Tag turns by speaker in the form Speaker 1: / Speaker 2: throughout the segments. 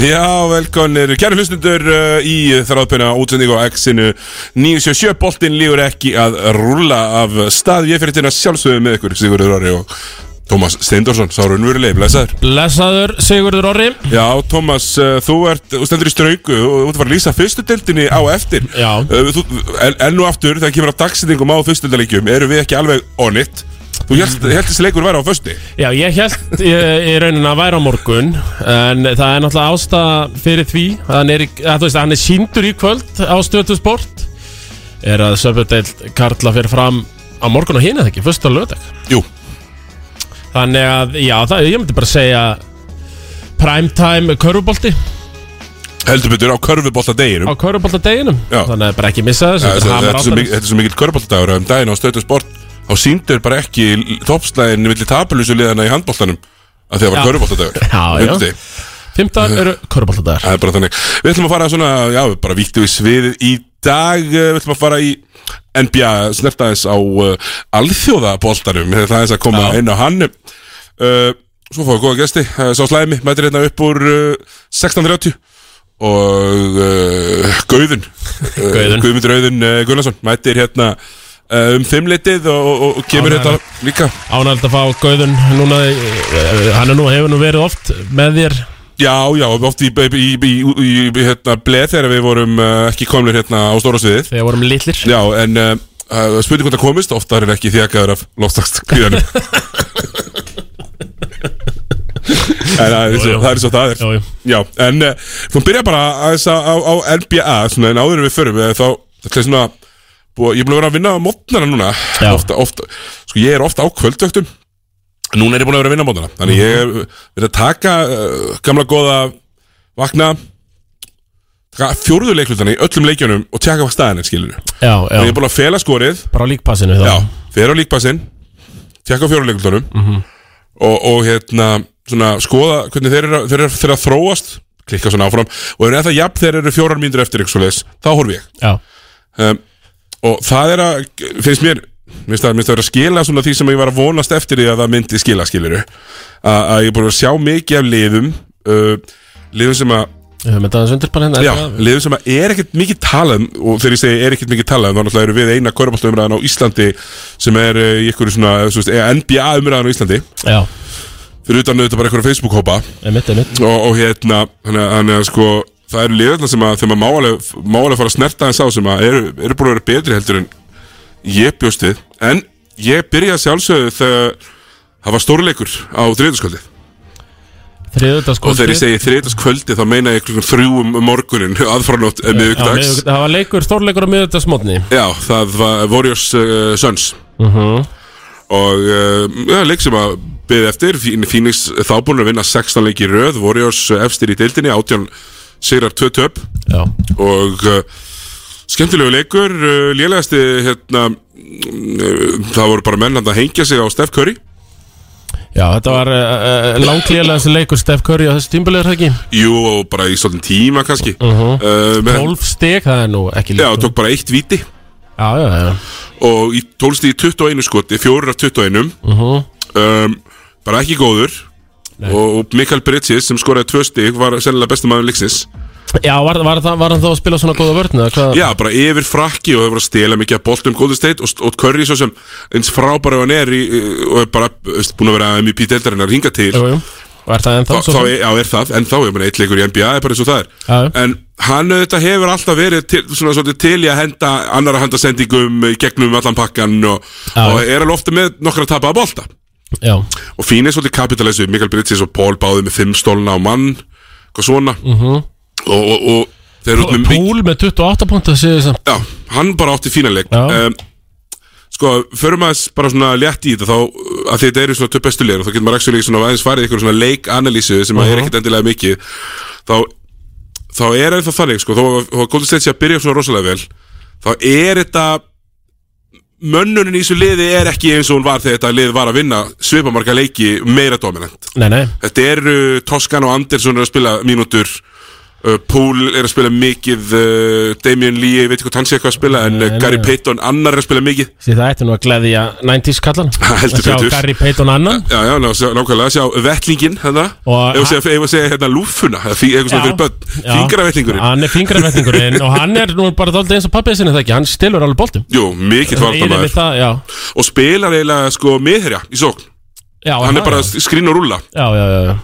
Speaker 1: Já, velkonir, kæru hlustundur uh, í þráðpuna útsendingu á X-inu 977, boltinn lífur ekki að rúlla af stað Ég fyrir þetta sjálfsögðu með ykkur, Sigurður Orri og Tómas Steindorsson, sá raunverulegi, blessaður
Speaker 2: Lesaður Sigurður Orri
Speaker 1: Já, Tómas, uh, þú ert, þú stendur í strauku og þú ert að fara að lýsa fyrstu deildinni á eftir
Speaker 2: Já.
Speaker 1: uh, þú, en, Enn og aftur, þegar kemur að dagsendingum á fyrstu deildalegjum, eru við ekki alveg on it Þú held þessi leikur væri á fösti
Speaker 2: Já, ég held í, í raunin að væri á morgun En það er náttúrulega ástæða fyrir því að Hann er, í, að, þú veist, hann er síndur í kvöld á stötu sport Er að söpudeild Karla fyrir fram á morgun og hina þekki, fyrst á lögdeg
Speaker 1: Jú,
Speaker 2: Þannig að, já, það, ég myndi bara segja Primetime körfubolti
Speaker 1: heldur betur á körfubolta
Speaker 2: á körfuboltadeginum
Speaker 1: Já.
Speaker 2: Þannig að bara ekki missa þessu
Speaker 1: Já,
Speaker 2: þetta
Speaker 1: Þetta
Speaker 2: hamar
Speaker 1: þetta er svo
Speaker 2: alltaf.
Speaker 1: mikil- þetta er svo mikill körbóltadagur um daginn á stöðu sport þá síndur bara ekki toppslæðin milli tapulísu liðana í handbóltanum að því að það var
Speaker 2: Já.
Speaker 1: körbóltadagur
Speaker 2: Já, já.
Speaker 1: Fimmti.
Speaker 2: Fimmtudagir eru körfuboltadagar
Speaker 1: Það er bara þannig Við ætlum að fara svona, já, bara víktu við sviðið í dag eh, Við ætlum að fara í NBA snertaðis á uh, alþjóðabóltanum Það er þess að koma
Speaker 2: Já.
Speaker 1: inn á hann uh, Svo fáum við góða gesti uh, Sá slæmi, mætir hérna upp úr uh, 16.30 og uh, Gauðun uh,
Speaker 2: Gauðun.
Speaker 1: Guðmundur Auðun uh, Gunnarsson mætir hérna uh, um fimmleitið og, og, og kemur
Speaker 2: Ánægður.
Speaker 1: hérna líka
Speaker 2: Ánægt að fá Gauðun núna í- eh, Hann er nú, hefur nú verið oft með þér
Speaker 1: Já, já, oft í, í, í, í, í, í hérna, bleð þegar við vorum uh, ekki komlir hérna á stóra sviðið
Speaker 2: Þegar vorum litlir
Speaker 1: Já, en uh, uh, spurning hvort það komist Ofta er hann ekki þjakaður af loftakst kvíðanum En það er svo það er, svo það er.
Speaker 2: Jú, jú.
Speaker 1: Já, en uh, þú byrja bara aðeins á, á, á NBA svona, en áður en við förum eh, þá, þetta er svona búa, ég er búin að vera að vinna á mótnana núna
Speaker 2: Já.
Speaker 1: ofta, ofta, sko ég er ofta á kvöldvöktum núna er ég búin að vera að vinna á mótnana þannig ég er eh, verið að taka uh, gamla góða vakna taka fjórðu leiklutana í öllum leikjunum og tjaka hvað staðan er skilur
Speaker 2: Já,
Speaker 1: og ég
Speaker 2: já,
Speaker 1: er búin að fela skorið
Speaker 2: bara á líkpassinu þá
Speaker 1: Já, fer á líkbassinn Tjekka á fjóruleikultunum mm -hmm. og, og hérna svona, skoða hvernig þeir eru, þeir eru, þeir eru að þróast klikka svona áfram og eru eða jafn þeir eru fjórar mínútur eftir eitthvað svoleiðis, þá horf ég
Speaker 2: já,
Speaker 1: um, og það er að finnst mér, minnst það, minnst það vera að skila svona því sem ég var að vonast eftir því að það myndi skila skiliru, að, að ég er búin að sjá mikið af liðum uh, liðum sem að
Speaker 2: við höfum þetta aðeins undir bara hérna
Speaker 1: Já,
Speaker 2: þetta-
Speaker 1: liðum sem að er ekkert mikið talað um, og þegar ég segi er ekkert mikið talað um, þá náttúrulega eru við eina körbáltaumræðan á Íslandi sem er eh, í einhverju svona svo veist, eh, NBA umræðan á Íslandi
Speaker 2: Já,
Speaker 1: fyrir utan auðvitað bara einhverja Facebook-hópa og,
Speaker 2: einmitt, einmitt
Speaker 1: og hérna, þannig að- þannig að sko það eru liðarna sem að þegar maður má alveg, má alveg fara að snerta þess á sem að eru, eru búin að vera betri heldur en ég bjóst við en ég byrjaði sjálfsögðu þegar það var stórleikur á þriðutaskvöldi og
Speaker 2: Þriðutaskvöldi
Speaker 1: þegar ég segi þriðutaskvöldi þá meina ég klukkan þrjúum morgunin aðfaranótt eh, miðvikudags
Speaker 2: Það var leikur, stórleikur á miðutasmotni
Speaker 1: Já, það var Warriors uh, Suns Mhm. Og uh, ja, leik sem að byrði eftir Phoen- Phoenix þá búin að vinna 16 leiki í röð Warriors uh, efstir í deildinni 18 sigrar 2 töp
Speaker 2: Já,
Speaker 1: Og uh, skemmtilegu leikur uh, Lélegasti hérna uh, Það voru bara menn þarna að hengja sig á Steph Curry
Speaker 2: já, þetta var uh, uh, langklélega þessi leikur Steph Curry á þessu tímbulegur ekki
Speaker 1: Jú, og bara í svolítið tíma kannski uh menn,
Speaker 2: 12 stig, það er nú ekki
Speaker 1: Já,
Speaker 2: líkt
Speaker 1: tók bara eitt viti
Speaker 2: já, já, já,
Speaker 1: og í tólst í 21 skoti, 4 af 21 um, bara ekki góður og, og Mikael Bridges sem skoraði tvö stig var sennilega besti maður leiksins
Speaker 2: já var, var, það- var hann þá að spila svona góða vörn eða hvað?
Speaker 1: já, bara yfir frakki og hefur að stela mikið að boltum Golden State og, og Curry svo sem eins frábæra hann er í, og er bara veist, búin að vera MVP deildarinnar hinga til
Speaker 2: Jú, jú. og er það ennþá
Speaker 1: þá, þá er, já, er það, en þá ég meina eitt leikur í NBA er bara eins og það er
Speaker 2: Já, já.
Speaker 1: en hann auðvitað hefur alltaf verið til, svona svolítið til í að henda annara handa sendingum í gegnum allan pakkan og,
Speaker 2: Já, já.
Speaker 1: og er alveg ofta með nokkra að tapa að bolta
Speaker 2: já,
Speaker 1: og fínir svolítið kapitalisu Mikael Bridges og Paul báði með fimm stólna á mann eitthvað svona og, og, og þeir eru út með mikið
Speaker 2: Púl með 28 punta séu þess
Speaker 1: já, hann bara átti fína leik
Speaker 2: Já.
Speaker 1: um, sko, förum aðeins bara svona létt í þetta þá, að því þetta eru svona töp bestu leir og þá getur maður ekki svona aðeins farið í eitthvað svona leikanalýsu sem er ekkert endilega mikið þá, þá er ennþá þannig sko, þó að- þó að Golden State sé að byrja svona rosalega vel þá er þetta mönnunin í þessu liði er ekki eins og hún var þegar þetta lið var að vinna svipamarka leiki meira dominant
Speaker 2: Nei, nei,
Speaker 1: Þetta eru Toskan og Andersson er að spila mínútur Uh, Poole er að spila mikið uh, Damien Lee, ég veit ekki hvað hann sé eitthvað að spila en uh,
Speaker 2: Nei,
Speaker 1: Gary
Speaker 2: nei.
Speaker 1: Payton annar er að spila mikið
Speaker 2: Því það ætti nú að gleðja 90s kallan
Speaker 1: Heldur
Speaker 2: Sjá
Speaker 1: betur.
Speaker 2: Gary Payton annan
Speaker 1: Já, já, ná, sjá- nákvæmlega, sjá vettlingin hérna
Speaker 2: Og-
Speaker 1: Ef að segja hérna lúfuna eða fí- eitthvað svona
Speaker 2: Já.
Speaker 1: fyrir börn,
Speaker 2: Já.
Speaker 1: fingravettlingurinn
Speaker 2: Hann er fingravetningurinn og hann er nú bara dálítið eins og pappið sinni það ekki Hann stilur alveg boltum
Speaker 1: Jú, mikill
Speaker 2: Einmitt
Speaker 1: varnamaður
Speaker 2: það, já.
Speaker 1: Og spilar eiginlega sko miðherja í sókn
Speaker 2: Já,
Speaker 1: Hann er
Speaker 2: það,
Speaker 1: bara
Speaker 2: já.
Speaker 1: skrín og rúlla
Speaker 2: Já, já, já, já.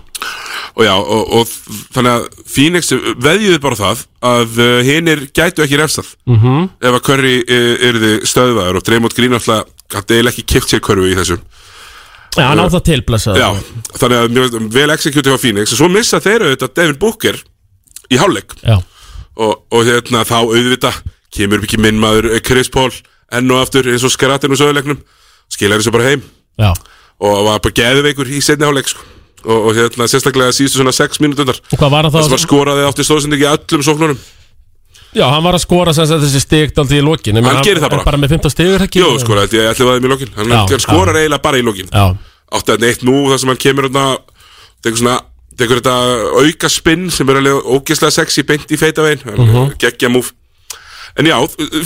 Speaker 1: Og já, og, og þ- þannig að Phoenix veðjuði bara það að uh, hinir gætu ekki refsað -hmm. ef að Curry uh, yrði stöðvaður og Draymond Green alltaf hann deil ekki kipt sér körfu í þessum
Speaker 2: Já, hann á það til, blessað
Speaker 1: Já, þannig að mjög, vel execute hjá Phoenix og svo missa þeir auðvitað Devin Booker í hálfleik
Speaker 2: já.
Speaker 1: og, og hérna þá auðvitað kemur upp ekki minn maður eh, Chris Paul enn og aftur eins og skaratinn úr söðuleiknum skilar þessu bara heim
Speaker 2: já.
Speaker 1: og var bara geðveikur í setni hálfleik sko. og, og hérna sérstaklega síðustu svona 6 mínútundar
Speaker 2: Og hvað var hann
Speaker 1: sem
Speaker 2: þá?
Speaker 1: var sko- skoraði átti stóðsending í öllum sóknunum
Speaker 2: Já, hann var að skora sem sagt þessi stig aldrei í lokin Ég meina,
Speaker 1: Hann gerir það
Speaker 2: er
Speaker 1: bara.
Speaker 2: Bara með 15 stigur, ekki?
Speaker 1: Jó, skoraði, ég ætli var þeim í lokin hann,
Speaker 2: Já,
Speaker 1: hann skorar eiginlega bara í lokin
Speaker 2: Já,
Speaker 1: átti hann eitt nú þar sem hann kemur þarna tekur svona tekur þetta auka spinn sem er alveg ógeðslega sexy beint í feitavegin uh
Speaker 2: Mhm.
Speaker 1: geggja múf en já,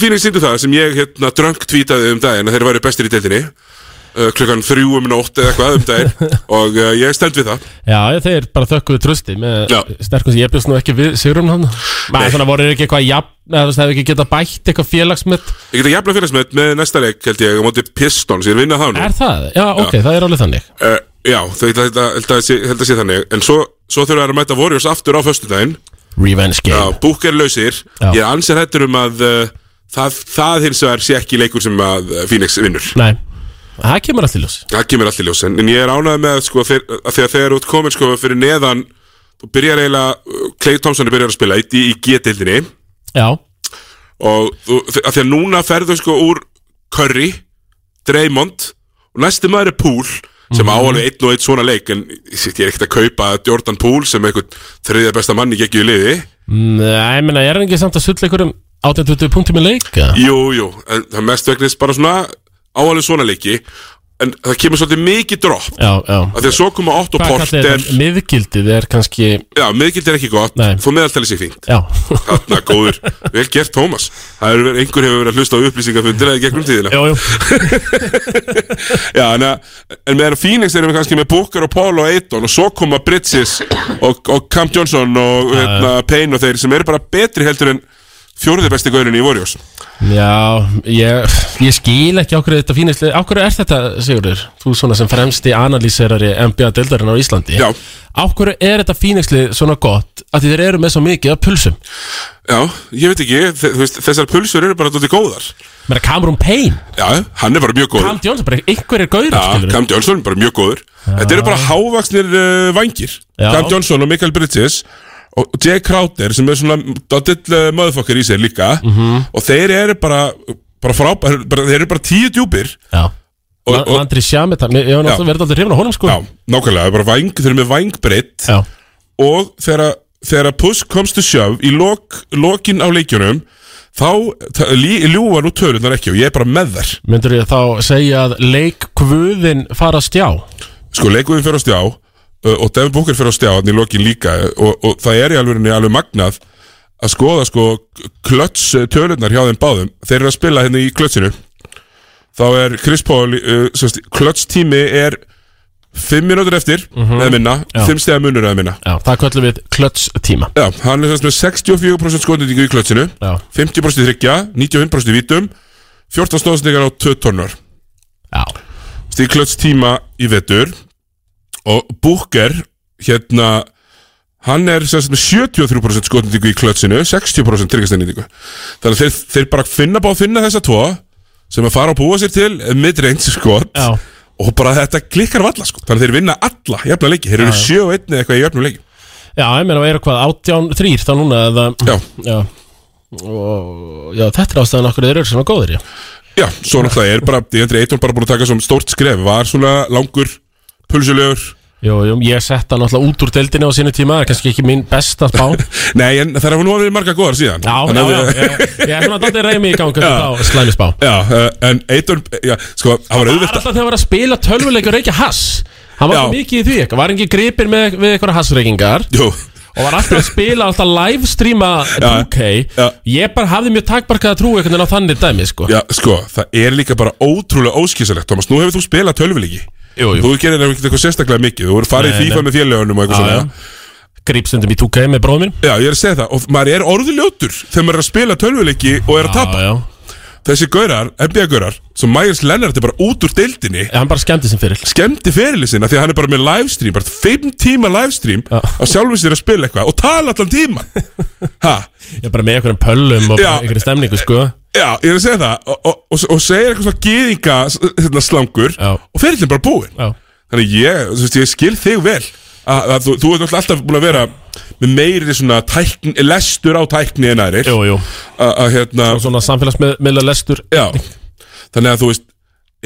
Speaker 1: Phoenix sýndu það sem ég hérna drönk tvítaði um daginn að þeir væri bestir í deildinni uh, klukkan þrjú um nótt eða eitthvað um daginn og uh, ég stend við það
Speaker 2: já, þeir bara þökkuðu trösti með
Speaker 1: Já.
Speaker 2: sterkum sem ég bjóst nú ekki við Sigurinn hann Maður svona voru þeir ekki eitthvað jafn, eða þú veist, hefur ekki getað bætt eitthvað félagsmitt
Speaker 1: ég geta jafnlega fyrir með, með næsta leik held ég á móti Pistons, ég er að vinna þá nú
Speaker 2: Er það? Já, ok, það er alveg þannig
Speaker 1: uh, já, þau held að, held, að, sé- held að sé þannig en svo, svo þurfa þeir að mæta Warriors aftur á föstudaginn
Speaker 2: Revenge
Speaker 1: Já,
Speaker 2: game
Speaker 1: búk er lausir
Speaker 2: Já.
Speaker 1: Ég er ansið hættur um að uh, það, það hins vegar sé ekki leikur sem að uh, Phoenix vinnur
Speaker 2: Nei, það kemur allt í ljós
Speaker 1: Það kemur allir ljós en, en ég er ánægð með sko, þeir, að þegar þeir eru út komin sko, fyrir neðan Þú byrjar eiginlega uh, Clay Thompson er byrjar að spila í, í G-dildinni
Speaker 2: Já,
Speaker 1: Og þú, þe- að því að núna ferðu sko úr Curry, Draymond Og næsti maður er Poole sem
Speaker 2: Mhm.
Speaker 1: á alveg einn og einn svona leik en sitt, ég er ekkert að kaupa Jordan Poole sem einhvern þriðja besta manni geggju í liði
Speaker 2: Nei, ég meina, ég er ekki samt að sull einhverjum 820 punktum í leik eða?
Speaker 1: Jú, jú, en það er mest vegna bara svona áalveg svona leiki en það kemur svolítið mikið dropp
Speaker 2: Já, já
Speaker 1: af því að svo koma 8 og
Speaker 2: Hvað kallir
Speaker 1: porter
Speaker 2: þetta? Miðgildið er kannski
Speaker 1: Já, miðgild er ekki gott,
Speaker 2: Nei.
Speaker 1: þú meðaltalið sér fínt
Speaker 2: Já,
Speaker 1: Þarna, góður, vel gert Tómas Það er verið, einhver hefur verið að hlusta á upplýsingafundir eða í gegnum tíðina
Speaker 2: jú, jú
Speaker 1: Já, en, að, en meðan að Phoenix erum við kannski með Booker og Paul og Aiton og svo koma Bridges og, og Camp Johnson og hérna, Payne og þeir sem eru bara betri heldur en fjóruði besti gaurin í Warriors
Speaker 2: Já, ég, ég skil ekki okkur þetta fínislega, okkur er þetta Sigurður, þú svona sem fremsti analýserari NBA-deildarinn á Íslandi
Speaker 1: Já.
Speaker 2: Okkur er þetta fínislega svona gott að þeir eru með svo mikið af pulsum
Speaker 1: Já, ég veit ekki, þe- þú veist, þessar pulsur eru bara dóttir góðar
Speaker 2: Mér er Cameron Payne,
Speaker 1: Já, hann er bara mjög góður
Speaker 2: Cam Johnson, bara einhver er gaurið,
Speaker 1: Já,
Speaker 2: skilur
Speaker 1: Cam Johnson, bara mjög góður Þetta eru bara hávaksnir uh, vangir
Speaker 2: Já.
Speaker 1: Cam Johnson og Michael Bridges og og Jay Crowder sem er svona dill uh, motherfucker í sér líka -hmm. og þeir eru bara, bara frábær bara, þeir eru bara tíu djúpir
Speaker 2: Já,
Speaker 1: og,
Speaker 2: og,
Speaker 1: og,
Speaker 2: Landry Sjamet, hann- ég hef náttúrulega verið alltaf hrifin á honum sko
Speaker 1: já, nákvæmlega, bara væng, þeir eru með vængbreytt
Speaker 2: Já,
Speaker 1: og þegar að- þegar að push komst to shove í lok, lokin á leikjunum þá ta- lí- ljúga nú tölunar ekki og ég er bara með þær
Speaker 2: myndur ég þá segja að leikvöðin fara að stjá
Speaker 1: sko leikvöðin fyrir á stjá uh, og Devin Booker fyrir á stjá hann í lokin líka uh, og, og það er í alveg, alveg magnað að skoða sko klöts tölunar hjá þeim báðum þeir eru að spila hérna í klötsinu þá er Chris Paul uh, klöts tími er 5 minútur eftir eða minna 5 stegar munur eða minna
Speaker 2: Já, það köllum við klötstíma
Speaker 1: Já, hann er semst með 64% skotendingu í klötsinu
Speaker 2: Já,
Speaker 1: 50% þryggja, 95% vítum 14 stóðsendingar á 2 tonnar
Speaker 2: já,
Speaker 1: Stiglöts tíma í vetur og Booker hérna hann er sem sagt með 73% skotendingu í klötsinu 60% tryggastendingu þannig að þeir, þeir bara finna bá að finna þessa tvo sem að fara að búa sér til midrange skot
Speaker 2: já
Speaker 1: og bara þetta klikkar valla sko þannig að þeir vinna alla jafna leiki þeir eru 7 og 1 eitthvað í jafnum leiki
Speaker 2: Já, ég meina, eru hvað, átján þrýr þá núna eða
Speaker 1: já,
Speaker 2: Já og já, þetta er ástæðan okkur þeir eru svona góðir já.
Speaker 1: já, svo náttúrulega er bara Deandre Ayton bara búin að taka svona stórt skref var svona langur, pulsulegur
Speaker 2: Jú, jú, ég sett hann alltaf út úr deildinni á sínu tíma, það er kannski ekki mín besta spá
Speaker 1: nei, en það er nú að vera marga góðar síðan
Speaker 2: Já, já,
Speaker 1: Þannig að-
Speaker 2: já, já, ég er svona dóttir reymi í gangi
Speaker 1: Já.
Speaker 2: á slæmi spá
Speaker 1: Já, uh, en Eitur, já, sko, það var
Speaker 2: Það er
Speaker 1: auðvitað
Speaker 2: alltaf þegar hann var að spila tölvuleik og reykja hass Hann var
Speaker 1: Já.
Speaker 2: svo mikið í því, eitthvað, var ekki gripir með, við eitthvað hassreykingar
Speaker 1: Jú,
Speaker 2: og var alltaf að spila alltaf live streama 2K
Speaker 1: já.
Speaker 2: ég bara hafði mjög takmarkaða trú einhvern veginn á þannig dæmi sko
Speaker 1: Já, sko, það er líka bara ótrúlega óskísalegt Thomas, nú hefur þú spilað tölvuleiki
Speaker 2: Jú, jú.
Speaker 1: Þú gerir ekkert eitthvað sérstaklega mikið Þú voru farið
Speaker 2: Nei,
Speaker 1: í FIFA
Speaker 2: nei.
Speaker 1: með félögunum og eitthvað
Speaker 2: Já,
Speaker 1: svona
Speaker 2: já. gríp stundum í 2K með bróðum minn
Speaker 1: Já, ég er að segja það Og maður er orðiljótur þegar maður er að spila tölvuleiki og er að tapa
Speaker 2: já.
Speaker 1: Þessi gaurar, NBA-gaurar Svo Myers Leonard er bara út úr deildinni
Speaker 2: Ég, hann bara skemmti sem fyrir
Speaker 1: skemmti fyrirlisina því að hann er bara með livestream bara 5 tíma livestream
Speaker 2: Já.
Speaker 1: á sjálfum sér að spila eitthvað og tala allan tíma ha,
Speaker 2: ég er bara með einhverjum pöllum og
Speaker 1: Já.
Speaker 2: einhverjum stemningu sko
Speaker 1: já, ég er að segja það og, og, og, og segir eitthvað svona gýðinga hérna, slangur
Speaker 2: Já.
Speaker 1: og fyrirlin bara búinn
Speaker 2: já.
Speaker 1: þannig ég, þú veist, ég skil þig vel að, að þú, þú ert náttúrulega alltaf búin að vera með meiri svona tækn, lestur á tækni en aðrir
Speaker 2: Jú, jú.
Speaker 1: að að, hérna,
Speaker 2: og svona samfélagsmiðla lestur
Speaker 1: Já, þannig að þú veist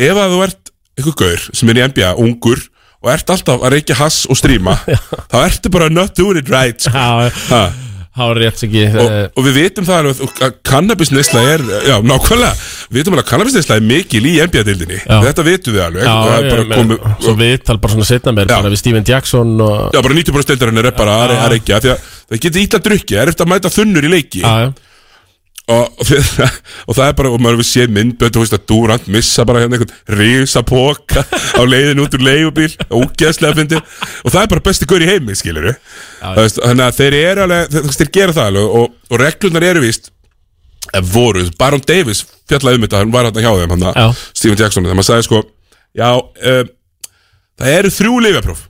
Speaker 1: Ef að þú ert einhver gaur sem er í NBA, ungur Og ert alltaf að reykja hass og stríma Þá ertu bara not doing it right sko.
Speaker 2: já,
Speaker 1: ha,
Speaker 2: það var rétt Eh, ekki
Speaker 1: og, og við vitum það alveg að- að Cannabisneisla er, já nákvæmlega Við vitum alveg að cannabisneisla er mikil í NBA-dildinni
Speaker 2: Já.
Speaker 1: Þetta vitum við alveg
Speaker 2: Já,
Speaker 1: og það
Speaker 2: ég
Speaker 1: er bara
Speaker 2: meina,
Speaker 1: komið
Speaker 2: svo viðtal bara svona setna mér
Speaker 1: Já.
Speaker 2: bara við Steven Jackson og
Speaker 1: Já, bara 90% deildarinnar er bara að, að reykja Því að það getur ítla drukki, er eftir að mæta þunnur í leiki
Speaker 2: já, já.
Speaker 1: og, og þið- og það er bara, og maður hefur séð myndbönd, þú veist að Durant missa bara hérna einhvern risa póka á leiðin út úr leigubíl, ógeðslega fyndi og það er bara besti gaur í heimi, skilur við þannig að þeir eru alveg þeir, þú veist, þeir gera það alveg og, og reglurnar eru víst eh, voru, Baron Davis fjallaði um þetta, hann var hérna hjá þeim hann,
Speaker 2: Já.
Speaker 1: að Stephen Jackson, þegar maður sagði sko já, um, það eru þrjú lifjapróf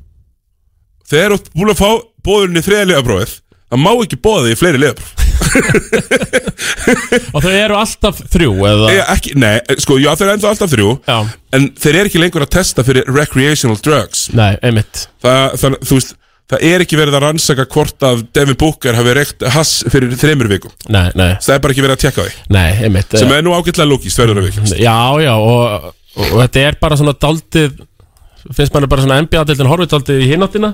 Speaker 1: þegar þú búin að fá bóðurinn í þriða lifjaprófið það má ekki bóða því fleiri lifjapróf
Speaker 2: og þau eru alltaf þrjú eða
Speaker 1: Ég, ekki, nei, sko, já, þeir eru ennþá alltaf þrjú
Speaker 2: Já.
Speaker 1: En þeir eru ekki lengur að testa fyrir recreational drugs
Speaker 2: nei, einmitt
Speaker 1: Það, það, þú veist, það er ekki verið að rannsaka hvort að Devin Booker hafi reykt hass fyrir þreymur vikum
Speaker 2: nei, nei,
Speaker 1: Það er bara ekki verið að tjekka á því
Speaker 2: nei, einmitt
Speaker 1: Sem er nú ágætlega lókist, verður að vikast
Speaker 2: Já, já, og, og þetta er bara svona daldið finnst mann bara svona NBA-dildin horfið daldið í hináttina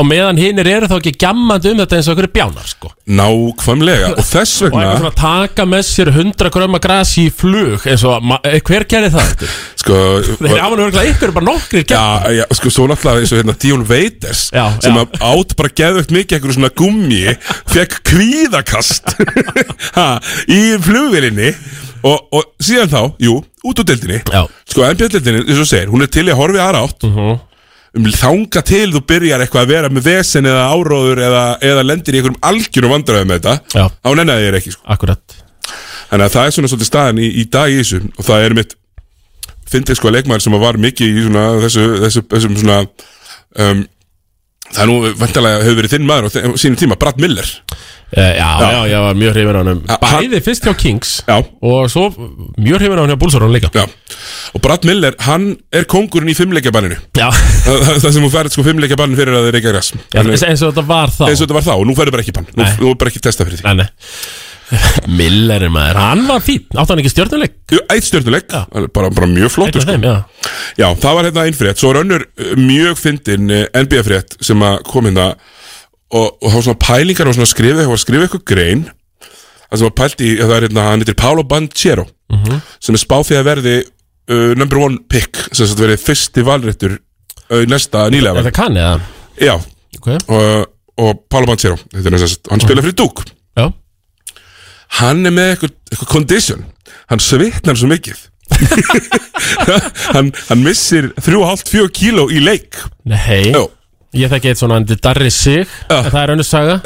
Speaker 2: og meðan hinnir eru þá ekki gjammandi um þetta eins og einhverju bjánar sko.
Speaker 1: Nákvæmlega, og þess
Speaker 2: og eitthvað
Speaker 1: vegna
Speaker 2: svona taka með sér 100 gröma gras í flug eins og, ma- eh, hver gerir það? aftur?
Speaker 1: Sko,
Speaker 2: Þeir eru afan örgulega ykkur bara nokkrir ja.
Speaker 1: Já, já, sko, svo náttúrulega eins og hérna Dion Waiters
Speaker 2: Já,
Speaker 1: sem
Speaker 2: já.
Speaker 1: að átt bara geðvögt mikið einhverju svona gummi fekk kvíðakast ha, í flugvélinni og, og síðan þá, jú, út úr deildinni
Speaker 2: Já.
Speaker 1: sko, NBA-deildinni, eins og þú segir, hún er til í að horfi aðra átt
Speaker 2: Mhm.
Speaker 1: um þanga til þú byrjar eitthvað að vera með vesen eða áróður eða, eða lendir í einhverjum algjörum vandræðum með þetta
Speaker 2: Já.
Speaker 1: á nennaði þér ekki, sko
Speaker 2: Akkurat
Speaker 1: Þannig að það er svona svolítið staðan í, í dag í þessu og það er mitt fyndið sko leikmaður sem var mikið í svona þessu, þessu, þessum svona um, það er nú vantalega hefur verið þinn maður á þe- á sínum tíma, Brad Miller
Speaker 2: Eh, Já, já, já, ég var mjög hrifin á hann
Speaker 1: Ha-
Speaker 2: Bæði fyrst hjá Kings
Speaker 1: Já,
Speaker 2: og svo mjög hrifin á hann hjá Búlsarón líka
Speaker 1: já og Brad Miller, hann er kongurinn í fimmleikjabanninu
Speaker 2: Já,
Speaker 1: það, það- það sem hún færið sko fimmleikjabann fyrir að þeir reykja græs
Speaker 2: já
Speaker 1: Þannig-
Speaker 2: eins eins og þetta var þá
Speaker 1: eins og þetta var þá, og nú færið bara ekki bann nú,
Speaker 2: Nei.
Speaker 1: nú er bara ekki testa fyrir því
Speaker 2: Nei, nei Miller er maður, hann var fín Átti hann ekki stjörnuleik?
Speaker 1: Jú, Eitt stjórnuleik,
Speaker 2: Já.
Speaker 1: bara, bara mjög flottur sko.
Speaker 2: Eitt af þeim, já
Speaker 1: Já, það var hérna einn frétt Svo er önnur uh, mjög fyndin eh, NBA frétt sem að kom hérna og, og það var svona pælingar og svona skrifið það var skrifið eitthvað grein það sem var pælt í, það er hérna, hann heitir Paolo Banchero
Speaker 2: Mhm.
Speaker 1: sem er spáð því að verði uh, number one pick sem þetta verið fyrsti valréttur uh, í næsta nýlega
Speaker 2: Er
Speaker 1: val
Speaker 2: það kann eða?
Speaker 1: Já,
Speaker 2: Okay.
Speaker 1: og, eh, og Paolo Banchero þetta er næst,
Speaker 2: Mhm.
Speaker 1: hann spila fyrir Dúk
Speaker 2: Já.
Speaker 1: hann er með eitthvað, eitthvað condition hann svitnar svo mikið hann, hann missir 3,5-4 kíló í leik
Speaker 2: Nei,
Speaker 1: Jó
Speaker 2: ég þekki eitt svona andi Darri Sig, en það er önnur saga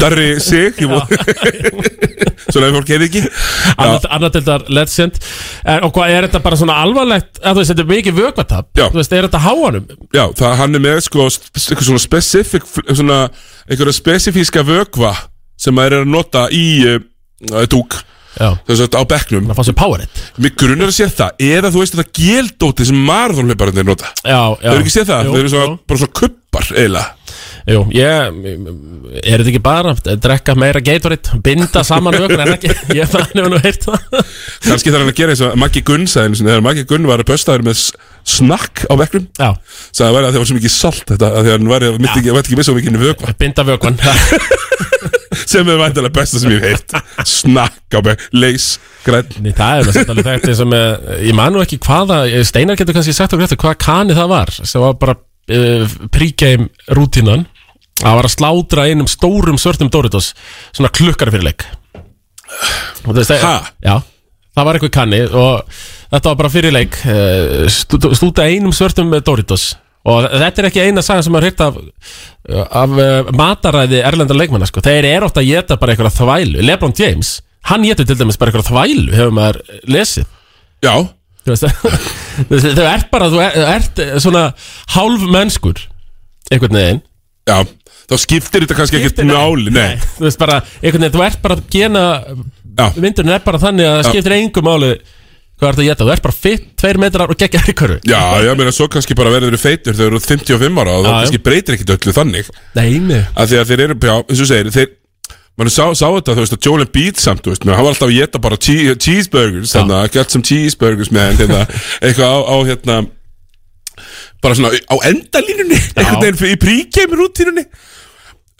Speaker 1: Darri sig ég vó- Svona ef fólk heyrði ekki
Speaker 2: Anna- annar til þar legend er, og hvað er þetta bara svona alvarlegt að þú veist, þetta er mikið vökvatap
Speaker 1: Já.
Speaker 2: þú veist, er þetta háanum
Speaker 1: Já, það hann er með sko eitthvað svona specific svona, einhverja spesifíska vökva sem maður er að nota í uh, uh, dúk
Speaker 2: Já,
Speaker 1: þess að á bekknum
Speaker 2: það fannst við powerhead
Speaker 1: Mér grunar að sé það eða þú veist þetta geldóti sem marathonhlauparinn er nota
Speaker 2: Já, já
Speaker 1: Það er ekki séð það,
Speaker 2: Jú,
Speaker 1: það eru svona, bara svona kuppar eiginlega
Speaker 2: Jú, ég, er þetta ekki bara að drekka meira Gatorade, binda saman vökun en ekki, ég fann hefur nú heyrt það
Speaker 1: Kannski þarf hann að gera eins og Maggi Gunn sagði einu sinni, þegar Maggi Gunn var að böstaður með s- snakk á bekknum
Speaker 2: Já,
Speaker 1: sagði að það væri að það var svo mikið salt þetta að því að hann væri að myndi ekki, væri ekki með svo mikið vökva
Speaker 2: binda vökun
Speaker 1: sem er væntalega besta sem ég hef heilt snakk á mig, leys, græn
Speaker 2: Nei, það er náttúrulega alveg þetta eins og með, ég man nú ekki hvaða, eh, Steinar getur kannski sagt okkur eftir hvaða kani það var sem var bara uh, pre-game eh, rútínan Það var að slátra einum stórum svörtum Doritos Svona klukkar fyrir leik Og þú veist,
Speaker 1: Ha?
Speaker 2: Já, það var eitthvað kanni Og þetta var bara fyrir leik eh, stú- Stúta einum svörtum Doritos Og þetta er ekki eina sagan sem maður hýrt af, af eh, mataræði erlendar leikmanna sko. Þeir eru oft að geta bara einhverja þvælu Lebron James, hann getur til dæmis bara einhverja þvælu Hefur maður lesið
Speaker 1: Já,
Speaker 2: Þú veist, þú veist, Þú ert bara, þú er- þú ert svona hálf mennskur Einhvern veginn
Speaker 1: já Þá skiptir þetta kannski ekkert máli Nei,
Speaker 2: þú veist bara, einhvern veginn, þú ert bara gena,
Speaker 1: já,
Speaker 2: myndurinn er bara þannig að það skiptir engu máli hvað ert að geta, þú ert bara fitt, tveir metrar og geggja í körfu.
Speaker 1: já, já, meina svo kannski bara verður þeir feitur þegar þú eru 55 ára og það
Speaker 2: Já, já.
Speaker 1: kannski breytir ekkert öllu þannig
Speaker 2: Nei, nei.
Speaker 1: að því að þeir eru, já, eins og þú segir þeir, mann sá, sá þetta, þú veist, að Jolin Beat samt, þú veist, menn, hann var alltaf að geta bara che cheeseburgers, þannig að get some cheeseburgers með hann, hérna, eitthvað á, á hérna, bara svona á endalínunni, einhvern veginn fyrir- í príkeimur útínunni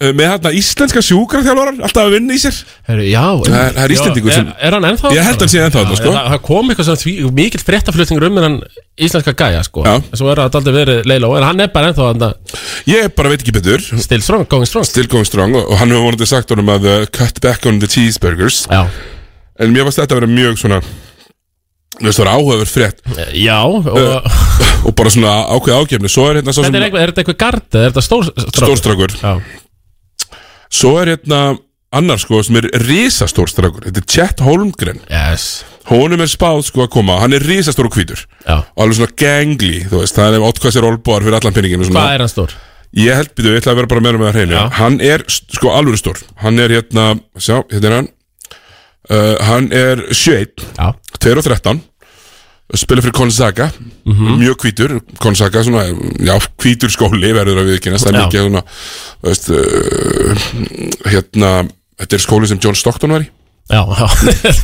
Speaker 1: með hérna íslenska sjúkraþjálfarar alltaf að vinna í sér,
Speaker 2: Heru, já,
Speaker 1: Það er- það er Íslendingur
Speaker 2: Já,
Speaker 1: sem-
Speaker 2: er, er hann ennþá?
Speaker 1: Ég held hann sé ennþá þarna,
Speaker 2: Já,
Speaker 1: sko.
Speaker 2: Það, það kom eitthvað svona því, mikill fréttaflutningur um hann íslenska gæja sko
Speaker 1: Já.
Speaker 2: En Svo er það aldrei verið leila en hann er bara ennþá hann
Speaker 1: ég bara veit ekki betur
Speaker 2: still strong, going strong
Speaker 1: still going strong og, og hann hefur vonandi sagt honum að uh, cut back on the cheeseburgers
Speaker 2: Já,
Speaker 1: en mér varst þetta að vera mjög svona þú veist, það var áhugaverð frétt
Speaker 2: já og,
Speaker 1: Eh, og bara svona ákveð ágefni, svo er hérna sá
Speaker 2: þetta
Speaker 1: sem
Speaker 2: er, eitthvað, er þetta eitthvað gard eða er þetta stór strong?
Speaker 1: stórstrákur
Speaker 2: Já,
Speaker 1: Svo er hérna annar sko sem er risastór strákur Þetta er Chet Holmgren
Speaker 2: yes,
Speaker 1: Honum er spáð sko að koma, hann er risastór og hvítur
Speaker 2: já
Speaker 1: Og alveg svona gangli, þú veist Það er ótkvæðsir olbúar fyrir allan penningin og svona
Speaker 2: Hvað er hann stór?
Speaker 1: Ég held byrju, ég ætla að vera bara með hann með það hreinu
Speaker 2: Já.
Speaker 1: Hann er st- sko alveg stór Hann er hérna, sjá, hérna er hann uh, Hann er 7
Speaker 2: Já,
Speaker 1: 2 og 13 Spilur fyrir Konsaga
Speaker 2: Mhm.
Speaker 1: Mjög hvítur, Konsaga svona Já, hvítur skóli verður að viðkynast Það er
Speaker 2: Já.
Speaker 1: mikið svona þú veist, uh, Hérna Þetta er skóli sem John Stockton var í
Speaker 2: já, já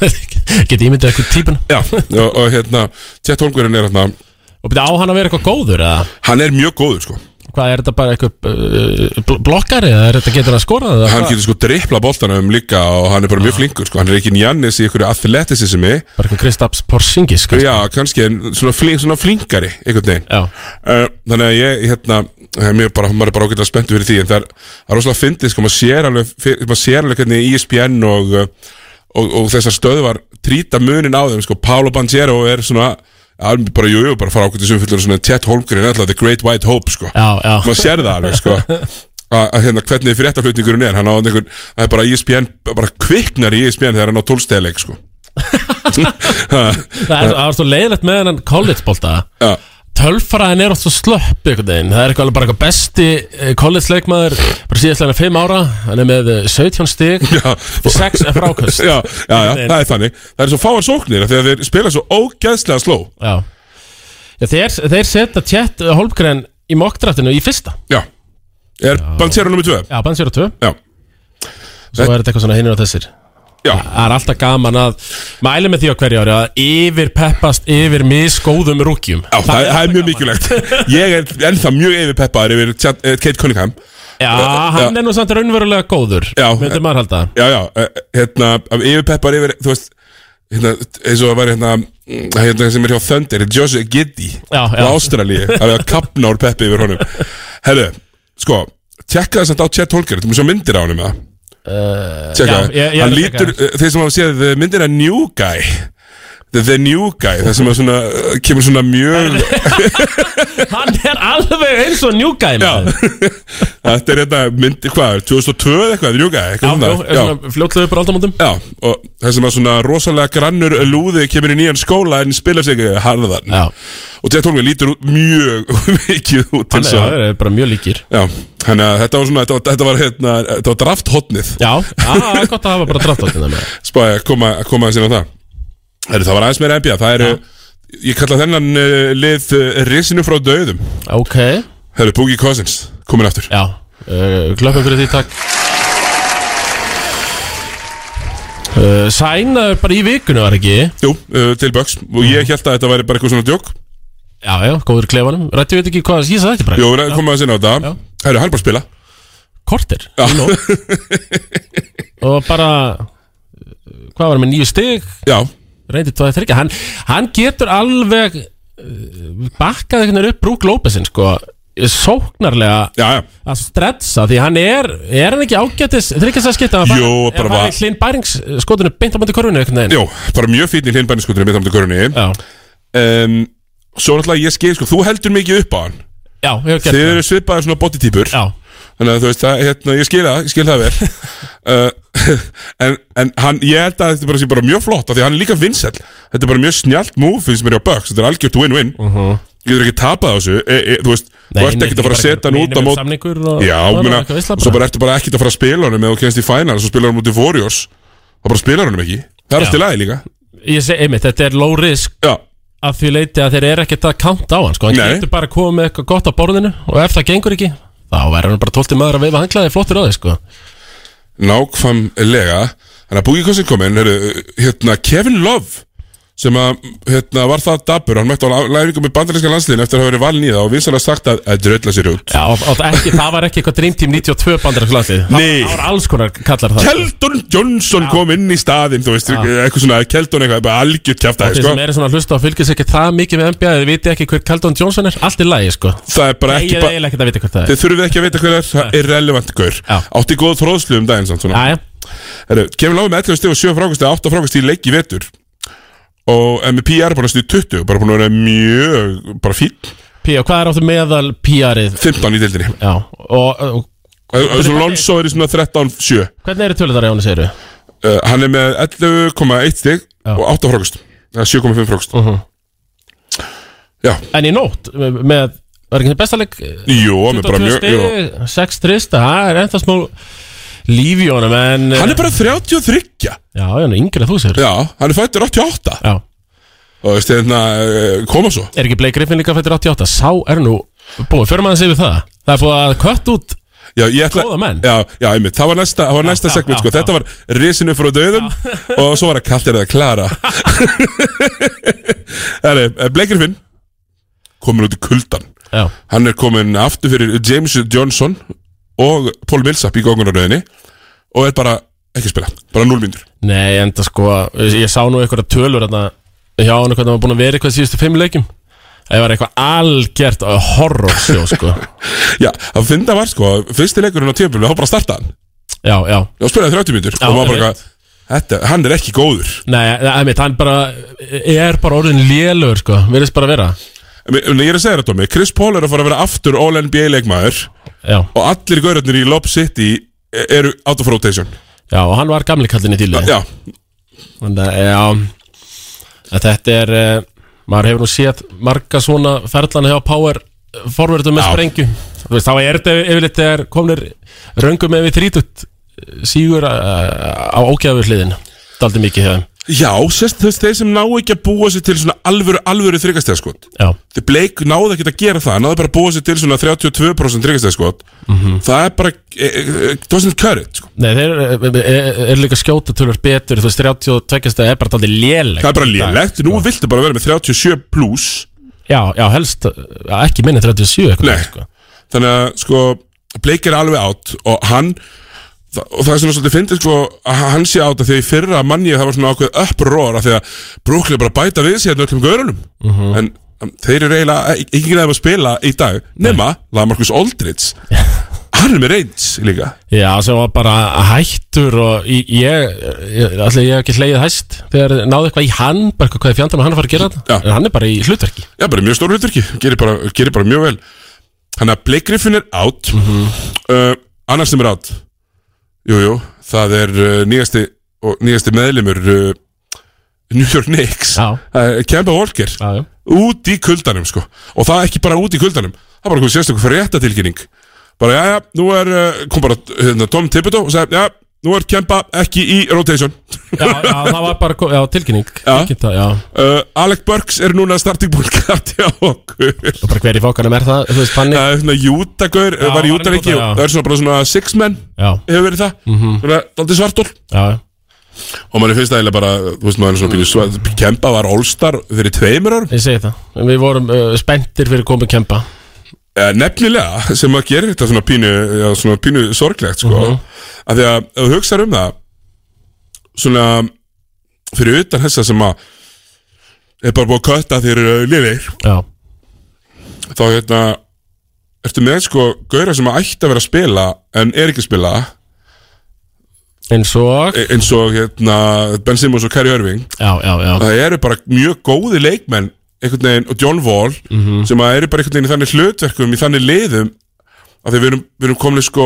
Speaker 2: Geti ímyndið eitthvað típun
Speaker 1: Já, og, og hérna Tjett Holmgurinn er hérna
Speaker 2: Og byrja á hann að vera eitthvað góður eða
Speaker 1: Hann er mjög góður sko
Speaker 2: Hvað er þetta bara eitthvað uh, bl- blokkari eða er þetta getur hann að skora eða
Speaker 1: Hann
Speaker 2: hvað?
Speaker 1: getur sko dripla boltanum líka Og hann er bara mjög flinkur sko Hann er ekki Njannis í einhverju athleticismi
Speaker 2: Bara eitthvað Kristaps Porzingis sko.
Speaker 1: Já, kannski en svona, flink, svona flinkari Einhvern veginn
Speaker 2: já,
Speaker 1: Uh, þannig að ég, hérna, eh, mér bara, maður er bara ágætlega spenntu fyrir því en það er, það er rosalega fyndið, sko, maður sér alveg, fyr- maður sér alveg hvernig E ESPN og, uh, og, og þessar stöðvar trýta munin á þeim, sko, Paolo Banchero er svona, að, bara, jú, jú, bara fara ágætlega sumfullur, svona, Ted Holmgren er alltaf The Great White Hope, sko,
Speaker 2: já, já
Speaker 1: maður sér það alveg, sko, að, að hérna, hvernig fréttaflutningurinn er, hann á einhvern, það er bara E ESPN, bara kviknar í E ESPN þegar hann á tólstæðleik, sko,
Speaker 2: Það er, það er svo leiðilegt með hennan collegebolta
Speaker 1: já,
Speaker 2: Tölfaraðin er oft svo slöpp einhvern veginn Það er eitthvað alveg bara eitthvað besti eh, college-leikmaður Bara síðastlega með 5 ára Hann er með eh, 17 stig
Speaker 1: já,
Speaker 2: 6 frákast
Speaker 1: já, já, já, það er þannig Það er svo fáar sóknir af því að þeir spila svo ógeðslega sló
Speaker 2: Já, já þeir, þeir setja tjett Holmgren í mokkdraftinu í fyrsta
Speaker 1: Já Er Banchero nummer 2
Speaker 2: Já, bann sér á 2
Speaker 1: Já,
Speaker 2: Svo er þetta eitthvað svona hinir og þessir
Speaker 1: já,
Speaker 2: Það er alltaf gaman að mæli með því á hverju ári að yfir peppast yfir misgóðum rúkjum
Speaker 1: já það, það er mjög mikilvægt Ég er ennþá mjög yfirpeppaður yfir Chad- eh, Kate Cunningham
Speaker 2: Já, hann er nú samt raunverulega góður
Speaker 1: Já.
Speaker 2: Myndi maður halda
Speaker 1: Já, já, eh, hérna, af yfirpeppaður yfir, þú veist Hérna, eins og það var hérna, mm, hérna sem er hjá Thunder, Joshua Giddy
Speaker 2: Já, já.
Speaker 1: á Ástralíu, það er að kapna úr peppi yfir honum Herru, sko tjekka þess að á Chet Holger, þú mér svo myndir á honum eða? tjekka,
Speaker 2: Eh, já, ég- ég er
Speaker 1: hann
Speaker 2: að tjekka
Speaker 1: lítur þeir sem hafa séð eh, myndina New Guy The, the New Guy, það sem er svona eh, kemur svona mjög
Speaker 2: Hann er alveg eins og njúgæm
Speaker 1: Já. þetta er þetta mynd, hvað, 2002 eða eitthvað, New Guy,
Speaker 2: já,
Speaker 1: eitthvað
Speaker 2: já,
Speaker 1: svona, já.
Speaker 2: já. fljótlega upp á aldamótum
Speaker 1: Já, og það sem að svona rosalega grannur lúði kemur í nýjan skóla en spila sig harðan
Speaker 2: Já,
Speaker 1: og þetta tónlega lítur út mjög mikið út til
Speaker 2: hann
Speaker 1: svo
Speaker 2: er, er bara mjög líkir
Speaker 1: Já, þannig að þetta var svona, þetta var, þetta var, hérna, þetta var drafthotnið
Speaker 2: Já, það er Ah, gott að hafa bara draft á þetta með
Speaker 1: spáði að koma, að koma aðeins inn á það Heru, Það var aðeins meira NBA Það eru, ég kalla þennan uh, lið uh, risinu frá döðum
Speaker 2: Ok,
Speaker 1: Það eru Boogie Cousins, komin aftur
Speaker 2: já, uh, klöppum fyrir því takk uh, Sænaður bara í vikunni var ekki
Speaker 1: Jú, uh, til Bucks og
Speaker 2: Mhm.
Speaker 1: ég held að þetta væri bara eitthvað svona djók
Speaker 2: Já, já, góður í klefanum Rættu við ekki hvað, ég sagði þetta bara
Speaker 1: Jú, við komum aðeins inn á það Herru, hann er bara að spila
Speaker 2: Kortir í nótt. Og bara uh, Hvað var hann með nýju stig
Speaker 1: Já,
Speaker 2: reyndi tvað þeir ekki eh, hann, hann getur alveg uh, bakkað einhvern veginn upp Brúk Lópezinn sko sóknarlega
Speaker 1: Já, já,
Speaker 2: að stretsa því hann er, er hann ekki ágætis þryggjast að skipta að
Speaker 1: Jó, bara
Speaker 2: bara
Speaker 1: var-
Speaker 2: var hlinn bærings skotinu beint á móti korfinu einhvern veginn
Speaker 1: jú, bara mjög fínn í hlinbæniskutunni með þámyndu körunni
Speaker 2: já,
Speaker 1: um, Svo náttúrulega ég skil, sko, þú heldur mikið upp á hann
Speaker 2: já, ég hef gert
Speaker 1: Þið
Speaker 2: það
Speaker 1: eru svipaðir svona bodytýpur
Speaker 2: já,
Speaker 1: Þannig að þú veist, það, hérna, ég skil það, ég skil það vel uh, En, en hann, ég held að þetta bara sé bara mjög flott af Því að hann er líka vinsæll Þetta er bara mjög snjallt move, finnst mér á Bucks Þetta er algjört win-win uh
Speaker 2: Mhm.
Speaker 1: Getur ekki tapað á þessu, e, e, þú veist Þú ert ekkert að fara að setja hann út á mót
Speaker 2: samningur og,
Speaker 1: Já,
Speaker 2: og,
Speaker 1: meina,
Speaker 2: eitthvað veistla
Speaker 1: og svo bara ertu bara ekkert að fara að spila honum eða þú kennst í finals og spilar hann mútið Warriors og bara spilar honum ekki Það er
Speaker 2: Já.
Speaker 1: alltaf lægi líka
Speaker 2: ég segi einmitt, þetta er low risk
Speaker 1: Já,
Speaker 2: að því leiti að þeir eru ekkert að kanta á hann sko. hann
Speaker 1: Nei.
Speaker 2: getur bara að koma með eitthvað gott á borðinu og ef það gengur ekki, þá verður hann bara 12 maður að veifa hanglaði flottur á þig sko.
Speaker 1: nákvæmlega Þannig að Boogie Cousin kom inn, heru, hérna Kevin Love sem að hérna, var það dabur, hann mætti á læfingu með bandarinska landsliðin eftir að hafa verið valin í það og vinsanlega sagt að, að drölla sér út
Speaker 2: já, og, og ekki, það var ekki eitthvað Dream Team 92 bandar það
Speaker 1: Nei.
Speaker 2: það var alls konar kallar það sko.
Speaker 1: Keldon Johnson kom inn í staðinn, þú veist, eitthvað svona Keldon eitthvað, bara algjört kjáft
Speaker 2: Þeir
Speaker 1: sko.
Speaker 2: sem eru svona að hlusta og fylgjast ekki það mikið með NBA Þeir viti ekki hver Keldon Johnson er, allt í lagi sko
Speaker 1: það er bara
Speaker 2: Ég
Speaker 1: ekki
Speaker 2: er
Speaker 1: bara
Speaker 2: eiginlega ekkert að vita hvað það er
Speaker 1: Þið þurfum ekki að vita hver er, það er relevant gaur
Speaker 2: Já.
Speaker 1: Átti góð þróðslu um daginn samt svona
Speaker 2: Jæja,
Speaker 1: Herru, Kevin Love með 11 stig og 7 frákvæmst eða 8 frákvæmst í leik í vetur og en með PR bara næstu í 20 bara búin að vera mjög, bara fín
Speaker 2: P.O. hvað er áttu meðal PR-ið?
Speaker 1: 15 í deildinni
Speaker 2: Já, og, og
Speaker 1: Þessu Lonzo er í svona 13-7 uh,
Speaker 2: hvernig eru tölur þar í ána, segir við?
Speaker 1: Hann er með 11,1 stig og 8 frákvæmst eða 7,5 frákvæmst Já,
Speaker 2: En í nótt, með, var ekki það bestaleg?
Speaker 1: jú, hann er bara mjög jú.
Speaker 2: 6 trista, það er ennþá smá líf í honum en eh,
Speaker 1: Hann er bara 33
Speaker 2: Já, hann er yngri að þú segir
Speaker 1: Já, hann er fættur 88
Speaker 2: Já,
Speaker 1: og veist, hérna, eh, koma svo
Speaker 2: er ekki Blake Griffin líka fættur 88? Sá er nú búið, förum aðeins yfir það Það er fóð að kött út
Speaker 1: Já, ég ætla
Speaker 2: Góða menn.
Speaker 1: Já, já, einmitt, það var næsta, það var næsta
Speaker 2: já,
Speaker 1: segment,
Speaker 2: já,
Speaker 1: sko
Speaker 2: já.
Speaker 1: Þetta var risinu frá döðum Og svo var það kallt er það klara eh, Það er Bleikirfinn Komin út í kuldan
Speaker 2: Já,
Speaker 1: Hann er komin aftur fyrir James Johnson Og Paul Millsap í góðgunaröðinni Og er bara ekki að spila Bara 0 myndur
Speaker 2: Nei, enda sko, ég sá nú eitthvað tölur hérna hjá hann hvernig hann var búin að vera eitthvað síðustu fimm leikjum Það var eitthvað algjört horrorsjó sko
Speaker 1: Já, það finna var sko Fyrsti leikurinn á tímpil, þá bara starta hann
Speaker 2: Já, já,
Speaker 1: Og spilaði 30 myndur
Speaker 2: Já,
Speaker 1: Og maður bara,
Speaker 2: einmitt.
Speaker 1: eitthvað, þetta, hann er ekki góður
Speaker 2: nei, einmitt, hann bara er bara orðin lélur sko, verðist bara vera
Speaker 1: Ég ég er að segja þetta, Tommy Chris Paul er að fara að vera aftur All-NBA leikmaður
Speaker 2: Já,
Speaker 1: og allir gaurarnir í Lob City eru out of rotation
Speaker 2: já, og hann var gamli kallinn í tílu
Speaker 1: Já,
Speaker 2: Þannig að, já, að þetta er, eh, maður hefur nú séð marga svona ferlana hjá Power forverðum með
Speaker 1: Já.
Speaker 2: sprengju Þú veist, þá er þetta yfirleitt þegar komnir röngum með við þrítut sígur eh, á ógæður hliðin daldi mikið hjá þeim
Speaker 1: já sérst þess þeir sem ná ekki að búa sér til svona alvöru, alvöru þryggastæðskot
Speaker 2: Já,
Speaker 1: Þeir Blake náði ekki að gera það, hann náði bara að búa sér til svona 32% þryggastæðskot Það er bara, e, e, e, það var svona courage sko.
Speaker 2: nei, þeir eh, eru er, er líka skjóta tölur betur, þú veist, 32 stæði er bara daldi lélegt
Speaker 1: Það er bara lélegt, nú viltu bara vera með 37 pluss
Speaker 2: Já, já, helst, eh, ekki minni 37 eitthvað
Speaker 1: Nei.
Speaker 2: sko.
Speaker 1: Þannig að sko, Blake er alveg átt og hann þa- og það er svona svolítið fyndið sko að hann sé átt að því að í fyrra manni það var svona ákveð uppror af því að Brooklyn er bara að bæta við sér hérna öllum görunum en um, þeir eru eiginlega e- enginn aðeins að spila í dag nema Lamarcus Aldridge hann er með reyns líka
Speaker 2: Já, sem var bara hættur og í- ég, ég allir ég hef ekki hleyið hæst þegar náðu eitthvað í hann, bara eitthvað hvað er fjandarnum hann að fara að gera
Speaker 1: Já.
Speaker 2: þetta en hann er bara í hlutverki
Speaker 1: já, bara mjög stór hluturki, gerir bara, gerir bara mjög vel hann að Blake Griffin er átt uh, annars sem er átt jújú, jú, það er uh, nýjasti, og, nýjasti meðlimur uh, New York Knicks
Speaker 2: Já,
Speaker 1: uh, Kemba Walker
Speaker 2: já, já,
Speaker 1: út í kuldanum sko og það ekki bara út í kuldanum það bara kom sérstaklega fyrir réttatilkynning bara já já, nú er uh, kom bara hérna, Tom Thibodeau og sagði já, nú er Kemba ekki í rotation
Speaker 2: já, já það var bara ko- já, tilkynning
Speaker 1: Já.
Speaker 2: Ekki það, já.
Speaker 1: uh, Alec Burks er núna starting point guard hjá okkur
Speaker 2: Og bara hver í fókanum er það, þú veist, þannig
Speaker 1: það er svona jútagur,
Speaker 2: Já,
Speaker 1: var í
Speaker 2: var í
Speaker 1: jútalengi
Speaker 2: Utah, já.
Speaker 1: það er svona bara svona six men
Speaker 2: Já,
Speaker 1: hefur verið það, mm -hmm. svona daldið svartól
Speaker 2: já,
Speaker 1: og mann er fyrst aðeinslega bara, þú veist maður er svona pínu svo- Kemba var all-star fyrir tveimur árum
Speaker 2: ég segi það Við vorum uh, spenntir fyrir komið kempa
Speaker 1: Eh, Nefnilega, sem að gera þetta svona pínu, já, svona pínu sorglegt sko. af því að ef þú hugsaður um það svona fyrir utan þessa sem að er bara búið að kötta þeir liðir
Speaker 2: Já,
Speaker 1: þá eh, hérna er ertu með sko gauðra sem að ætti að vera að spila en er ekki að spila
Speaker 2: eins og
Speaker 1: e- eins og hérna Ben Simmons og Kerry Irving
Speaker 2: Já, já, já
Speaker 1: það eru bara mjög góði leikmenn einhvern veginn og John Wall
Speaker 2: Mhm.
Speaker 1: sem að eru bara einhvern veginn í þannig hlutverkum í þannig liðum að því við erum, við erum komin sko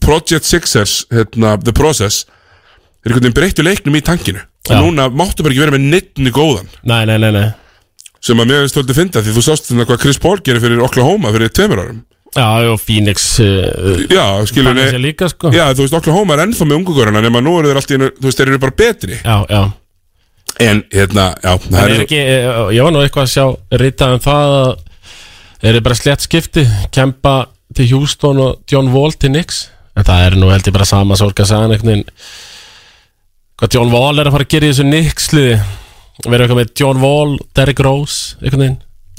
Speaker 1: Project Success hérna, The Process er einhvern veginn breyttu leiknum í tankinu og
Speaker 2: Já.
Speaker 1: núna máttu bara ekki vera með nittni góðan
Speaker 2: Nei, nei, nei, nei
Speaker 1: sem að mér veist tóldi finna því þú sást þannig hvað Chris Paul gerir fyrir Oklahoma fyrir tveimur árum
Speaker 2: Já, og Phoenix uh,
Speaker 1: Já, skilur
Speaker 2: Þannig sé líka, sko
Speaker 1: Já, þú veist, Oklahoma er ennþá með ungugöruna nema nú eru þeir allt í einu, þú veist, þeir eru bara betri
Speaker 2: já, já.
Speaker 1: En, hérna, já, það
Speaker 2: Er
Speaker 1: er,
Speaker 2: ekki, eh, ég var nú eitthvað að sjá Rita um það að Er þið bara slett skipti Kempa til Houston og John Wall til Knicks En það er nú held ég bara sama Sorka sagan einhvern veginn Hvað John Wall er að fara að gera í þessu Knicksliði Verið eitthvað með John Wall, Derrick Rose Einhvern veginn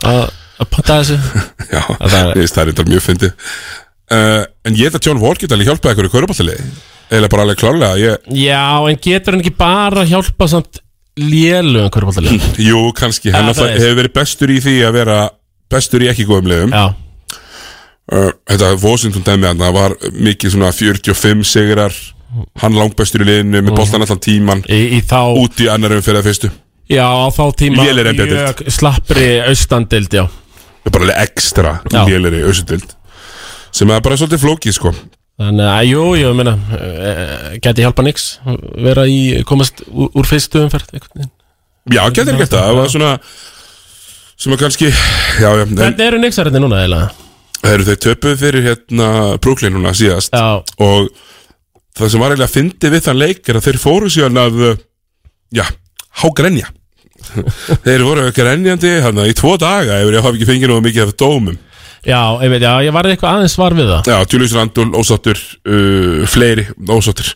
Speaker 2: að- Að panta þessu
Speaker 1: já,
Speaker 2: að það er-
Speaker 1: þú veist, það er þetta mjög fyndið uh, En ég held að John Wall geta alveg hjálpað ykkur í körubaltaliði Eða bara alveg klárlega, ég,
Speaker 2: Já, en getur hann ekki bara að hjálpa samt um lélugum körfaldalið?
Speaker 1: jú, kannski, hann
Speaker 2: Ja,
Speaker 1: alltaf
Speaker 2: það er-
Speaker 1: hefur verið bestur í því að vera bestur í ekki góðum liðum
Speaker 2: Já,
Speaker 1: uh, Þetta Washington dæmi hann, það var mikið svona 45 sigrar Hann langbestur í liðinu með
Speaker 2: Mhm.
Speaker 1: boltan allan tíman
Speaker 2: í, í þá
Speaker 1: Út í annarum fyrir að fyrstu
Speaker 2: Já, á þá tíma
Speaker 1: Lélegri NBA
Speaker 2: mjög slappri austandild, já
Speaker 1: Það er bara alveg ekstra
Speaker 2: Já.
Speaker 1: lélir í auðsutild sem er bara svolítið flókið sko
Speaker 2: Þannig að, jú, jú, ég meina eh, Gæti hjálpa nix Vera í, komast úr, úr fyrstu umferð einhvern veginn.
Speaker 1: Já, getur ekki þetta, það var svona sem að kannski, já, já en,
Speaker 2: Hvernig eru nixarðinni núna, eiginlega?
Speaker 1: heru, þau töpuð fyrir hérna Brooklyn núna síðast
Speaker 2: Já,
Speaker 1: og það sem var eiginlega fyndið við þann leik er að þeir fóru síðan að uh, já, hágrenja þeir voru grenjandi hana, í tvo daga ef ég hafi ekki fengið nú mikið af dómum
Speaker 2: já, ég veit, já, ég varði eitthvað aðeins svar við það
Speaker 1: Já, Julius Randall, ósáttur uh, fleiri, ósáttur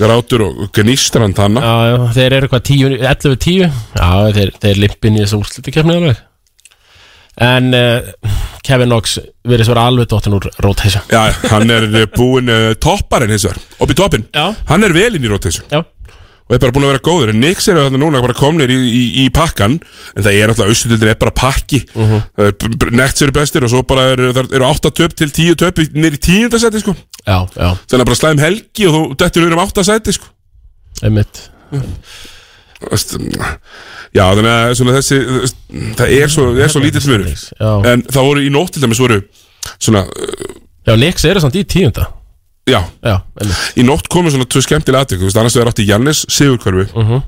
Speaker 1: grátur og gnistrand hana
Speaker 2: Já, já, þeir eru hvað 10, 11, 10 Já, þeir, þeir limpin í þessu úrslitu kemni alveg En uh, Kevin Knox verið svara alveg dóttin úr rotation
Speaker 1: Já, hann er búinn uh, topparinn hins vegar, upp í toppinn
Speaker 2: Já.
Speaker 1: Hann er velinn í rotation
Speaker 2: Já,
Speaker 1: og er bara búinn að vera góður En Nix eru þarna núna bara komnir í, í, í pakkan En það er alltaf, austutildin er bara pakki uh -huh. Nets eru bestir og svo bara eru, þar, eru 8 töp til 10 töp í- Niður í 10. seti sko
Speaker 2: já, já
Speaker 1: Þannig að bara slæðum helgi og þú dettur niður um 8 seti sko
Speaker 2: Einmitt
Speaker 1: Þú veist, Já, þannig að svona þessi Það er svo, er svo lítill munur
Speaker 2: Já,
Speaker 1: En það voru í nótt til dæmis voru Svona, uh,
Speaker 2: já Nix eru samt í tíunda
Speaker 1: já,
Speaker 2: Já, einmitt
Speaker 1: í nótt komu svona tvö skemmtilega aðtök, þú veist, annars vegar átti Jannis Sigurkvarfi uh -huh.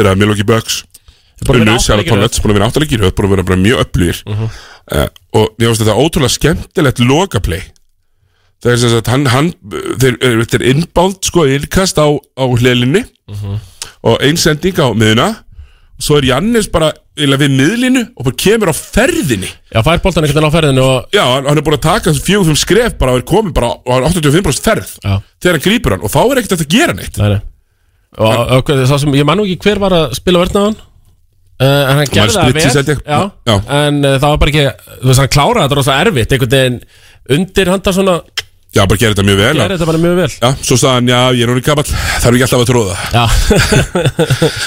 Speaker 1: þegar Milwaukee Bucks unnu Sjáratón Nets, búin að vera áttalegi röð, búin að vera bara mjög öflugir uh og ég veist þetta ótrúlega skemmtilegt lokaplay það er sem sagt, hann, hann þeir, eh, þetta er innbáld, sko, innkast á, á hlelinni Mhm. og einsending á miðuna svo er Jannis bara eiginlega við miðlinu og bara kemur á ferðinni
Speaker 2: Já, fær boltan ekkert enn á ferðinu og
Speaker 1: já, hann, hann er búin að taka fjögum fimm skref bara og er komin bara á á 85% ferð
Speaker 2: Já,
Speaker 1: þegar hann grípur hann og þá er ekkert hægt að gera neitt
Speaker 2: nei, nei Og og hvað- sá sem, ég man nú ekki hver var að spila verðnaðan uh, En hann gerði það
Speaker 1: Spritzi, held
Speaker 2: vel
Speaker 1: ég.
Speaker 2: já,
Speaker 1: Já.
Speaker 2: En uh, það var bara ekki, þú veist, hann kláraði þetta rosa erfitt Einhvern veginn undir handa svona
Speaker 1: Já, bara gera þetta mjög vel
Speaker 2: Gerði þetta bara mjög vel
Speaker 1: Já, svo sagði hann, já, ég er núna gamall Það er ekki alltaf að tróða
Speaker 2: Já,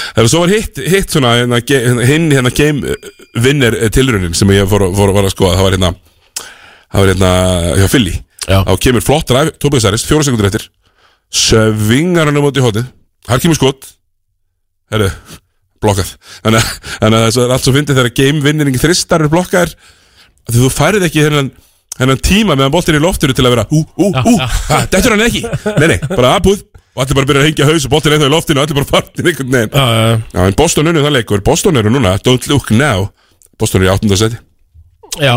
Speaker 1: Það er svo var hitt, hitt svona hérna, ge- hérna, Hinn hérna game eh, vinner eh, tilraunin Sem ég fór, fór, var að skoða Það var hérna, það var hérna hjá Fili
Speaker 2: Já.
Speaker 1: Þá kemur flott ræf, Tóbið Særis, fjóra sekundur eftir Sövingar hann um átt í hótið Hann kemur skot Herðu, blokkað Þannig að- þannig að það er allt svo fyndið þegar game vinnering Þristar er blokkaðir af Því þú færið ekki hennan hennan tíma meðan boltin er í loftinu til að vera ú, ú, ú,
Speaker 2: já.
Speaker 1: ha, dettur hann ekki nei, nei, bara aðbúð og allir bara byrja að hengja haus og boltin er ennþá í loftinu og allir bara fartin einhvern veginn
Speaker 2: já, já, já.
Speaker 1: Já, en Boston unnu það leikur, Boston eru núna Don't look now, Boston eru í 8. seti
Speaker 2: já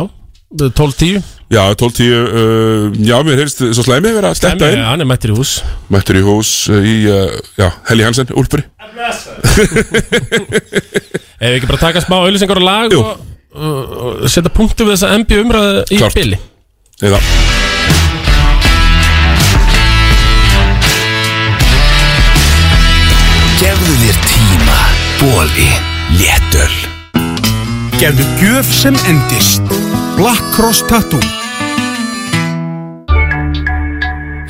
Speaker 2: 12-10
Speaker 1: Já, 12-10, uh, já, mér heyrst svo slæmi að vera að stetta
Speaker 2: Nei,
Speaker 1: inn
Speaker 2: Hann er mættir í hús
Speaker 1: Mættur í hús uh, í, uh, já, Helgi Hansen, Úlfri
Speaker 2: Ef við ekki bara taka smá auðlýsingar og lag
Speaker 1: Jú.
Speaker 2: og, og, og setja punktu við þessa NBA umræðu í
Speaker 1: Klárt.
Speaker 2: bili
Speaker 1: Eða,
Speaker 3: Gefðu þér tíma, bóli, léttöl.
Speaker 4: Gefðu gjöf sem endist. Black Cross Tattoo.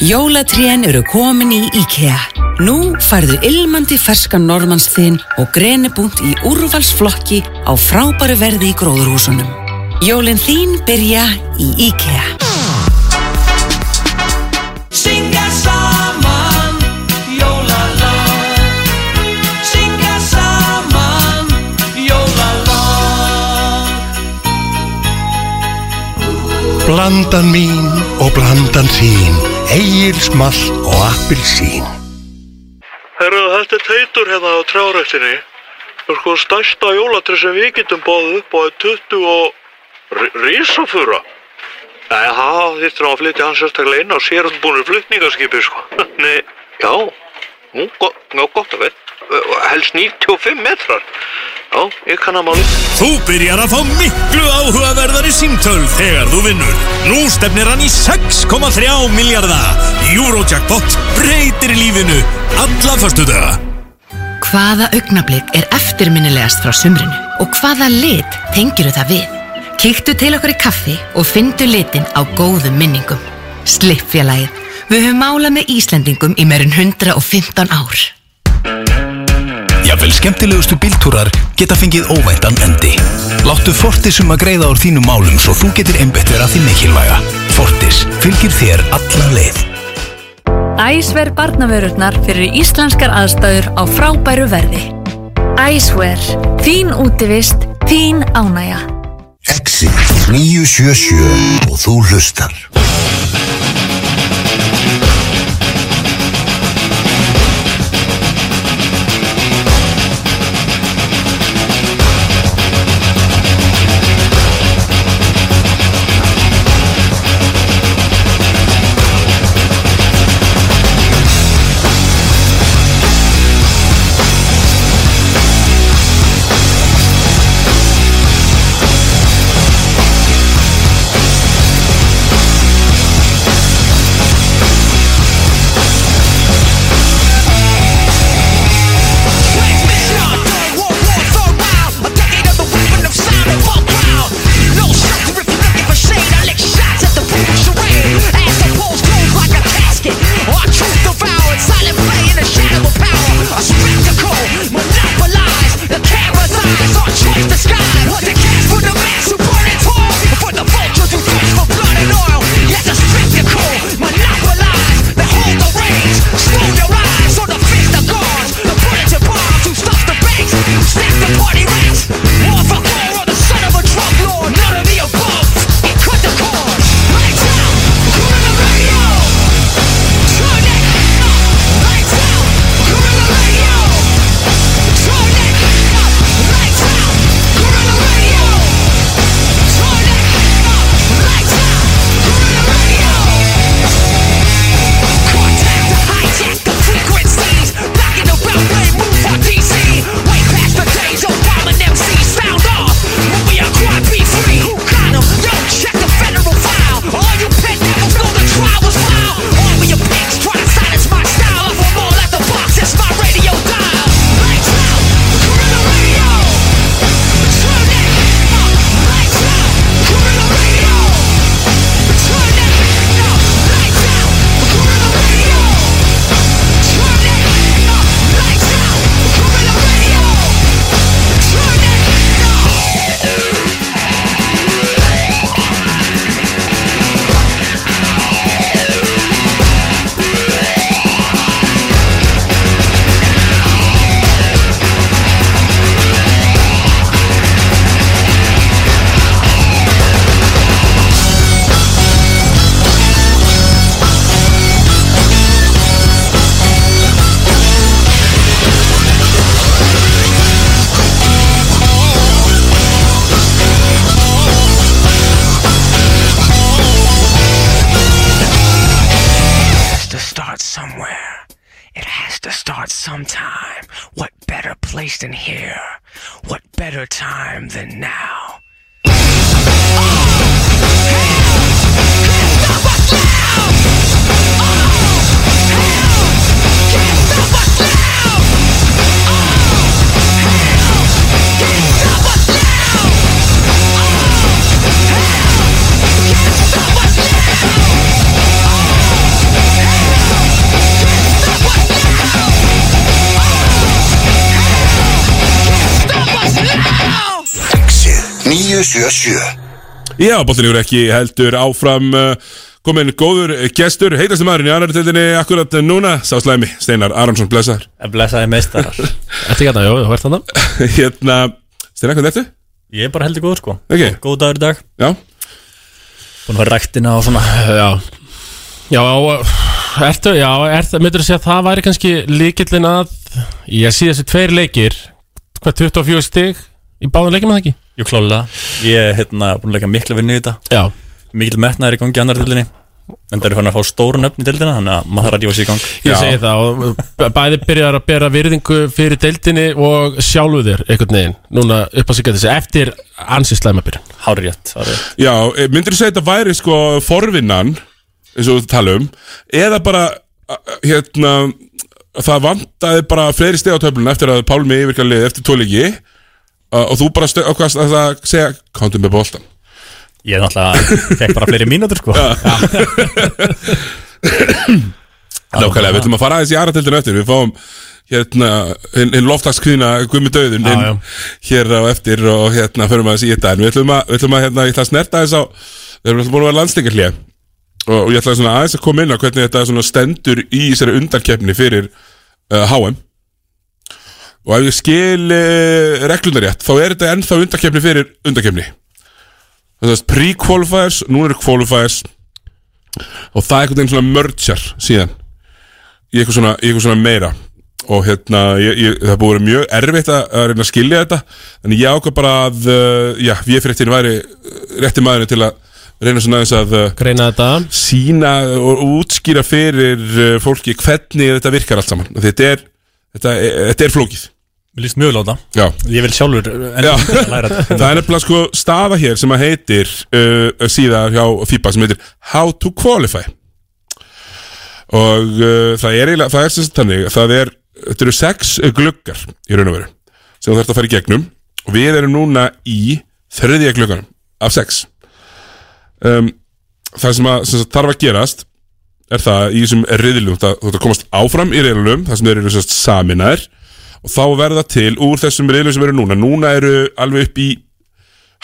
Speaker 5: Jólatrén eru komin í IKEA. Nú færðu ilmandi ferskan normannsþinn og grenibunt í úrvalsflokki á frábæru verði í gróðurhúsunum. Jólin þín byrja í IKEA.
Speaker 6: Syngja saman jólalag Syngja saman jólalag
Speaker 7: Blandan mín og blandan þín Egil small og appilsín
Speaker 8: Herra, þetta er teitur hérna á trjárættinni. Það er sko stærsta jólatri sem við getum báðið upp á er 20 og ri- risafura. Nei, það þýttir á að flytja hans sérstaklega inn á sérundbúinu flutningaskipi, sko. Nei, já, nú, go- já, gott að veit. eh, Helst 95 metrar. Já, ég kann að máli.
Speaker 9: Þú byrjar að fá miklu áhugaverðari símtöl þegar þú vinnur. Nú stefnir hann í 6,3 miljarda. Eurojackpot breytir lífinu alla föstudaga.
Speaker 5: Hvaða augnablik er eftirminnilegast frá sumrinu og hvaða lit tengiru það við? Kíktu til okkar í kaffi og fyndu litin á góðum minningum. Slippfélagið. Við höfum málað með Íslendingum í meirin 115 ár.
Speaker 10: Jafnvel skemmtilegustu bíltúrar geta fengið óvæntan endi. Láttu Fortis um að greiða úr þínum málum svo þú getur einbett vera því mikilvæga. Fortis fylgir þér allan leið.
Speaker 11: Æsver barnavörurnar fyrir íslenskar aðstæður á frábæru verði. Æsver, þín útivist, þín ánægja.
Speaker 7: Exit 977 og þú hlustar
Speaker 6: Stone your eyes on the fist of guards, the bullets and bombs who stuff the banks, snap the party ranks. War for war or the son of a drug lord, none of the above. It cut the cord. Lights out, Gorilla radio. Turn that up. Lights out, Gorilla radio. Turn that up. Lights out, Gorilla radio. Turn that up. Lights out, Gorilla radio. Contact the hijack the frequencies, knocking the railway move on DC. Way past the days of bombing MCs sound off. When we are quad B3, who got 'em? Yo, check the federal file. All you pet devils know the trial was wild. Army of pigs try to silence my style. If I'm all at the box, it's my radio dial. Lights out, Gorilla Radio. Turn that up. Lights out, Gorilla Radio. Turn that up, lights out, Gorilla Radio. Turn that up, lights out, Gorilla Radio. Turn that up.
Speaker 12: has to start somewhere. It has to start sometime. What better place than here? What better time than now?
Speaker 7: Exit 977
Speaker 1: Já, bóttinlegur ekki heldur áfram uh, kominn góður gestur, heitasti maðurinn í annar tildinni akkurat núna, sá slæmi Steinar Aronsson, blessaður
Speaker 6: Blessaði meistarar
Speaker 1: Ertu hérna, já, þú ert hann Hérna, Steinar, hvernig ertu?
Speaker 6: Ég er bara heldur góður sko
Speaker 1: Ok.
Speaker 6: Góð dagur í dag
Speaker 1: Já
Speaker 6: Búin að vera ræktina og svona
Speaker 2: Já Já, ertu, já, ertu, myndur að segja að það væri kannski líkillin að ég sé þessi tveir leikir hvað 24 stig í báðum leikir með það ekki?
Speaker 6: Jú klálega Ég er hérna búin að leika mikla vinnu í þetta
Speaker 2: Já
Speaker 6: Mikil metnaður í gangi í annar tildinni En það eru hann að fá stóru nöfn í tildina Þannig að maður þarf að djóða sér í gang
Speaker 2: Ég segi það og b- bæði byrjar að bera virðingu fyrir deildinni og sjálfu þér einhvern veginn, núna upp að sigga þessi eftir ansið slæma byrjun
Speaker 6: Hárjætt
Speaker 1: Já, eh, myndirðu segja þetta væri sko forvinnan, eins og þú tala um eða bara, a- a- hérna það vantaði bara fleiri steg á töflun eftir að Pálmi yfirkalið eftir tóliki uh, og þú bara stöð, og hvað það segja, kántum með boltan
Speaker 6: Ég er náttúrulega Fekk bara fleiri mínútur sko
Speaker 1: Nákvæmlega, við ætlum að fara aðeins í aðra tildinu eftir Við fáum hérna hinn hin loftakskvíðna Guðmi Döðun hinn hér á eftir og hérna förum aðeins í þetta en við ætlum að, við ætlum að hérna, ég ætla að snerta aðeins á við erum alltaf búin að vera landstingarlíða og, og ég ætla svona aðeins að koma inn á hvernig þetta svona stendur í þessari undarkeppni fyrir uh, HM og ef ég skil uh, reglunar rétt þá er þetta ennþá undarkeppni fyrir undarkeppni það er pre-qualifiers, nú eru qualifiers og það er einhvern veginn svona mörgjar síðan í eitthvað svona, í eitthvað svona meira og hérna, ég, ég, það er búið að vera mjög erfitt að, að reyna að skilja þetta en ég ákvað bara að, uh, já, ég fyrir eftir væri uh, rétti maðurinn til að reyna svona aðeins að uh,
Speaker 2: greina þetta
Speaker 1: sína og, og útskýra fyrir uh, fólki hvernig þetta virkar allt saman þetta er, þetta er, þetta er flókið
Speaker 6: Mér líst mjög láta
Speaker 1: Já.
Speaker 6: Ég vil sjálfur enn
Speaker 1: Já,
Speaker 6: að
Speaker 1: það
Speaker 6: læra þetta
Speaker 1: er nefnilega sko stafa hér sem að heitir uh, síðar hjá FIBA sem heitir How to Qualify og uh, það er eiginlega, það er sem sagt þannig það er, þetta eru sex uh, gluggar í raun og veru sem þú þarft að fara í gegnum og við erum núna í þriðja glugganum af sex um, það sem að sem sagt, þarf að gerast er það í þessum riðlum það, þú ert að komast áfram í riðlum það sem þeir eru sem sagt, saminaðir og þá verða til úr þessum riðlum sem eru núna núna eru alveg upp í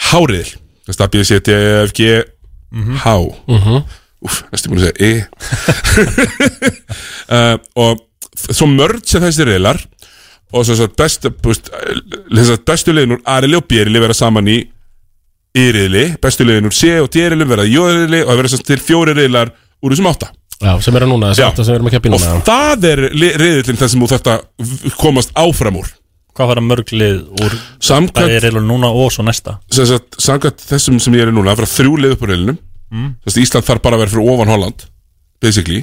Speaker 1: háriðil það er B, C, D, E, F, G, H
Speaker 2: Mhm.
Speaker 1: Úf, næstu búin að segja E uh, og þ- svo mörg sem þessi riðlar og svo svo bestu búst, þess að bestu liðin úr A-riðli og B-riðli vera saman í Y-riðli bestu liðin úr C og D-riðli verða í J-riðli og það verða sem sagt til fjóri riðlar úr þessum átta
Speaker 2: Já, sem eru núna, þess
Speaker 1: Já.
Speaker 2: aftur sem við erum að keppa í núna
Speaker 1: Og það er reyðillin þar sem þú þetta komast áfram úr
Speaker 6: Hvað fara mörg lið úr
Speaker 1: Samkvæmt-
Speaker 6: Það er reyla núna og svo næsta
Speaker 1: sem sagt, Samkvæmt þessum sem ég er í núna Það verða þrjú lið upp úr reyðlinum
Speaker 6: Mm.
Speaker 1: Þess að Ísland þarf bara að vera fyrir ofan Holland Basically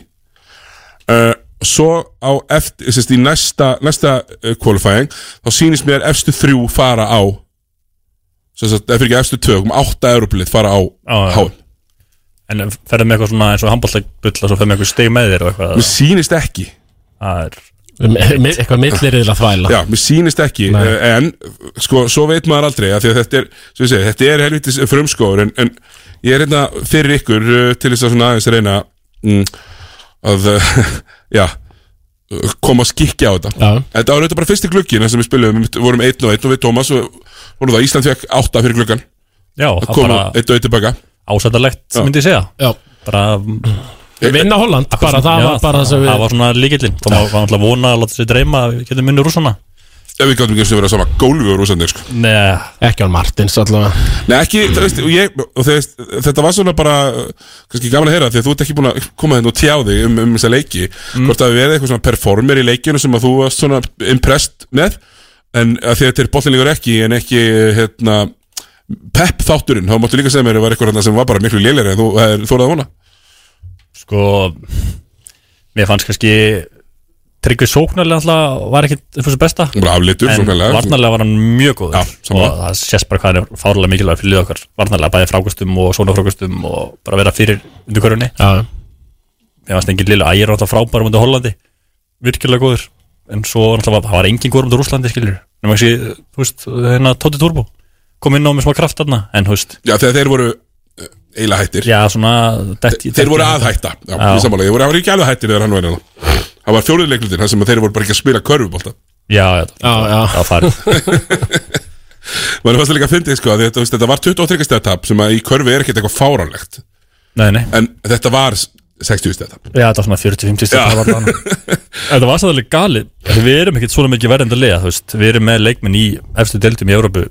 Speaker 1: uh, Svo á eftir Þess að í næsta, næsta uh, qualifying Þá sýnist mér efstu þrjú fara á Sem sagt, ef ekki efstu tökum Átta europlið fara á HM
Speaker 6: En ferðu með eitthvað svona eins og handbóltabull og svo ferðu með eitthvað steg með þér og eitthvað
Speaker 1: Mér sýnist ekki
Speaker 6: Það er
Speaker 2: Mi- Um, Eitthvað milliriðla þvæla
Speaker 1: Já, mér sýnist ekki
Speaker 2: Nei.
Speaker 1: eh, En, sko, svo veit maður aldrei af Því að þetta er, svo ég segi, þetta er helvitis frumskóður En, en ég er hérna fyrir ykkur eh, Til þess að svona aðeins reyna mm, Að, eh, já eh, Koma að skikja á þetta já. Þetta var auðvitað bara fyrsti gluggi sem við spilum, við vorum einn og einn og við Tómas og vorum það, Ísland fekk átta fyrir gluggan
Speaker 6: Já,
Speaker 1: það
Speaker 6: það
Speaker 1: koma
Speaker 6: bara-
Speaker 1: einn og einn tilbaka
Speaker 6: ásættalegt
Speaker 1: Já.
Speaker 6: myndi ég segja
Speaker 2: Já.
Speaker 6: Bara
Speaker 2: Vinna Holland, bara það var bara það sem við-
Speaker 6: Það var svona líkillin Það var alltaf vona að láta sér dreyma að Við getum munni rússana
Speaker 1: Ef við gáttum ekki eins og vera á sama gólfi og rúsandir sko.
Speaker 6: Nei
Speaker 2: Ekki án Martins allavega
Speaker 1: Nei, ekki, þú veist, og ég, og þú veist, þetta var svona bara, uh, kannski gaman að heyra því að þú ert ekki búin að koma þenn og tjá þig um, um þessa leiki,
Speaker 6: Mm.
Speaker 1: hvort að við erum eitthvað svona performer í leikinu sem að þú varst svona impressed með, en að því að þetta er bollinleikur ekki, en ekki, hérna, pep þátturinn, þá máttu líka segja mér að var eitthvað þarna sem var bara miklu lélæri en þú eh, þú er að vona.
Speaker 6: Sko Mér fannst kannski Tryggvi sóknarlega alltaf var ekkit fyrir besta
Speaker 1: Bara aflitur,
Speaker 6: En
Speaker 1: sóknarlega.
Speaker 6: varnarlega var hann mjög góður Já,
Speaker 1: sammála.
Speaker 6: Og það sést bara hvað hann er fárlega mikilvæg fyrir lið okkar Varnarlega bæði frákostum og sónafrákostum Og bara vera fyrir undir körunni
Speaker 2: Já
Speaker 6: Mér fannst engin lilla ægir alltaf frábær mútið Hollandi Virkilega góður En svo alltaf, það var engin góður mútið Rúslandi skilur Nefnum ekki, þú veist, hérna Tóti Turbo Kom inn á með smá kraft þarna En þú veist
Speaker 1: Já, þegar þeir voru eila hættir.
Speaker 6: Já, svona detti,
Speaker 1: Þeir voru að hætta, já, já. í samanlega, þeir voru, það var ekki alveg hættir þegar hann var hérna. Það var fjóriðleiklutin, þar sem að þeir voru bara ekki að spila körfubólta.
Speaker 6: Já, já,
Speaker 2: já, já.
Speaker 6: það var farið
Speaker 1: Mér fannst það líka að fyndi, sko, af því þetta, veist, þetta var 23 stæða tap sem að í körfi er ekkert eitthvað fáránlegt
Speaker 6: Nei, nei
Speaker 1: En þetta var 60 stæða tap
Speaker 6: Já, þetta var svona 40-50 stík Það var bara hana. Þetta var sannlega galið Við erum ekkert svona mikið verðend að liða þú veist. Við erum með leikmenn í efstu deltum í Európu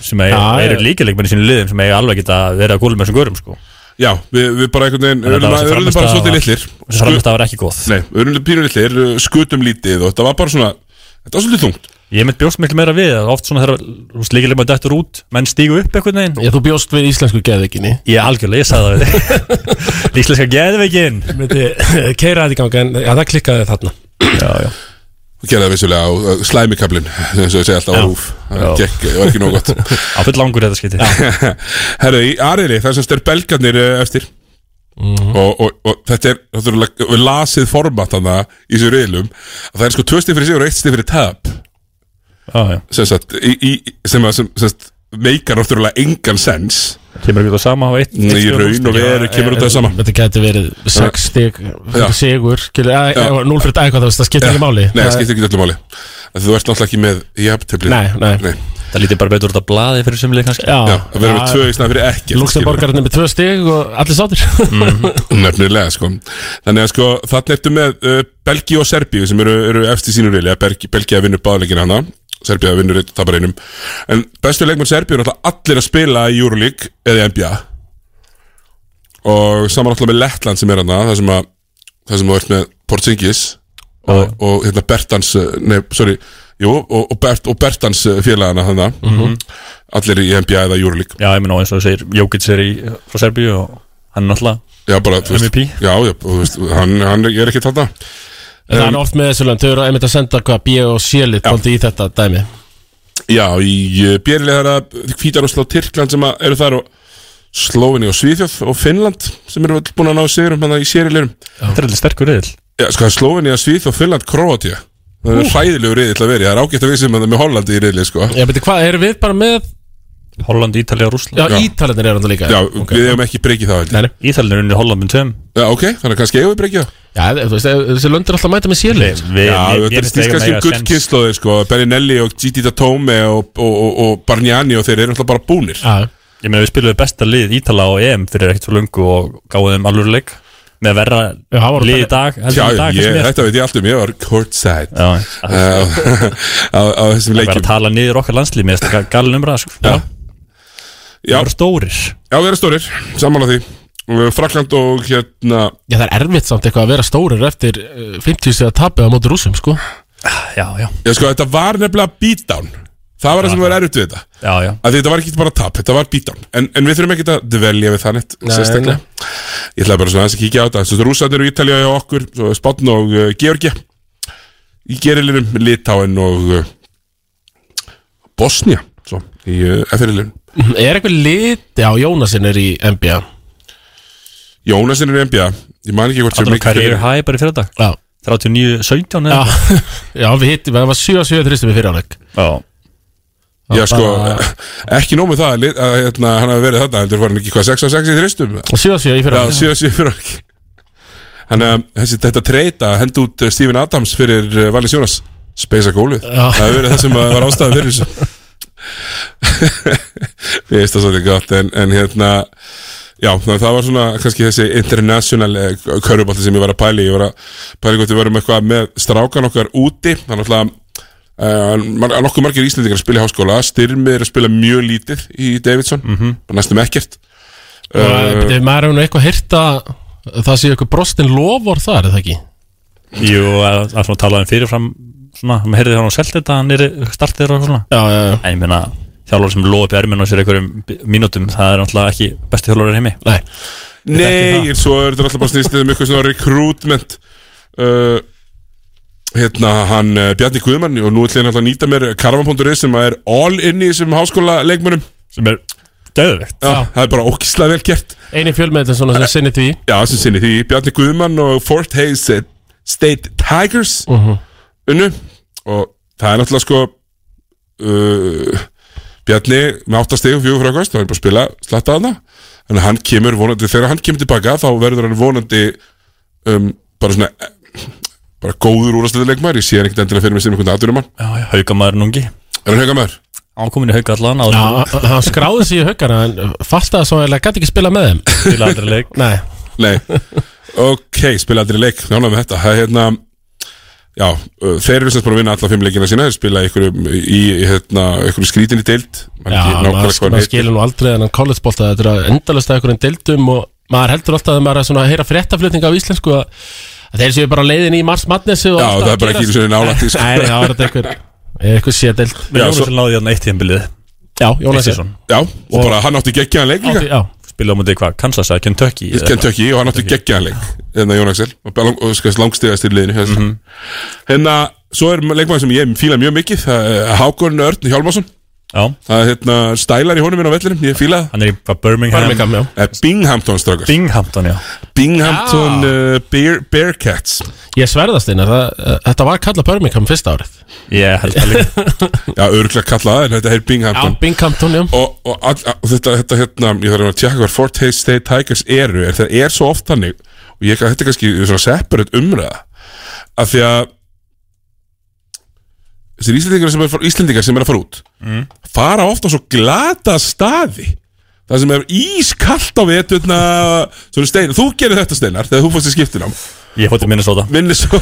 Speaker 6: sem eiga,
Speaker 1: Já,
Speaker 6: eru
Speaker 1: já.
Speaker 6: líka leikmenn í sínu liðum sem eiga alveg geta verið að góla með þessum görum sko.
Speaker 1: Já, við, við bara einhvern veginn
Speaker 6: Þannig
Speaker 1: Við
Speaker 6: að þetta var
Speaker 1: erum
Speaker 6: þessi
Speaker 1: bara
Speaker 6: frammistaða
Speaker 1: svolítið
Speaker 6: var-
Speaker 1: litlir
Speaker 6: þessi frammistaða var ekki góð
Speaker 1: Nei, við erum pínu litlir, uh, skutum lítið og þetta var bara svona Þetta var svolítið þungt
Speaker 6: Ég mynd bjóst miklu meira við að oft svona þegar líka leikmenn dættur út menn stígu upp einhvern veginn
Speaker 2: Já, þú bjóst við íslensku geðveikinni
Speaker 6: Ég algjörlega, ég sagði það við Íslenska geðveikin
Speaker 2: Keira þetta í ganga en já, það klikkaði þarna
Speaker 6: Já, já
Speaker 1: Þú gerði það vissulega á uh, slæmikablin sem ég segi alltaf á
Speaker 6: Já.
Speaker 1: rúf Það
Speaker 6: Já.
Speaker 1: gekk, það var ekki nóg gott
Speaker 6: Á full langur þetta skiti
Speaker 1: Herru, í Ariðri, það sem styrir belgarnir uh, eftir og, og, og þetta er náttúrulega við lasið format hann í þessu reilum að það er sko tvö stið fyrir sigur og eitt stið fyrir tap
Speaker 6: Já, já
Speaker 1: sem, sagt, í, í, sem, að- sem, sem sagt, meikar náttúrulega engan sens
Speaker 6: Kemur ekki út á sama á eitt
Speaker 1: Nei, í raun og veru kemur út á það sama
Speaker 2: Þetta gæti verið 6 stig
Speaker 1: Já.
Speaker 2: fyrir sigur skilur, eða-
Speaker 1: Já.
Speaker 2: eða 0 fyrir dag hvað það veist, það skiptir ekki máli
Speaker 1: Nei, það skiptir ekki öllu máli Af því Þú ert náttúrulega ekki með jafntöflið
Speaker 2: Nei, nei.
Speaker 6: Það lítið bara betur út af blaði fyrir sem leik kannski
Speaker 2: Já,
Speaker 1: Já, að vera með
Speaker 2: Já.
Speaker 1: tvö í staðan fyrir ekkert,
Speaker 2: Luxemborgarinn er með 2 stig og allir sáttir
Speaker 1: Nefnilega sko Þannig að sko þarna ertu með uh, Belgi og Serbíu sem eru, eru eftir sínum reyli Belgi, Belgi að vinna báðleikina hana Serbíu að vinna tapar einum En bestu leikmenn Serbíu er náttúrulega allir að spila í Euroleague eða í NBA Og saman alltaf með Lettland sem er hana Það sem, að, það sem þú ert með Porzingis og, og hérna Bertans uh, Nei, sorry Jú, og, og, Bert, og Bertans uh, félagana hana
Speaker 6: Mhm.
Speaker 1: Allir í NBA eða Euroleague
Speaker 6: Já, ég meina og eins og þú segir, Jókits er í, frá Serbíu og hann er náttúrulega
Speaker 1: Já, bara, þú veist,
Speaker 6: MVP.
Speaker 1: já, já, og þú veist, hann, hann er ekki þetta
Speaker 2: En það er oft með þessu lönd, þau eru einmitt að senda hvað B og C-lit bóndi í þetta dæmi
Speaker 1: Já, í Björnlega það er Hvítarúsla og Tyrkland sem að eru þar og Slóvinni og Svíþjóð og Finnland sem eru öll búin að ná sigurum hann í sérilegurum
Speaker 6: Þetta er allir sterkur reyðil
Speaker 1: Já, sko, Slóvinni og Svíþjóð og Finnland, Kroatia Það er
Speaker 2: Ú.
Speaker 1: hræðilegur reyðill að veri, það er ágætt að við sem að það er með Hollandi í reyðli, sko
Speaker 2: Já, betur hvað, erum við bara með
Speaker 6: Holland, Ítalja og Rússland
Speaker 2: Já, Ítalarnir eru þarna líka,
Speaker 1: Já,
Speaker 2: já, ok.
Speaker 1: við hefum ekki breykið það
Speaker 2: Nei,
Speaker 6: Ítalja er unni Holland með tveim
Speaker 1: Já, ok, þannig að kannski eigum við breykið það
Speaker 2: Já, þú veist, þessi lönd er alltaf að mæta með C-lit
Speaker 6: Við-
Speaker 1: Já,
Speaker 6: mér-
Speaker 1: þetta
Speaker 6: mér
Speaker 1: er
Speaker 6: finnst
Speaker 1: snýst
Speaker 6: eiga
Speaker 1: kannski
Speaker 6: mega
Speaker 1: um gull
Speaker 6: sens.
Speaker 1: kynnslóðir, sko Beninelli og Gigi Datome og, og, og, og Bargnani og þeir eru alltaf bara búnir
Speaker 2: Já,
Speaker 6: Ég meina við spilum besta lið Ítala og EM fyrir ekkert svo lungu og gáðum þeim alvöru leik með verra lið í dag heldur
Speaker 1: Já,
Speaker 6: en í dag,
Speaker 1: ég,
Speaker 6: kannski mér.
Speaker 1: þetta veit ég allt um, ég var courtside
Speaker 6: Já,
Speaker 1: uh, á, á þessum
Speaker 6: Það er
Speaker 1: leikjum
Speaker 6: að tala niður okkar landslið með þetta galin umræða sko. Já,
Speaker 1: Já,
Speaker 6: það eru stórir
Speaker 1: Já, við erum stórir, samanlega því Uh, Frakland og hérna
Speaker 2: Já, það er erfitt samt eitthvað að vera stórir eftir eh, 50 stig að tapja á móti rúsum, sko
Speaker 6: Já, já
Speaker 1: Já, sko, þetta var nefnilega beatdown Það var það sem var erfitt við þetta
Speaker 6: Já, já
Speaker 1: að Þetta var ekki bara tap, þetta var beatdown En, en við þurfum ekki að dvelja við það neitt
Speaker 2: Nei,
Speaker 1: sérstaklega Ég ætlaði bara svona aðeins að kíkja á þetta Svo rúsarnir og Ítalja og okkur svo Spátn og uh, Georgia Í gerilinum, Litáin og uh, Bosnia Svo, í uh, FRL-inum
Speaker 2: Er eitthvað lit, já, Jónasinn er í NBA
Speaker 1: Jónasinn er í NBA Ég man ekki hvort
Speaker 6: Alltaf
Speaker 1: mikið
Speaker 6: karriér
Speaker 1: fyrir-
Speaker 6: hæ bara í fyrir dag
Speaker 2: Já
Speaker 6: 39, 17 eða eitthvað.
Speaker 2: Já, já við hittum, það var 7-7 þristum í fyrirháleik
Speaker 6: Já
Speaker 1: Já,
Speaker 2: Það
Speaker 1: sko,
Speaker 2: bara-
Speaker 1: ekki nóg með það að, lit- að hérna, hann hafi verið þarna, heldur var hann ekki hvað 6 á 6 í þristum?
Speaker 2: 7-7 í
Speaker 1: Já,
Speaker 2: fyrirháleik
Speaker 1: 7 á 7 fyrir hann Þannig að þessi, þetta treyta hend út eh, Stephen Adams fyrir eh, Valis Jónas Speisa gólið,
Speaker 2: Já.
Speaker 1: það hefur verið það sem að var ástæðan fyrir þessu Ég veist það svolítið gott en, en hérna Já, þannig að það var svona kannski þessi international körubalti sem ég var að pæli Ég var að pæli gott við varum eitthvað með strákan okkar úti Þannig að uh, nokkuð margir íslendingar að spila í háskóla Styrmið er að spila mjög lítið í Davidson mm -hmm. Næstum ekkert
Speaker 2: Og uh, maður hefur nú eitthvað heyrt að það sé eitthvað brostin lofur þar, er það ekki?
Speaker 6: Jú, að að svona talaði um fyrirfram svona, maður heyrði hann á selt þetta hann er startið og svona
Speaker 2: já, já, já.
Speaker 6: En ég meina, þjálfur sem lofa upp í erminu og sér einhverjum bí- mínútum, það er náttúrulega ekki besti þjálfur í heimi
Speaker 2: Nei,
Speaker 1: Nei, en svo er þetta alltaf bara snýstið um eitthvað svona recruitment uh, Hérna, hann uh, Bjarni Guðmann og nú ætlum ég alltaf að nýta mér Karvan.is sem er all inni í þessum háskóla leikmönum
Speaker 6: sem er döðvegt
Speaker 1: Já, það er bara ókislega vel gert
Speaker 2: eini fjölmeðlinn svona sem sinni því
Speaker 1: Já, sem sinni því Bjarni Guðmann og Fort Hayes eh, State Tigers unnu og það er náttúrulega sko uh, Bjarni með áttastig og fjögur frákvæmst og hann er bara að spila slatta að það þannig að hann kemur vonandi, þegar hann kemur tilbaka þá verður hann vonandi um, bara svona eh, bara góður úrastlega leikmar, ég sé hann ekkert endilega fyrir mig sem einhvern aðdurumann
Speaker 6: Já, já, haukamæður núngi
Speaker 1: Er hann haugamæður?
Speaker 6: hann kom inn í hauka allan
Speaker 2: Já, hann- hann skráði sig í haugana en fattaði svo að hann gæti ekki spila með þeim
Speaker 6: Spila aldrei leik
Speaker 2: Nei
Speaker 1: Nei, ok, spila aldrei leik Nána með þetta, það er hérna Já, uh, þeir eru sem bara að vinna alla fimm leikina sína Þeir spila ykkur í, hérna, ykkur skrítinni deild Man
Speaker 2: Já,
Speaker 1: ekki nákvæmlega
Speaker 2: maður
Speaker 1: hvað hann
Speaker 2: maður
Speaker 1: heitir.
Speaker 2: skilur nú aldrei en hann collegebólta þetta er að endalasta einhverjum deildum og maður heldur alltaf að maður er svona að heyra fréttaflutning af íslensku að að þeir séu bara á leiðin í Mars Madness Já,
Speaker 1: Já, það er bara ekki einu sinni nálægt í, sko.
Speaker 2: Nei, það var þetta einhver eitthvað sédeld
Speaker 6: Við Jónas svo... náði hérna eitt tímbilið
Speaker 2: Já, Jónas
Speaker 6: Eysteinsson.
Speaker 1: Já, og bara hann átti geggjaðan leik líka.
Speaker 2: Já,
Speaker 6: Spilaði á mútið hvað, Kansas eða Kentucky eða
Speaker 1: Kentucky og hann átti geggjaðan leik hérna Jón Axel og, bel- og skast langstigast í liðinu mm
Speaker 2: Mhm.
Speaker 1: -hmm. hérna, svo er leikmann sem ég fíla mjög mikið það er Hákon Örn Hjálmarsson
Speaker 6: Já.
Speaker 1: það er hérna stælar í honum minn á vellinum ég fíla það
Speaker 6: hann er í hvað, Birmingham
Speaker 2: Birmingham, já.
Speaker 1: Eh, Binghamton strákar
Speaker 6: Binghamton, já
Speaker 1: Binghamton uh, Bear, Bearcats
Speaker 2: Ég sverðast einu, þetta var kallað Birmingham fyrsta árið
Speaker 6: Ég held að líka
Speaker 1: Já, örgulega kalla það, en þetta er Binghamton
Speaker 2: Já, Binghamton, já
Speaker 1: Og, og, all, og þetta, þetta hérna, ég þarf að tjekka hvað Fort Hays State Tigers eru En það er svo oft þannig Og ég, þetta er kannski svona separate umræða Af því að Þessir Íslendingar sem er, Íslendingar sem er að fara út
Speaker 6: Mm.
Speaker 1: Fara ofta á svo glata staði Það sem er ískallt á veturna Svona stein, þú gerir þetta steinar Þegar þú fórst í skiptinám
Speaker 6: Ég fótti Minnesota
Speaker 1: Minnesota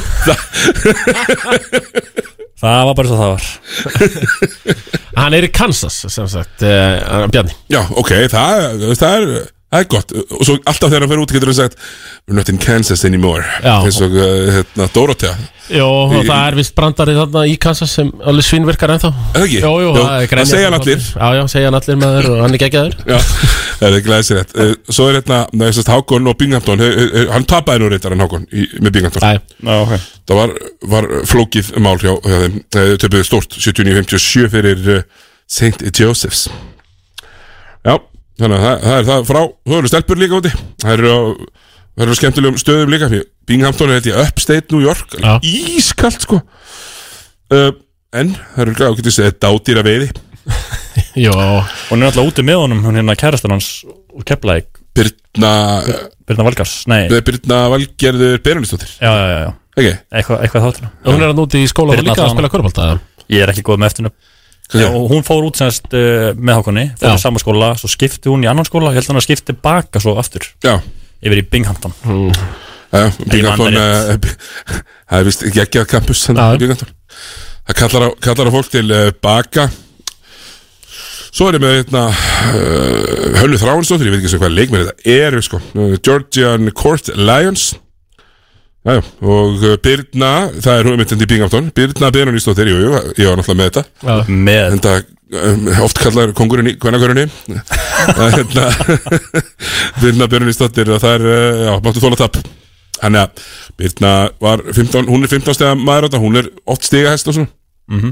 Speaker 6: Það var bara svo það var
Speaker 2: Hann er í Kansas, sem sagt, uh, Bjarni
Speaker 1: Já, ok, það, það, er, það er gott Og svo alltaf þegar hann fer út getur hann sagt We're not in Kansas anymore
Speaker 2: Já.
Speaker 1: Eins og uh, hérna, Dorothea
Speaker 2: Jó, og
Speaker 1: Í-
Speaker 2: það er vist brandari þarna í Kansas sem alveg svinvirkar ennþá
Speaker 1: Er það ekki?
Speaker 2: Jó, jó,
Speaker 1: Jó,
Speaker 2: það er
Speaker 1: það segja hann allir.
Speaker 2: Já, já, segja hann allir maður og hann er geggjaður
Speaker 1: Já, það er glæsilegt uh, Svo er hérna, næstast Hákon og Binghamton uh, uh, uh, Hann tapaði nú reyndar hann Hákon í, með Binghamton
Speaker 2: Æ.
Speaker 6: Já, ok
Speaker 1: Það var, var flókið mál hjá, hjá þeim uh, Töpuðu stórt 79-57 fyrir uh, St. Joseph's Já, þannig að það, það er það frá Þú eru stelpur líka úti Það eru á Það eru á skemmtilegum stöðum líka því Binghamton er þetta í Upstate New York
Speaker 2: Já.
Speaker 1: Ískalt sko uh, En það eru eh, glæð ágættis Það er dádýra veiði
Speaker 2: Jó
Speaker 6: Og hann er alltaf úti með honum, hún hérna kærastan hans og keflaði
Speaker 1: Birna
Speaker 6: Birna Valgars, nei
Speaker 1: Nei. Birna Valgerður Berunistóttir
Speaker 6: Já, já, já, já.
Speaker 1: Ekki?
Speaker 6: Eitthvað, eitthvað þáttina
Speaker 2: Hún er hann úti í skóla og
Speaker 6: Birna
Speaker 2: líka að
Speaker 6: allan.
Speaker 2: spila korfbalta
Speaker 6: Ég er ekki góð með eftirnöfn
Speaker 1: Hvað
Speaker 6: Já,
Speaker 1: segir?
Speaker 6: og hún fór út semst uh, með hákunni
Speaker 2: Já.
Speaker 6: fór í sama skóla, svo skipti hún í annan skóla ég held hann að skipti baka svo aftur
Speaker 1: Já
Speaker 6: yfir í Binghamton mm.
Speaker 1: Já,
Speaker 6: Ég
Speaker 1: Binghamton
Speaker 6: man það
Speaker 1: eh, b- Það er vist ekki ekki að campus þannig
Speaker 2: Já.
Speaker 1: í Binghamton Það kallar á, kallar á fólk til uh, baka Svo erum við hérna uh, Hönnu Þráinsdóttir, ég veit ekki sem hvað leikmenn þetta eru sko uh, Georgian Court Lions Jájá, og uh, Birna, það er hugmyndin í Binghamton Birna Berunistóttir, jú, jú, ég var náttúrulega með þetta
Speaker 6: með
Speaker 1: Þetta um, oft kallar kongurinn í kvennakörunni Hérna Birna Björnisdóttir og það er, uh, já, máttu þóla tap Þannig að Birna var 15, hún er 15 stega maður þetta, hún er 8 stega hest og svona
Speaker 2: Mhm.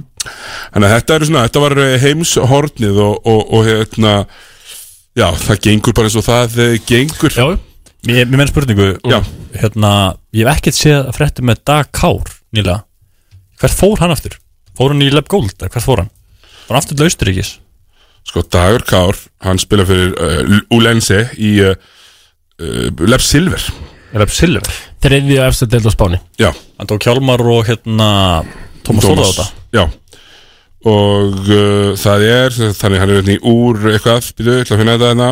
Speaker 1: Þannig að þetta eru svona, þetta var eh, heimshornið og, og, og hérna Já, það gengur bara eins og það eh, gengur
Speaker 2: Já,
Speaker 6: Mér, mér menn spurningu
Speaker 1: Já.
Speaker 6: hérna, ég hef ekkert séð að fréttu með Dag Kár nýlega hvert fór hann aftur? Fór hann í Leb Gold? eða Hvert fór hann? Fór hann aftur til Austuríkis?
Speaker 1: Sko, Dagur Kár, hann spila fyrir uh, Ulense í uh, uh, Lef Silver
Speaker 6: Leb Silver?
Speaker 2: þriðju efstu deild á Spáni
Speaker 1: Já,
Speaker 6: Hann tók Hjálmar og hérna Thomas Þóða á þetta
Speaker 1: Já Og uh, það er Þannig hann er hérna í úr eitthvað Býtu, ég ætla að finna þetta hérna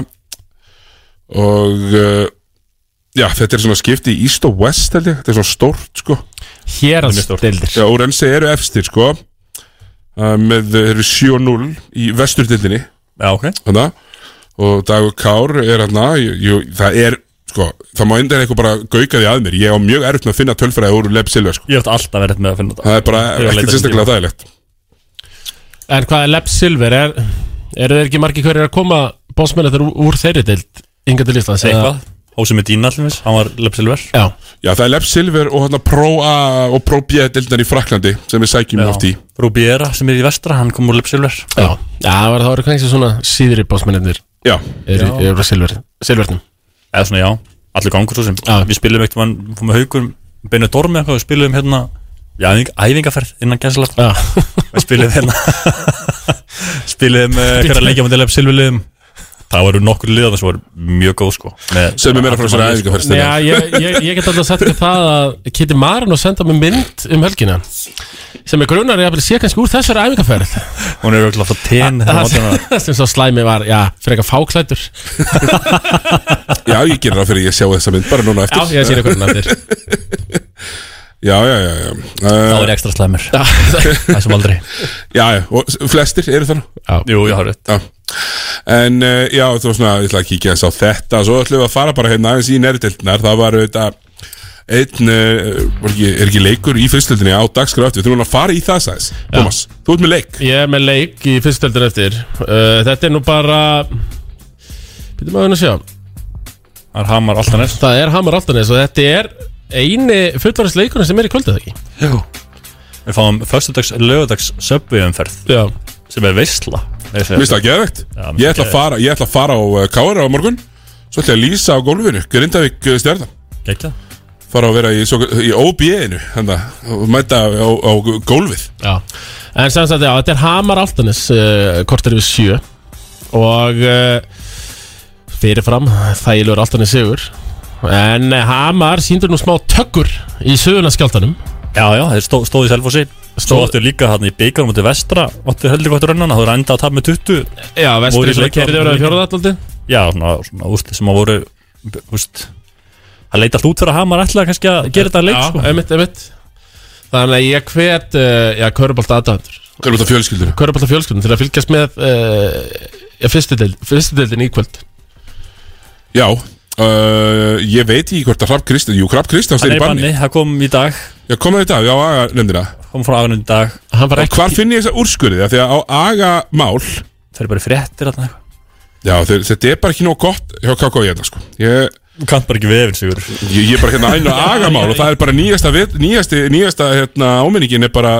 Speaker 1: Og uh, Já, þetta er svona skipti í East og West held ég Þetta er svona stórt sko
Speaker 2: Hér að deildir
Speaker 1: Já, úr ensi eru efstir sko uh, Með eh, eru 7-0 Í vesturdildinni
Speaker 6: Já, ok
Speaker 1: Þannig Og Dagur Kár er hérna jú, jú, Það er sko Það má endur eitthvað bara gauka því að mér Ég á mjög erfitt með að finna tölfræði úr Leb Silva sko
Speaker 6: Ég hef alltaf verið með að finna þetta
Speaker 1: Það er bara
Speaker 6: Ég var að leita
Speaker 1: ekkert
Speaker 6: þessi
Speaker 1: sérstaklega
Speaker 6: tíma.
Speaker 1: þægilegt
Speaker 2: En hvað er Lepp Silver? Er, eru þeir ekki margir hverjir að koma bósmennir úr, úr þeirri deild Inga til Íslands? eða-
Speaker 6: Eitthvað? Hósi með Dína allir hann var Leb Silver
Speaker 2: Já,
Speaker 1: Já, það er Lepp Silver og hérna Pro A og Pro B deildar í Fraklandi sem við sækjum
Speaker 6: Já.
Speaker 1: oft í
Speaker 6: Rubiera sem er í vestra, hann kom úr Leb Silver
Speaker 2: já, já það var- það voru kannski svona síðri bósmennir
Speaker 1: Já,
Speaker 2: eru eru frá Silver, Silvernum
Speaker 6: eða svona já, allir gangur svo sem
Speaker 2: Já.
Speaker 6: við spilum eitt, mann, fórum með haugur beinu dormi eitthvað, við spilum hérna já, æfing, æfingaferð innan gæsalaft
Speaker 2: Já,
Speaker 6: eh, við spilum hérna spilum uh, hverja leikja á móti lef silvulegum það voru nokkur liðan sem voru mjög góð sko
Speaker 1: Segðu mér meira frá þessari æfingarferð, Steini.
Speaker 2: Já, ég, ég, ég get alltaf sagt ekki það að Kitty Maran og senda mig mynd um helgina sem er grunar ég að sé kannski úr þessari æfingarferð
Speaker 6: Hún er auðvitað frá ten
Speaker 2: Það það sem svo slæmi var, já, fyrir eitthvað fáklætur
Speaker 1: Já, ég gerir það fyrir að ég sjá þessa mynd bara núna eftir
Speaker 2: Já, ég sé eitthvað núna eftir.
Speaker 1: Já, já, já, já. Uh,
Speaker 6: Þá er ég ekstra slæmur.
Speaker 1: Það
Speaker 6: sem aldrei.
Speaker 1: Já, já, og s- flestir eru þannig
Speaker 2: já.
Speaker 6: Jú, já, rétt
Speaker 1: já. En uh, já, þú veist svona, ég ætla að kíkja eins á þetta Svo ætlum við að fara bara hérna aðeins í nærdeltnar Það var auðvitað einn, uh, var ekki, er ekki leikur í fyrstöldinni á dagskrafti Við þurfum að fara í það sæðis Thomas, þú ert með leik
Speaker 2: Ég er með leik í fyrstöldin eftir uh, Þetta er nú bara Býtum maður að sjá
Speaker 6: Það er Hamar Altanes
Speaker 2: Það er Hamar Altanes og þetta er eini fullvarist leikurinn sem er í kvöldið ekki
Speaker 6: Já Við fáum föstudags, lögudags söpviðumferð
Speaker 2: Já
Speaker 6: Sem er veisla
Speaker 1: Mér finnst það geðvegt Ég ætla að fara, ég ætla að fara á uh, Kára á morgun Svo ætla ég að lýsa á gólfinu, Grindavík uh, stjarnan
Speaker 6: Gekja
Speaker 1: Fara að vera í, svo- í OB-inu og mæta á, á gólfið
Speaker 2: Já, en sem sagt, já, þetta er Hamar Altanes uh, kortir við sjö og uh, fyrirfram þægilegur Altanes sigur en uh, Hamar síndur nú smá tökur í sögunaskjáltanum
Speaker 6: Já, já, þeir stó, stóðu í Selfossi Svo áttu líka hann í byggar mútið vestra Áttu heldur gott rönnana, þú enda að tapa með 20
Speaker 2: Já, vestri
Speaker 6: Voru í leik-
Speaker 2: keyrði verið að fjóraða allaldi
Speaker 6: Já, svona, svona úsli sem að voru úst, Það leita allt út fyrir að Hamar ætla kannski að gera þetta að leik
Speaker 2: Já,
Speaker 6: sko.
Speaker 2: einmitt, einmitt Þannig að ég hvet, uh, já, Körbólta aðdæðandur
Speaker 1: Körbólta fjölskyldur
Speaker 2: Körbólta fjölskyldur til að fylgjast með uh, já, fyrstu deild- fyrstu deildin í kvöld
Speaker 1: Já, uh, ég veit ekki hvort að Hrafn Kristjáns, jú, Hrafn Kristjáns
Speaker 6: Hann
Speaker 1: er
Speaker 6: er
Speaker 1: í banni.
Speaker 6: það kom í dag
Speaker 1: Já, kom það í dag, já, aga nefndina.
Speaker 6: Kom frá aganum í dag
Speaker 2: Hann var
Speaker 1: Og hvar finn ég þess að úrskurði það? Því að á aga mál,
Speaker 6: Það er bara fréttir þarna eitthvað
Speaker 1: já, þeir, þetta er bara ekki nóg gott hjá KK ég þetta, sko. Ég,
Speaker 6: Þú kannt bara ekki vefin, Sigur
Speaker 1: ég, ég er bara hérna aðeins á aga mál og það er bara nýjasta, vit- nýjasta, nýjasta hérna, áminningin er bara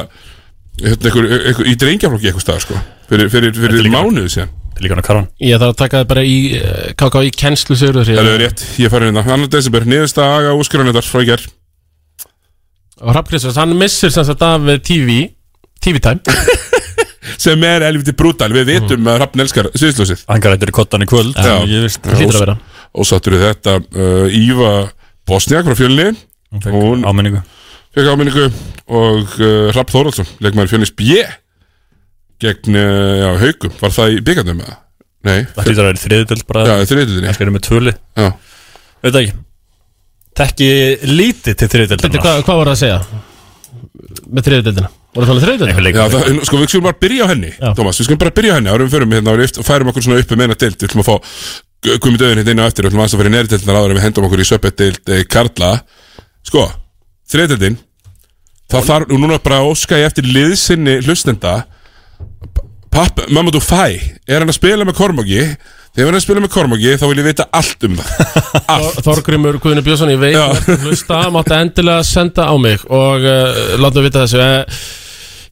Speaker 1: hérna, einhver, einhver, í drengjaflokki eitthvað stað, sko. Fyrir, fyrir, fyrir mánuðu síðan.
Speaker 6: Það er líka hann að karvan
Speaker 2: Ég þarf að taka það bara í uh, KKI kennslu sigur
Speaker 1: Það er rétt, ég farið hérna. Annar desember, nýjasta aga úrskurðanettar frá í gerð.
Speaker 2: Og Hrafn Kristjáns, hann missir sem sagt af eh, TV TV time
Speaker 1: sem er elviti brútal við vitum að Hrafn elskar sviðslösið
Speaker 6: Hann grættur í kottan í kvöld
Speaker 1: Já,
Speaker 6: ég veist.
Speaker 2: Það hlýtur að vera.
Speaker 1: Og sattur við þetta uh, Íva Bosniak frá fjölni Hún
Speaker 6: áminningu
Speaker 1: Fekk áminningu og uh, Hrafn Þóraldsson leikmaður fjölnis B gegn uh, já, haukum Var það í byggandum eða? Nei
Speaker 6: Það hlýtur að vera þriðitöld bara
Speaker 1: Já, í þriðjudildinni.
Speaker 6: Það skilir með tvöli
Speaker 1: Já
Speaker 6: Veit það ekki Tekki lítið til þriðitöld
Speaker 2: Þetta, hvað, hvað voru það að segja? Með þriðdeldina Voru um það með þriðdeldina?
Speaker 1: Já, það, en sko við skulum bara byrja á henni Thomas, við skulum bara byrja á henni árum við förum hérna og við færum okkur svona upp um eina deild við ætlum að fá Guðmund Öðun hérna inn á eftir við ætlum aðeins að fara í neðri deildina áður en við hendum okkur í söpett deild eh, Karla sko, þriðdeildin það þarf, og núna bara óska ég eftir liðsinni hlustenda Papp, Mamadou Fæ er hann að spila með Kormáki þegar hann er að spila með Kormáki þá vil ég vita allt um það
Speaker 2: Þor- Þorgrímur Guðinu Björnsson í veik ertu að Hlusta, mátti endilega senda á mig Og uh, láta við vita þessu uh,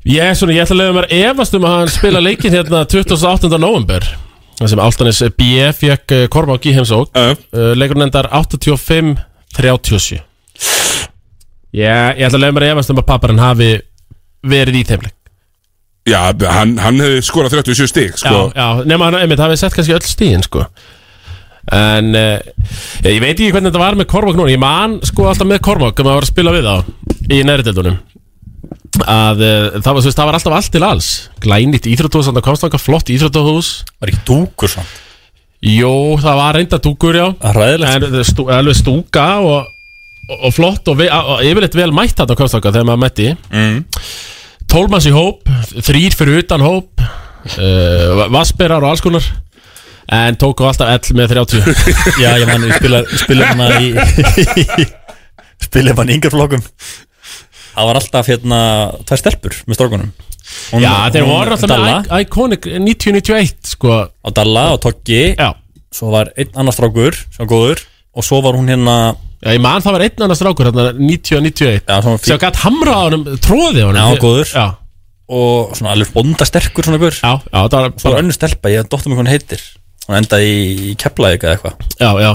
Speaker 2: Ég er svona, ég ætla að leiða mér að efast um að hann spila leikinn hérna 28. november Það sem Altanis B fekk uh, Kormák í heimsók
Speaker 1: uh.
Speaker 2: Leikurinn endar 85-37 Ég, ég ætla að leiða mér að efast um að papparinn hafi verið í þeimleik
Speaker 1: já, hann, hann hefði skorað 37 stig sko.
Speaker 2: Já, já, nema hann, einmitt, hafið sett kannski öll stíðin, sko En uh, ég veit ekki hvernig þetta var með Kormák núna Ég man sko alltaf með Kormák um að var að spila við þá Í næriðildunum Að uh, það, var, þú veist, það var alltaf allt til alls Glænýtt íþróttúhús, þannig að komst þangað flott íþróttúhús
Speaker 6: Var ekki dúkur samt?
Speaker 2: Jó, það var reynda dúkur, já
Speaker 6: Ræðilegt
Speaker 2: En eh, stú, alveg stúka og, og, og flott og, ve, og yfirleitt vel mætt þetta komst þangað þegar maður mætti
Speaker 6: mm.
Speaker 2: Tólmanns í hóp, þrýr fyrir utan hóp uh, Vassberar og alls konar En tóku alltaf 11 með 30
Speaker 6: Já, ég man, ég spila- spila hana hérna í- Spila mann í yngarflokkum Það var alltaf hérna Tvær stelpur með strókunum
Speaker 2: Já, þeir voru alltaf með I- Iconic 90-91 sko
Speaker 6: Á Dalla og Toggi
Speaker 2: Já
Speaker 6: Svo var einn annar strókur Sem var góður Og svo var hún hérna
Speaker 2: Já, ég man það var einn annar strákur hérna 90-91
Speaker 6: Já, svona
Speaker 2: Sem gætt hamra á honum, tróði á honum
Speaker 6: Já, góður
Speaker 2: Já
Speaker 6: Og svona alveg bondasterkur svona gaur
Speaker 2: Já, já, það var
Speaker 6: Svo var önnur stelpa, ég dóttum mig hvað hún heitir Hún endaði í Keflavík eða eitthvað
Speaker 2: Já, já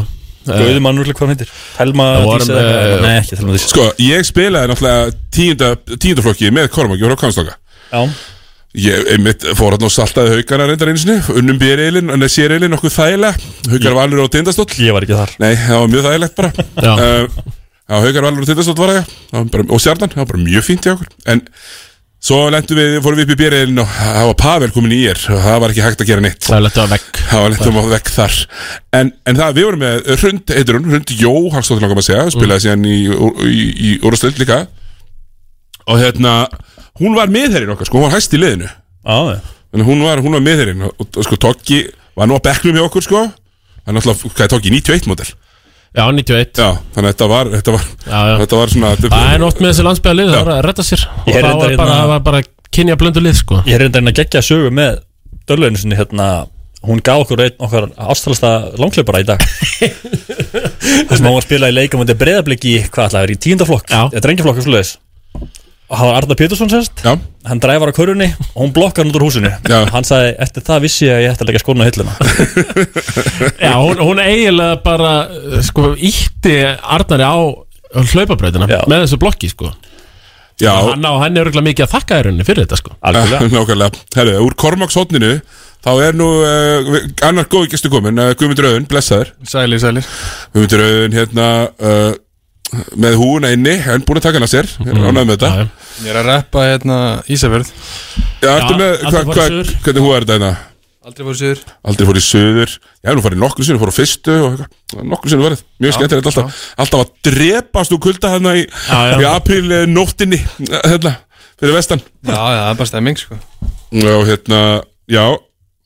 Speaker 6: Gauði mann úrlega hvað hún heitir Telma Dísa eða eitthvað. Nei, ekki Telma Dísa
Speaker 1: Sko, ég spilaði náttúrulega tíunda, tíunda flokki með Kormáki frá Kanslanga
Speaker 6: Já
Speaker 1: Ég einmitt fór hann og saltaði haugana reyndar einu sinni Unnum björreilin, en séreilin nokkuð þægilega Haugar valur og tindastóll
Speaker 6: Ég var ekki þar
Speaker 1: Nei, það var mjög þægilegt bara Já, uh, já Haugar valur og tindastóll var það, já. það var bara, Og stjarnan, það var bara mjög fínt í okkur En svo lendum við, fórum við upp í björreilin Og það var Pavel komin í er Og það var ekki hægt að gera neitt
Speaker 2: Það var lett að vekk
Speaker 1: Það var lett að vekk þar En, en það, við vorum með Hrund, heitir hún, Hrund Jó Hagstóttir langar maður um að
Speaker 2: Mm.
Speaker 1: segja, spilaði síðan í, í, í, í Úrastöld líka og hérna hún var miðherrin okkar, sko, hún var hæst í liðinu
Speaker 6: ah,
Speaker 1: þannig að hún var, hún var miðherrin og, og sko, Toggi var nú að bekknum hjá okkur sko, hann náttúrulega, hvað er Toggi, 91 model
Speaker 2: Já, 91
Speaker 1: Já, þannig að þetta var, þetta var, Þetta var svona
Speaker 2: Það er oft með þessi landsbygðarlið, það
Speaker 1: Já.
Speaker 2: var að redda sér
Speaker 6: Ég
Speaker 2: Og
Speaker 6: er
Speaker 2: það var
Speaker 6: reyndar
Speaker 2: bara,
Speaker 6: hérna-
Speaker 2: það var bara kynja blöndu lið sko
Speaker 6: Ég er reyndar hérna að gegja sögu með Dörlöðinu sinni hérna Hún gaf okkur einn okkar ástralasta langhlaupara í dag Það sem hún var að spila í leikum Þetta er breyðablik í, hvað ætlaði, að vera í tíundaflokk Þetta er engjaflokk, svo leiðis Og það var Arna Pétursson sérst
Speaker 1: Já.
Speaker 6: Hann dræfar á körunni og hún blokkar hann út úr húsinu Já. Hann sagði, eftir það vissi ég að ég ætti að leggja skóna á hilluna
Speaker 2: Já, hún, hún eiginlega bara uh, sko ítti Arnari á hlaupabreitina með þessu blokki sko
Speaker 1: Já.
Speaker 2: Hann á henni örgulega mikið að þakka þér henni fyrir þetta sko
Speaker 1: Nákvæmlega, herru, úr Kormakshotninu þá er nú uh, annar góð gestu komin, uh, Guðmundur Öðun, blessaður
Speaker 9: Sælir, sælir
Speaker 1: Guðmundur Öðun, hérna uh, með húuna inni, en búin að taka hana sér mm. ánægð með þetta
Speaker 9: Ég er að reppa hérna Ísafjörð
Speaker 1: Já, ertu með, hva, hva, hvernig hú er þetta hérna?
Speaker 9: Aldrei fór suður
Speaker 1: Aldrei fór í söður Ég hef nú farið nokkru sinni, fór á fyrstu og eitthvað. nokkru sinni farið, mjög
Speaker 9: Já,
Speaker 1: skemmtilegt alltaf alltaf að drepast úr kulda hérna í,
Speaker 9: Já, já.
Speaker 1: í apríl eh, nóttinni eh, hérna, fyrir vestan
Speaker 9: Já, já, það er bara stemming sko
Speaker 1: og hérna, já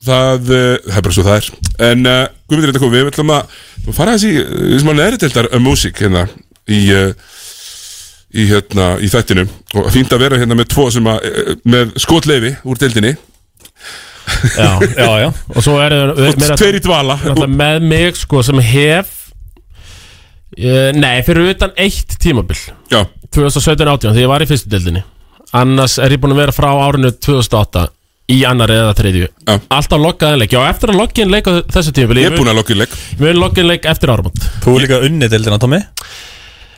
Speaker 1: það, eh, það er bara svo það er en uh, Guðmundur er þetta komið, við ætlum að fara þessi, þessi mann er þetta um músík hérna, í uh, í hérna, í þættinu og fínt að vera hérna með tvo sem að eh, með skotleifi úr deildinni
Speaker 2: Já,
Speaker 6: já, já
Speaker 2: Og svo er
Speaker 1: Og tveir í dvala.
Speaker 2: náttúrulega Með mig sko sem hef uh, Nei, fyrir utan eitt tímabil
Speaker 1: Já
Speaker 2: 2017-18 því ég var í fyrstu deildinni Annars er ég búin að vera frá árinu 2008 Í annar eða þriðju Já. Alltaf lokkaðin leik Já, eftir að lokkaðin leik á þessu tímabil
Speaker 1: Ég er búinn að lokka inn leik
Speaker 2: Ég mun lokkaðin leik eftir áramót
Speaker 6: Þú er líka unnið deildina, Tommy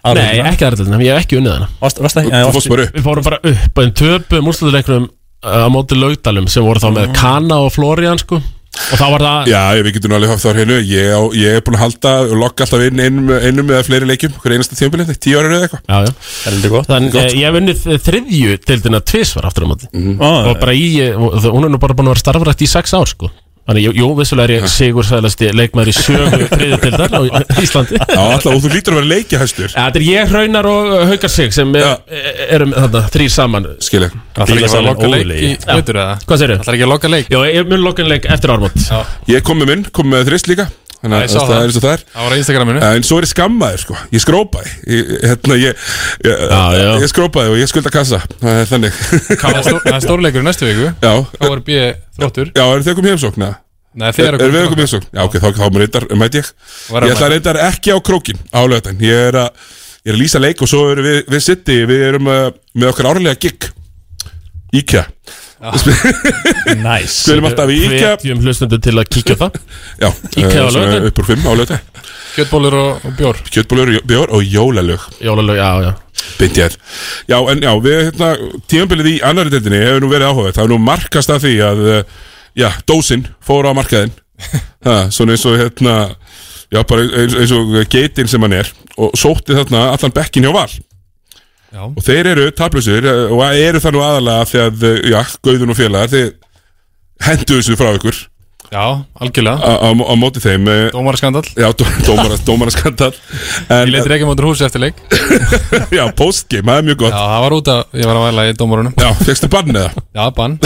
Speaker 6: Aðra
Speaker 2: Nei,
Speaker 6: deildina.
Speaker 2: ekki aðra deildina, ég hef ekki unnið hana
Speaker 6: Varst- varst ekki- Þú- nei, þú varst- fórst bara upp.
Speaker 2: Við fórum bara upp En töpum úrslutleiknum á móti laugdalum sem voru þá með Kana og Florian sko Og þá var það
Speaker 1: Ah. Já, við getum nú alveg haft það á hreinu ég, á- ég er búin að halda og lokka alltaf inn einum, einum eða fleiri leikjum hver einasta tímpil eftir, tíu ára eða eitthvað
Speaker 2: Já, já
Speaker 6: Heldur gott
Speaker 2: Þannig eh, ég hef unnið eh, þriðju deildina tvisvar aftur á móti
Speaker 9: Mhm.
Speaker 2: Og bara í, eh, og það- hún er nú bara búin að vera starfrætt í sex ár sko Þannig, jú, jú vissulega er ég sigur sæðlasti leikmaður í sögu þriðju deildar á Íslandi
Speaker 1: Já, alltaf, og þú lítur að vera leikja hæstur
Speaker 2: Þetta er ég, Hraunar og eh, Haukar Sig sem er, erum þarna þrýr saman
Speaker 1: Skilja
Speaker 9: Það er ekki að fara að loka leik í veitur eða?
Speaker 2: Hvað segir þau? Það
Speaker 9: er ekki að loka leik
Speaker 2: Já, ég mun loka leik eftir ármót
Speaker 1: Ég kom með minn, kom með þrist líka
Speaker 9: Já,
Speaker 1: Þannig
Speaker 9: ég
Speaker 1: að
Speaker 9: sá
Speaker 1: það
Speaker 9: það.
Speaker 1: er eins og það er
Speaker 9: Það var á Instagraminu.
Speaker 1: En svo er ég skammaður sko, ég skrópaði Ég, hérna, ég, ég, já, ég skrópaði og ég skulda kassa Það er Þannig
Speaker 9: Það er stór- það er stórleikur í næstu viku
Speaker 1: Já
Speaker 9: KRB þróttur
Speaker 1: Já, er þið að koma í heimsókn? eða?
Speaker 9: Nei, þið
Speaker 1: er
Speaker 9: eru að
Speaker 1: að
Speaker 9: koma í
Speaker 1: koma í heimsókn Já, ok, þá, þá reyndar, mæti ég
Speaker 9: Var að
Speaker 1: Ég ætla
Speaker 9: mæta.
Speaker 1: að reyndar ekki á krókin á lögðan Ég er að, ég er að lýsa leik og svo erum við, við sitti Við erum uh, með okkar árlega gig Íkja
Speaker 6: Næs
Speaker 1: Spilum alltaf í IKEA.
Speaker 2: Hvetjum hlustundu til að kíkja á það
Speaker 1: Já,
Speaker 2: Íkja á
Speaker 1: eh, svona
Speaker 2: lögðin
Speaker 1: upp úr fimm á lögðan
Speaker 9: Kjötbólur og, og bjór
Speaker 1: Kjötbólur, bjór og jólalög
Speaker 2: Jólalög, já, já
Speaker 1: Bindi er Já, en já, við hérna Tímanbilið í annari deildinni hefur nú verið áhugað Það er nú markast af því að eh, Já, dósin fór á markaðinn ha, Svona eins og hérna Já, bara eins, eins og geitin sem hann er Og sótti þarna allan bekkin hjá val
Speaker 9: Já.
Speaker 1: Og þeir eru tablusir Og eru það nú aðalega því að eh, Já, Gauðun og félagar Þeir hendu þessu frá ykkur
Speaker 9: Já, algjörlega
Speaker 1: Á á- á móti þeim eh,
Speaker 9: Dómaraskandall
Speaker 1: Já, dó- dómara- dómaraskandall
Speaker 9: Ég
Speaker 1: En
Speaker 9: leti reykja mótur húsi eftir leik
Speaker 1: Já, postgame, það er mjög gott
Speaker 9: Já, það var út að ég var að væla í dómarunum
Speaker 1: Já, fegstu bann eða?
Speaker 9: Já, bann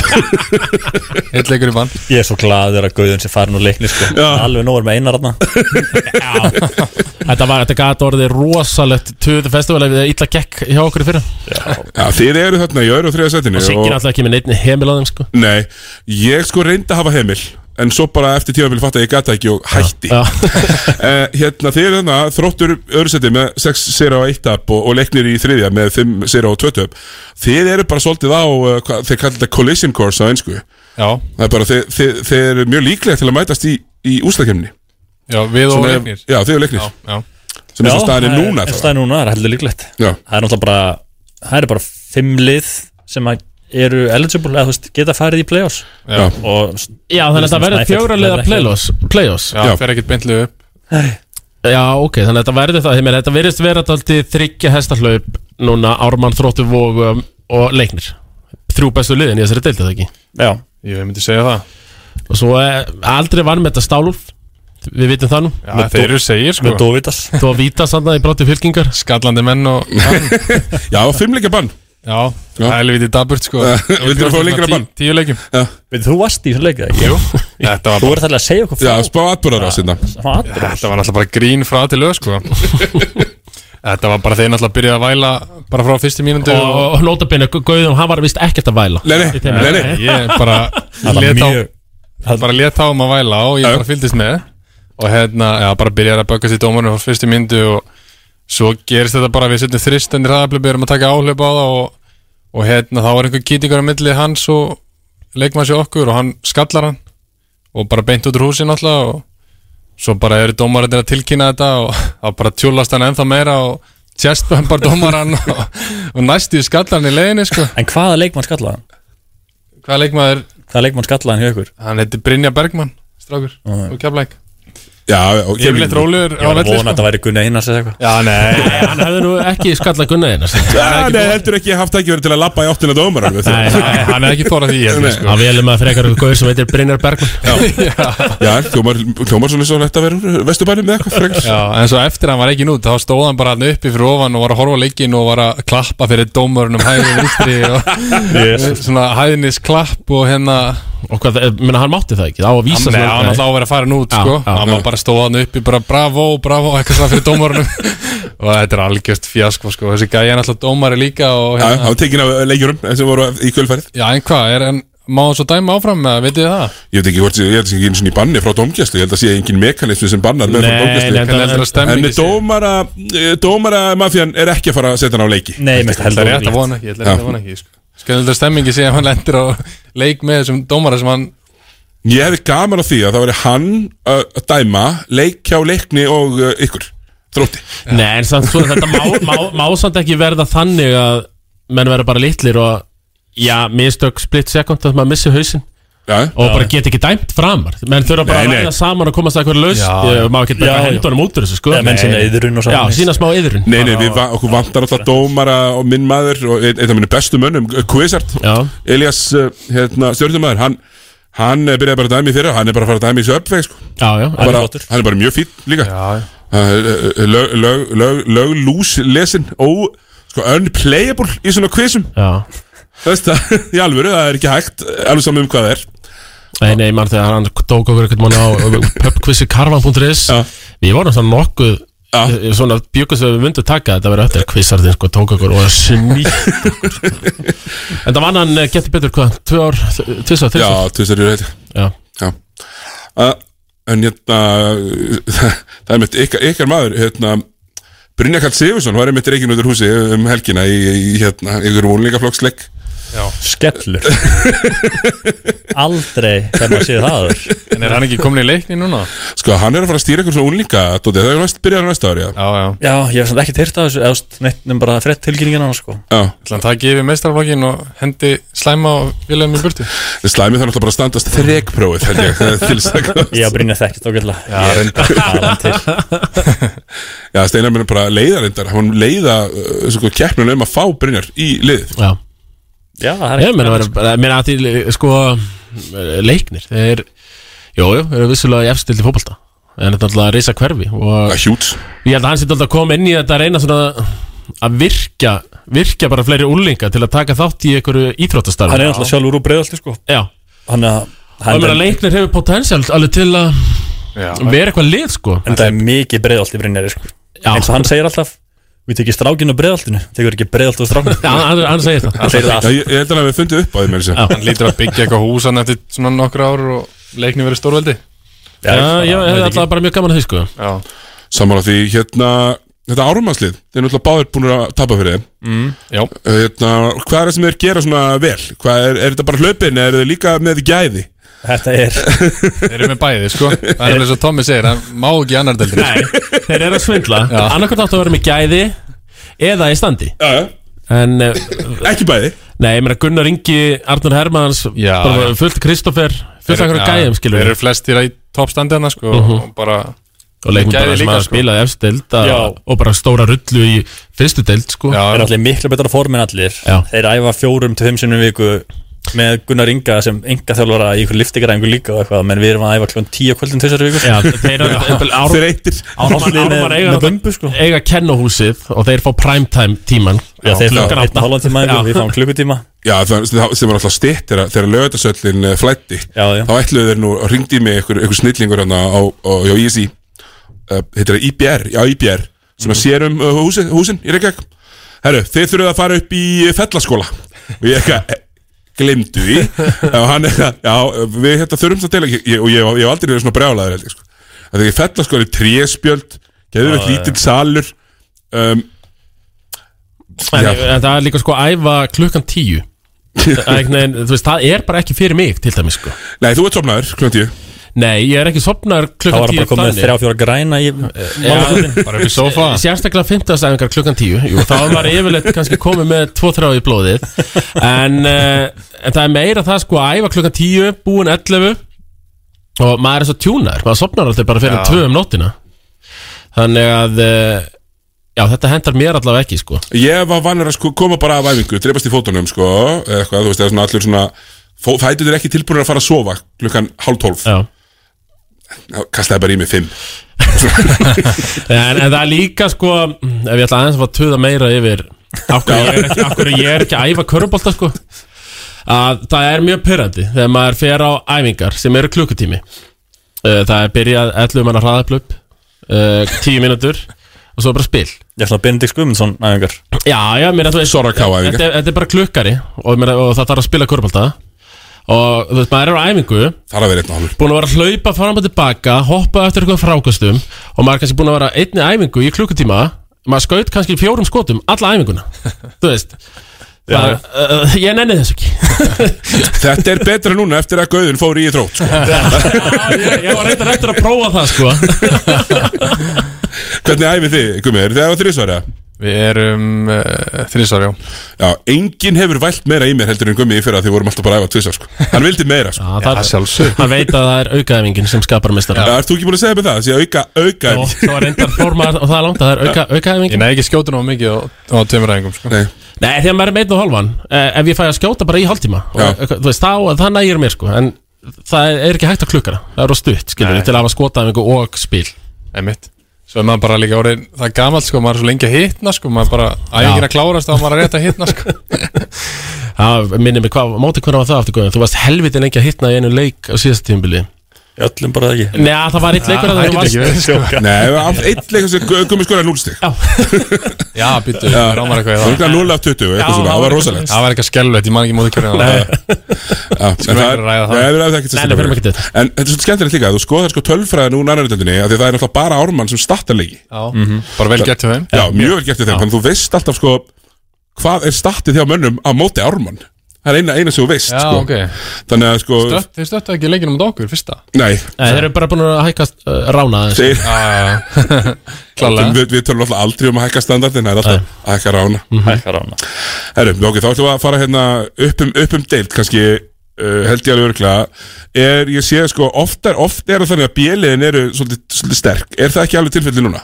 Speaker 9: Eitt leikur í bann
Speaker 6: Ég er svo gladur að Guðun sé farin úr leikni sko. Alveg nóg er með einar þarna
Speaker 2: Þetta var, þetta gata orðið rosalegt Töðu festival ef það illa gekk hjá okkur fyrir
Speaker 1: Já, þið eru þarna í öðru og þriða setinu
Speaker 2: Og Siggi náttúrulega ekki með neitt heimil á þeim sko
Speaker 1: Nei, ég sko reyndi að hafa heimil En svo bara eftir tímafél fatt að ég gata ekki og hætti
Speaker 2: Já.
Speaker 1: uh, Hérna, þið eru þarna Þróttur öðru seti með 6 sera og 1 tap og, og leiknir í þriðja með 5 sera og 2 tap Þið eru bara svolítið á uh, hva, Þeir kallar þetta collision course á einsku
Speaker 9: Já
Speaker 1: Það er bara, þið, þið, þið eru mjög líklega til að mætast í, í úslakemni
Speaker 9: Já, við og
Speaker 1: Svona er-
Speaker 9: leiknir
Speaker 1: já, þið og Leiknir.
Speaker 9: Já,
Speaker 1: Sem
Speaker 9: já
Speaker 1: er svo staðan er
Speaker 6: það
Speaker 1: núna
Speaker 6: er
Speaker 1: þá.
Speaker 6: staðan núna, það er heldur líklegt
Speaker 1: Já.
Speaker 6: Það er náttúrulega bara Það er bara fimm lið sem að eru eligible eða þú veist, geta farið í playoffs
Speaker 9: Já.
Speaker 6: og
Speaker 2: Já, þannig að þetta verður
Speaker 6: Snæfell
Speaker 2: fjóra liða
Speaker 6: verður ekki-
Speaker 2: playoffs, playoffs.
Speaker 9: Já, fer ekkert beintlega upp
Speaker 2: Já, ok, þannig að þetta verður það Þeimir, Þetta verðist vera daldið þryggja hestahlaup Núna Ármann, Þróttu, Vog um, og Leiknir Þrjú bestu liðin í þessari deildi það ekki
Speaker 6: Já,
Speaker 9: ég myndi segja það
Speaker 2: Og svo eh, aldrei var með þetta Stálulf Við vitum það nú
Speaker 9: Já, þeir eru segir sko
Speaker 2: Dovitas hann í bróti fylkingar
Speaker 9: Skallandi menn og
Speaker 1: Já, fimmleikja bann
Speaker 9: Já, það er lítið daburt sko
Speaker 1: Vildur að fá lengra bann?
Speaker 9: Tíu leikjum
Speaker 6: Veit, þú varst í þessum leik eða ekki?
Speaker 9: Jú, þetta var
Speaker 6: Þú verður alltaf að segja okkur
Speaker 1: Já, spá hérna. atbúrar á sinna
Speaker 9: Þetta var alltaf bara grín frá til lög sko Þetta var bara þeir náttúrulega byrjaði að væla bara frá fyrstu mínundu
Speaker 2: Og, og, og nótabinu, Gauðum, hann var vist ekkert að væla Í þeim-
Speaker 9: Ég bara
Speaker 2: Það var
Speaker 9: let á
Speaker 2: mjög-
Speaker 9: bara let á um að væla og ég bara fylgdist með og hérna, já, bara byrjaði að böggast í dómarinu frá fyrstu mínundu og svo gerist þetta bara við setjum þristendir aðblöfum erum að taka áhlaup á það og, og hérna, þá var einhver kýtingar á milli hans og leikmanns í okkur og hann skallar hann og bara beint út úr húsi náttúrulega og svo bara eru dómararnir að tilkynna þetta og þá bara tjúlast hann ennþá meira og chestbömbar dómarann og, og næstu skallar hann í leiðinni sko.
Speaker 6: En hvaða leikmann skallar hann?
Speaker 9: Hvaða leikmaður?
Speaker 6: Hvaða leikmann skallar hann hjá ykkur?
Speaker 9: Hann heitir Brynja Bergmann, strákur, og keflæk
Speaker 1: Já,
Speaker 9: og Yfirleitt Keflavík. rólegur á
Speaker 6: Ég var að
Speaker 9: velli,
Speaker 6: vona
Speaker 9: sko.
Speaker 6: að þetta væri Gunni Einars eða eitthvað
Speaker 9: Já, nei
Speaker 2: Hann hefði nú ekki skallað Gunnaðina
Speaker 1: Já, nei, heldur ekki haft ekki verið til að lappa í áttina dómar Nei,
Speaker 9: hann er ekki þórað því
Speaker 1: heldur, sko.
Speaker 2: Það velum að frekar ykkur gauður sem heitir Brynjar Bergman
Speaker 1: Já, hljómar, hljómar svona eins og þetta verður vesturbænum eða eitthvað frekar
Speaker 9: Já, en svo eftir að hann var ekki nút þá stóð hann bara hann uppi fyrir ofan og var að horfa á leikinn og var að klappa fyrir dómarunum hægri og vinstri og
Speaker 2: Yes.
Speaker 9: svona hæðinis klapp og hérna
Speaker 2: Og hvað, eh, menna hann mátti það ekki Það á að vísa
Speaker 9: Nei, hann ætlaði að vera að fara nút
Speaker 2: Já,
Speaker 9: sko
Speaker 2: já.
Speaker 9: Hann var bara að stóða hann uppi bara bravo, bravo eitthvað svona fyrir dómarunum og þetta er algjörst fjasko sko þessi gæði hann alltaf dómari líka og hérna,
Speaker 1: Já, hann tekinn af leikjurum sem voru í kvölfærið
Speaker 9: Já, en hvað, er hann má hann svo dæma áfram með, veitir þið það?
Speaker 1: Ég veit ekki hvort, ég held að sé ekki einu svona í banni frá dómgæslu Ég held að sé engin mekanismi sem bannar með frá
Speaker 9: Nei,
Speaker 1: dómgæslu
Speaker 9: nei, Hvernig heldur að stemmingin
Speaker 1: En
Speaker 9: sé?
Speaker 1: dómara, eh, dómara mafían er ekki að fara að setja hann á leiki
Speaker 6: Nei, mér
Speaker 9: Það er rétt að vona ekki, ég ætla rétt að vona ekki sko. Sköndulega stemmingi sé að hann lendir á leik með þessum dómara sem hann
Speaker 1: Ég hefði gaman á því að það væri hann uh, að dæma leik hjá leikni og uh, ykkur Þrótti
Speaker 2: Nei, en samt svo þetta má, má, má samt ekki verða þannig að menn vera bara litlir og já, mistök split second að maður missi hausinn
Speaker 1: Já,
Speaker 2: og
Speaker 6: Já.
Speaker 2: bara get ekki dæmt framar menn þurfa bara
Speaker 6: Nei,
Speaker 2: að
Speaker 6: nei.
Speaker 2: ræða saman og komast að eitthvað laust
Speaker 6: Já, já.
Speaker 2: Ég- maður getur bara
Speaker 6: Já, já.
Speaker 2: hendunum út úr þessu sko
Speaker 6: Já, menn sína iðrun og
Speaker 2: Já,
Speaker 6: svona.
Speaker 2: sína smá yðrun
Speaker 1: Nei, nei, við, va- okkur vantar alltaf dómara og minn maður og einn einn af mínum bestu mönnum, Kvizart Elias, uh, hérna, stjórnumæður hann, hann eh, byrjaði bara að dæmi fyrir hann er bara að fara að dæmi í þessu uppveg sko.
Speaker 2: Já, já,
Speaker 1: hann, bara, hann er bara mjög fín líka
Speaker 9: já,
Speaker 1: lög, lög, lög, lög lús lesin ó, sko, unplayable í svona quizum
Speaker 2: Já.
Speaker 1: Þú veist það, í alvöru, það er ekki hægt alveg saman um hvað það er
Speaker 2: Nei, nei, mann þegar hann tók okkur eitthvað mann á pubquizzikarvan.is Við vorum svona nokkuð eh, svona bjögust við myndum taka þetta verið öttir kvissarðin sko, tók okkur og smíkt okkur. En það vann hann eh, getur betur hvað, tvö ár,
Speaker 1: Já,
Speaker 2: tvisar, tvisar
Speaker 1: tvisar í reyð
Speaker 2: Já,
Speaker 1: já. Uh, En hérna það er mitt ykkar, ykkar maður hérna, Brynja Karl Sigursson var einmitt reikinu út úr húsi um helgina í, í hérna, ykkur vonlingaflokksleik
Speaker 6: Skellur Aldrei þegar maður séð það áður.
Speaker 9: En er hann ekki komin í leikni núna?
Speaker 1: Sko, hann er að fara að stýra ykkur svona úlinga Dóti, það er næst, byrjar hann næsta ári Já,
Speaker 9: já,
Speaker 6: Já, ég hef svona ekkert heyrt af þessu eða þú veist, neitt nefnum bara frett tilkynningin hann sko
Speaker 1: já.
Speaker 9: Þannig að það gefi meistarflokkin og hendi slæma og viljaðum í burtu
Speaker 1: Slæmi þannig að bara að standast þrekprófið held ég, til þess að komast.
Speaker 6: Ég brýna þekkt ágætlega
Speaker 1: Já,
Speaker 6: Ég-
Speaker 1: reyndar.
Speaker 6: Það var til.
Speaker 1: Já, Steinar minn er bara leiðarindar Hann leiða uh, sko, keppnun um að fá Brynjar í liðið
Speaker 2: Já,
Speaker 6: Já, það
Speaker 2: ég meina verið bara, meina að því eh, sko eh, leiknir, þeir Jú, jú, eru vissulega í efstildi fótbolta En þetta er alltaf að reysa hverfi Það
Speaker 1: er hjút
Speaker 2: Ég held að hann sé alltaf að koma inn í þetta að reyna svona að virkja, virkja bara fleiri úlinga til að taka þátt í einhverju íþróttastarfi
Speaker 6: Hann er alltaf sjálfur úr breyðalti sko
Speaker 2: Já
Speaker 6: Hann er
Speaker 2: Og ég meina leiknir hefur potensialt alveg til að vera eitthvað lið sko
Speaker 6: En það er mikið breiðalt í Brynjari sko
Speaker 2: Já.
Speaker 6: Eins og hann segir alltaf Við tekið strákinu og breiðaltinu Tekur ekki breiðalt og strákinu
Speaker 2: Já, hann- hann segir það.
Speaker 6: Hann segir það
Speaker 1: Já, ég, ég held að hann hafi fundið upp á því með þessu
Speaker 9: Hann lítur að byggja eitthvað hús hann eftir svona nokkur ár og leikni verið stórveldi
Speaker 2: Já, ég hef alltaf bara mjög gaman að því sko
Speaker 9: Já
Speaker 1: Saman á því, hérna Þetta árumannslið, þeir eru náttúrulega báðir búin að tapa fyrir þeim
Speaker 9: mm, Já
Speaker 1: Uh, hérna, Hvað er það sem þeir gera svona vel? Hvað er, er þetta bara hlaupin? Er þeir líka með gæði?
Speaker 6: Þetta er
Speaker 9: Þeir eru með bæði sko Það er eins og Tommi segir, hann má ekki annar deildin
Speaker 2: Nei, þeir eru að svindla
Speaker 9: Já.
Speaker 2: Annarkvæmt áttu að vera með gæði eða í standi
Speaker 1: Já, já
Speaker 2: En, eh,
Speaker 1: Ekki bæði
Speaker 2: Nei, ég meina Gunnar Ingi, Arnur Hermanns
Speaker 9: Já,
Speaker 2: bara
Speaker 9: já.
Speaker 2: fullt Kristoffer, fullt
Speaker 9: Þeir-
Speaker 2: einhverju
Speaker 9: já,
Speaker 2: gæjum skilur
Speaker 9: Þeir eru flestir í toppstandina sko
Speaker 2: Mhm.
Speaker 9: Og bara
Speaker 2: og leikmenn
Speaker 9: Gæði
Speaker 2: bara sem
Speaker 9: líka,
Speaker 2: að
Speaker 9: sko.
Speaker 2: spilaði efst deild að-
Speaker 9: Já.
Speaker 2: og bara stóra rullu í fyrstu deild sko
Speaker 6: Það er allir miklu betra form en allir
Speaker 2: Já.
Speaker 6: Þeir æfa fjórum til fimm sinnum í viku með Gunnar Inga sem Inga þjálfara í ykkur liftingaræfingu líka og eitthvað menn við erum að æfa klón tíu kvöldin þessari viku
Speaker 2: Já, þeir eru- Ár- Ármann Ármann eiga
Speaker 6: með
Speaker 2: náttúrulega- eiga kennohúsið sko. og þeir fá primetime tíman
Speaker 6: Já, þeir fá
Speaker 2: Klukkan
Speaker 6: einn
Speaker 2: átta.
Speaker 6: og hálfan tíma í viku,
Speaker 2: Já.
Speaker 6: við fáum klukkutíma
Speaker 1: Já, það það sem var alltaf stitt þegar, þegar lögðasöllin flætti já, já. þá ætluðu þeir nú, ringdi mig einhver, einhver snillingur hann á, á, á hjá ISI uh, heitir það IBR, já IBR sem
Speaker 2: Mhm.
Speaker 1: að sér um uh, húsin, húsin í Reykjavík Herru, þeir þurfuð að fara upp í eh, fellaskóla og ég eitthvað eh, glemdu því og hann eitthvað, já, við hérna þurfum það til ég, ég- og ég hef- ég hef aldrei verið svona brjálaður held ég, sko. að þegar fellaskóla er tréspjöld geður við
Speaker 2: Já, já.
Speaker 1: lítill salur um,
Speaker 2: En
Speaker 1: Já.
Speaker 2: en það er líka sko að æfa klukkan tíu Negin, veist, Það er bara ekki fyrir mig til dæmis sko
Speaker 1: Nei, þú ert sopnaður klukkan tíu
Speaker 2: Nei, ég er ekki sopnaður
Speaker 6: Þá
Speaker 2: klukkan
Speaker 6: var
Speaker 2: tíu
Speaker 6: bara komið þrjá, fjóra græna í
Speaker 2: Já,
Speaker 9: bara upp í sófa.
Speaker 2: Sérstaklega fimmtastæðingar klukkan tíu Jú, þá var yfirleitt kannski komið með tvo þrjá í blóðið en, uh, en það er meira það sko að æfa klukkan tíu Búin 11 Og maður er svo tjúnar Maður sopnar alltaf bara fyrir
Speaker 6: Já.
Speaker 2: tvö um nóttina Þannig að uh, Já, þetta hendar mér allavega ekki sko
Speaker 1: Ég var vanur að sko koma bara af æfingu, dreipast í fótunum sko, eða eitthvað, þú veist, eða svona allir svona fætuður ekki tilbúinir að fara að sofa klukkan hálf tólf
Speaker 2: Já.
Speaker 1: Kastaði bara í mig fimm
Speaker 2: en, en það er líka sko Ef ég ætla aðeins að fá að tuða meira yfir Akkur ég er ekki, af hverju ég er ekki að æfa körubolta sko að Það er mjög pyrrandi Þegar maður fer á æfingar sem eru klukkutími Uh, Það er byrjað 11 manna hraðaplöp 10 mínútur Og svo bara spil
Speaker 6: Ég ætla að Benedikt Guðmundsson æfingar
Speaker 2: Já, já, mér að þú veist
Speaker 6: Soraká-æfingar.
Speaker 2: þetta, er- þetta er bara klukkari og, mér, og það þarf að spila körubolta Og þú veist, maður er á æfingu
Speaker 1: Þarf að vera einn og hálfur
Speaker 2: Búin að vera að hlaupa fram og tilbaka Hoppa eftir eitthvað frákastum Og maður er kannski búin að vera á einni æfingu í klukkutíma Maður skaut kannski fjórum skotum Alla æfinguna, þú veist Það, uh, ég nenni þessu ekki
Speaker 1: Þetta er betra núna eftir að gauðin fór í þrótt sko.
Speaker 2: ég, ég var reyndar eftir að prófa það sko
Speaker 1: Hvernig æfið þið, Guðmur, þegar það þrísvara?
Speaker 9: Við erum uh, þrísvara, já
Speaker 1: Já, enginn hefur vælt meira í mér heldur en Guðmi í fyrra því við vorum alltaf bara að æfa tvisar sko. Hann vildi meira sko.
Speaker 2: Já, það- Hann veit að það er aukaæfingin sem skapar mestara
Speaker 1: Já, ert þú ekki búin að segja með það? Sér auka, auka
Speaker 2: Jó, það var reyndar formar og það er langt að það er auka, aukaæfing
Speaker 9: Ég nefn ekki skjóta ná mikið á, á tveimur æfingum sko.
Speaker 1: Nei.
Speaker 2: Nei, þegar maður er meitn og hálfan eh, Ef ég fæ að skjóta bara í hálftíma og, þú veist, þá, Það nægir mér sko En það er ekki hægt að klukkana Það er á stutt, skilur
Speaker 9: Nei.
Speaker 2: við, til að hafa um skotaæfingu og spil
Speaker 9: Einmitt Svo er maður bara líka orðin Það er gamalt sko, maður er svo lengi að hitna sko Maður bara, æfingin að klárast þá er maður er rétt að hitna sko
Speaker 2: Það minnir mig hvað, móti hvernig var það aftur góðin Þú varst helviti lengi að hitna í einu leik á síðasta tímbili
Speaker 6: Öllum bara það ekki
Speaker 2: Nei, það var eitt leikur að það
Speaker 6: sko.
Speaker 1: Nei, eitt leikur sem Guðmi skoraði 0 stig
Speaker 9: Já, býttu,
Speaker 1: Já.
Speaker 9: rámar eitthvað í
Speaker 1: Það var 0 af 20, eitthvað svona, það var rosalegt.
Speaker 9: Það var eitthvað skelvett, ég man ekki móti hverju það var.
Speaker 1: Já, en
Speaker 9: Skulum
Speaker 1: það
Speaker 9: ekki
Speaker 1: er
Speaker 9: ræða það.
Speaker 1: Nei, við ræðum það ekki
Speaker 9: Nei, nei,
Speaker 1: sérstaklega.
Speaker 9: förum ekki þetta.
Speaker 1: En þetta er svolítið skemmtilegt líka Þú skoðar sko tölfræðin úr annari deildinni af Því að það er náttúrulega bara ármann sem startarleiki
Speaker 9: Já. Mhm. Bara vel gert hjá þeim.
Speaker 1: Já, mjög vel gert hjá þeim Þannig að þú veist alltaf sko Hvað er startið hjá mönnum á móti ármann Það er eina, eina sem þú veist
Speaker 9: Já,
Speaker 1: sko.
Speaker 9: ok.
Speaker 1: Þannig að sko
Speaker 9: Stött- Þeir stöttu ekki leikinum á okkur, fyrsta
Speaker 1: Nei,
Speaker 2: Nei, þeir eru bara búin að hækka uh, rána aðeins.
Speaker 1: Þeir-
Speaker 9: Klálega.
Speaker 1: við, við tölum alltaf aldrei um að hækka standardin Það er alltaf að hækka rána
Speaker 9: Mhm.
Speaker 6: Hækka rána
Speaker 1: Herru, ok, þá ætlum við að fara hérna upp um, upp um deilt kannski Uh, held ég alveg örgulega er, ég sé sko, oft er, oft er það þannig að bjöliðin eru svolítið, svolítið sterk er það ekki alveg tilfelli núna?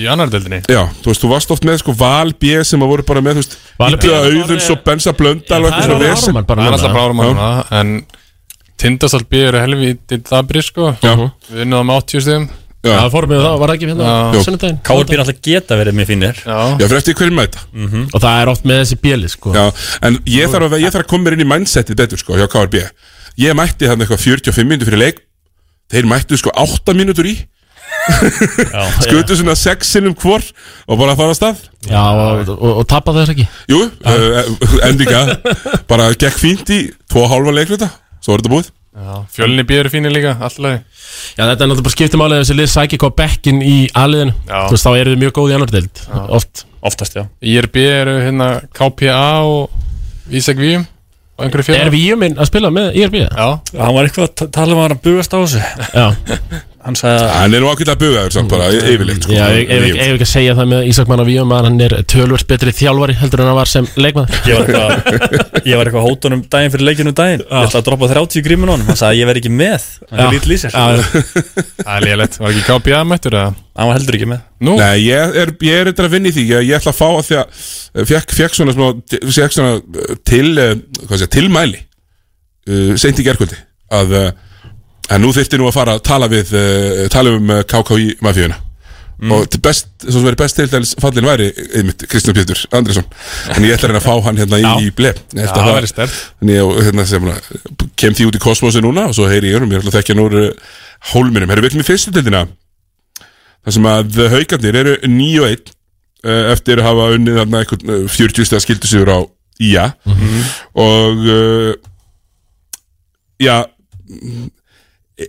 Speaker 9: Í annar deildinni
Speaker 1: Já, þú veist, þú varst oft með sko Val B sem að voru bara með, þú veist
Speaker 9: Val B
Speaker 1: Ítla
Speaker 9: var
Speaker 1: auðun, svo Bensa Blöndal og
Speaker 9: Það
Speaker 1: eitthvað
Speaker 9: er
Speaker 1: svona
Speaker 9: alveg
Speaker 1: vesen.
Speaker 9: Ármann bara núna. Það er alltaf bara Ármann
Speaker 1: Já.
Speaker 9: núna, En Tindastall B eru helvið í dabri sko
Speaker 1: Já.
Speaker 9: Við unnum 80 stegum
Speaker 1: Já,
Speaker 2: það fórum við það, var það ekki hérna á
Speaker 9: Jú.
Speaker 2: sunnudaginn?
Speaker 6: Káur býr alltaf geta verið með finnir
Speaker 1: Já, fyrir eftir hverjum mæta
Speaker 2: Og það er oft með þessi bjöli sko
Speaker 1: Já, en ég þarf, að, ég þarf að koma mér inn í mindsetið betur sko, hjá KRB Ég mætti þannig eitthvað 45 minnur fyrir leik Þeir mættu sko 8 mínútur í Skutu svona 6 sinnum hvor Og bara að fara að stað
Speaker 2: Já, og, og, og tapa þess ekki
Speaker 1: Jú, uh, endinga Bara gekk fínt í 2,5 leikluta Svo er þetta búið
Speaker 9: Fjölni B eru fínir líka, alltaf
Speaker 2: Já, þetta er náttúrulega bara skiptum álega þessi lið sækja hvað bekkin í aliðinu Þú veist, þá eru þið mjög góð í annar deild Oft
Speaker 6: Oftast, já
Speaker 9: IRB eru hérna KPA og Ísæk Víum og einhverju fjöla
Speaker 2: Er Víum minn að spila með IRB?
Speaker 9: Já
Speaker 6: Hann var eitthvað að ta- tala um að hann bugast á þessu
Speaker 2: Já
Speaker 6: hann sagði að
Speaker 1: Hann er nú ákveðlega bugaður samt bara, y- yfirleitt sko.
Speaker 2: Já, ég ég- ég- ég hef ekki að segja það með Ísak Mann og Víum að hann er tölvöld betri þjálfari heldur en hann var sem leikmaður
Speaker 6: Ég var eitthvað Ég var eitthvað hótunum daginn fyrir leikinu daginn Ég ætla að droppa 30 grímin á honum Hann sagði að ég verð ekki með Hann er
Speaker 9: Já.
Speaker 6: lítið í sér
Speaker 9: Já, Það er lélætt, var ekki KPA mættur eða?
Speaker 6: Hann var heldur ekki með
Speaker 9: Nú?
Speaker 1: Nei, ég er, ég er eitthvað að vinna í því Ég, ég ætla að fá að því að Fjekk, fjekk svona, smá, fjekk svona eh, til, eh, hvað sé, tilmæli uh, Seint í gerkvöldi Að, uh, að nú þyrfti nú að fara að tala við uh, Tala um uh, KKI mafíuna
Speaker 9: Mm.
Speaker 1: Og til best, svo sem verið best til dælis fallin væri eh, einmitt Kristján Pétur Andrisson En ég ætla að reyna að fá hann hérna í, í blef
Speaker 9: Já, það væri sterkt.
Speaker 1: En ég hérna, sem, svona, kem því út í kosmosi núna Og svo heyri ég um, ég ætla að þekkja hann úr uh, hólminum Herru, við ætlum í fyrstu dildina þar sem að haugarnir eru 9-1 eh, eftir að hafa unnið þarna einhvern eh, 40 stega skildu sigur á IA og uh, já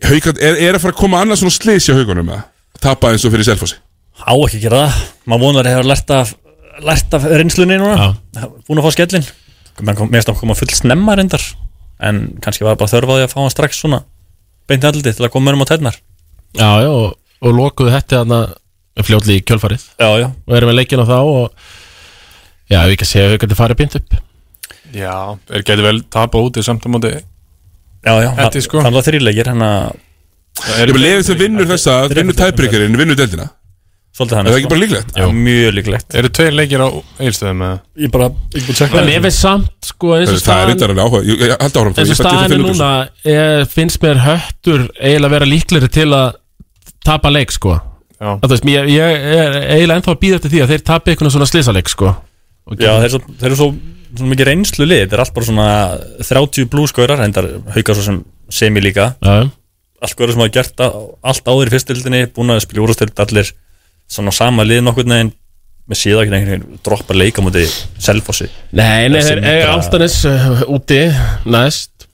Speaker 1: haugand, er, er að fara að koma annars svona slis í haugunum að tapa eins og fyrir selfossi
Speaker 6: Á ekki að gera það Maður vonar hefur lært af Lært af reynslunni núna Búin að fá skellin Mér finnst að koma full snemma reyndar En kannski var bara þörfaði að fá hann strax svona Beinti allir til að koma mörgum á tætnar
Speaker 2: Já, já, og, og lokuðu hætti þarna fljótli í kjölfarið
Speaker 6: Já, já
Speaker 2: Og erum við leikina þá og Já, ef ég ekki að segja haugarnir farið býnt upp
Speaker 9: Já, er gæti vel tapa úti samt á móti
Speaker 6: Já, já,
Speaker 9: Þetta er sko
Speaker 6: Þannig að þrýleikir hann að
Speaker 1: Ég með lefið sem vinnur þessa, vinnur tæbreykarinn, vinnur deldina
Speaker 6: Svolítið
Speaker 1: Er það ekki bara líklegt?
Speaker 6: Já, mjög líklegt
Speaker 9: Eru tveir leikir á eilstöðum eða?
Speaker 6: Ég bara, ég búið að
Speaker 2: En mér finnst samt, sko, eins
Speaker 1: Það
Speaker 2: og
Speaker 1: er
Speaker 2: staðan
Speaker 1: eitthvað áhuga, ég ég- held áhrum
Speaker 2: eins og staðan er núna er, finnst mér höttur eiginlega vera líklegri til að tapa leik sko
Speaker 9: Já.
Speaker 2: Þú veist, ég, ég er eiginlega ennþá að býða eftir því að þeir tapi eitthvað svona slisaleik sko Og
Speaker 6: Já, þeir, eru svo, þeir eru svo, svo mikið reynslu lið Þetta er allt bara svona 30 blúskaurar Hendar hauka svo sem semi líka
Speaker 2: Já.
Speaker 6: Allt góður sem hafa gert á- allt áður í fyrstildinni Búin að spila úrústild allir Svona sama lið nokkurn veginn Með síða ekki neginn droppar leika múti Selfossi
Speaker 2: Nei, nei, þeir
Speaker 6: Þessi
Speaker 2: eru
Speaker 6: bara-
Speaker 2: áltanis uh, úti næst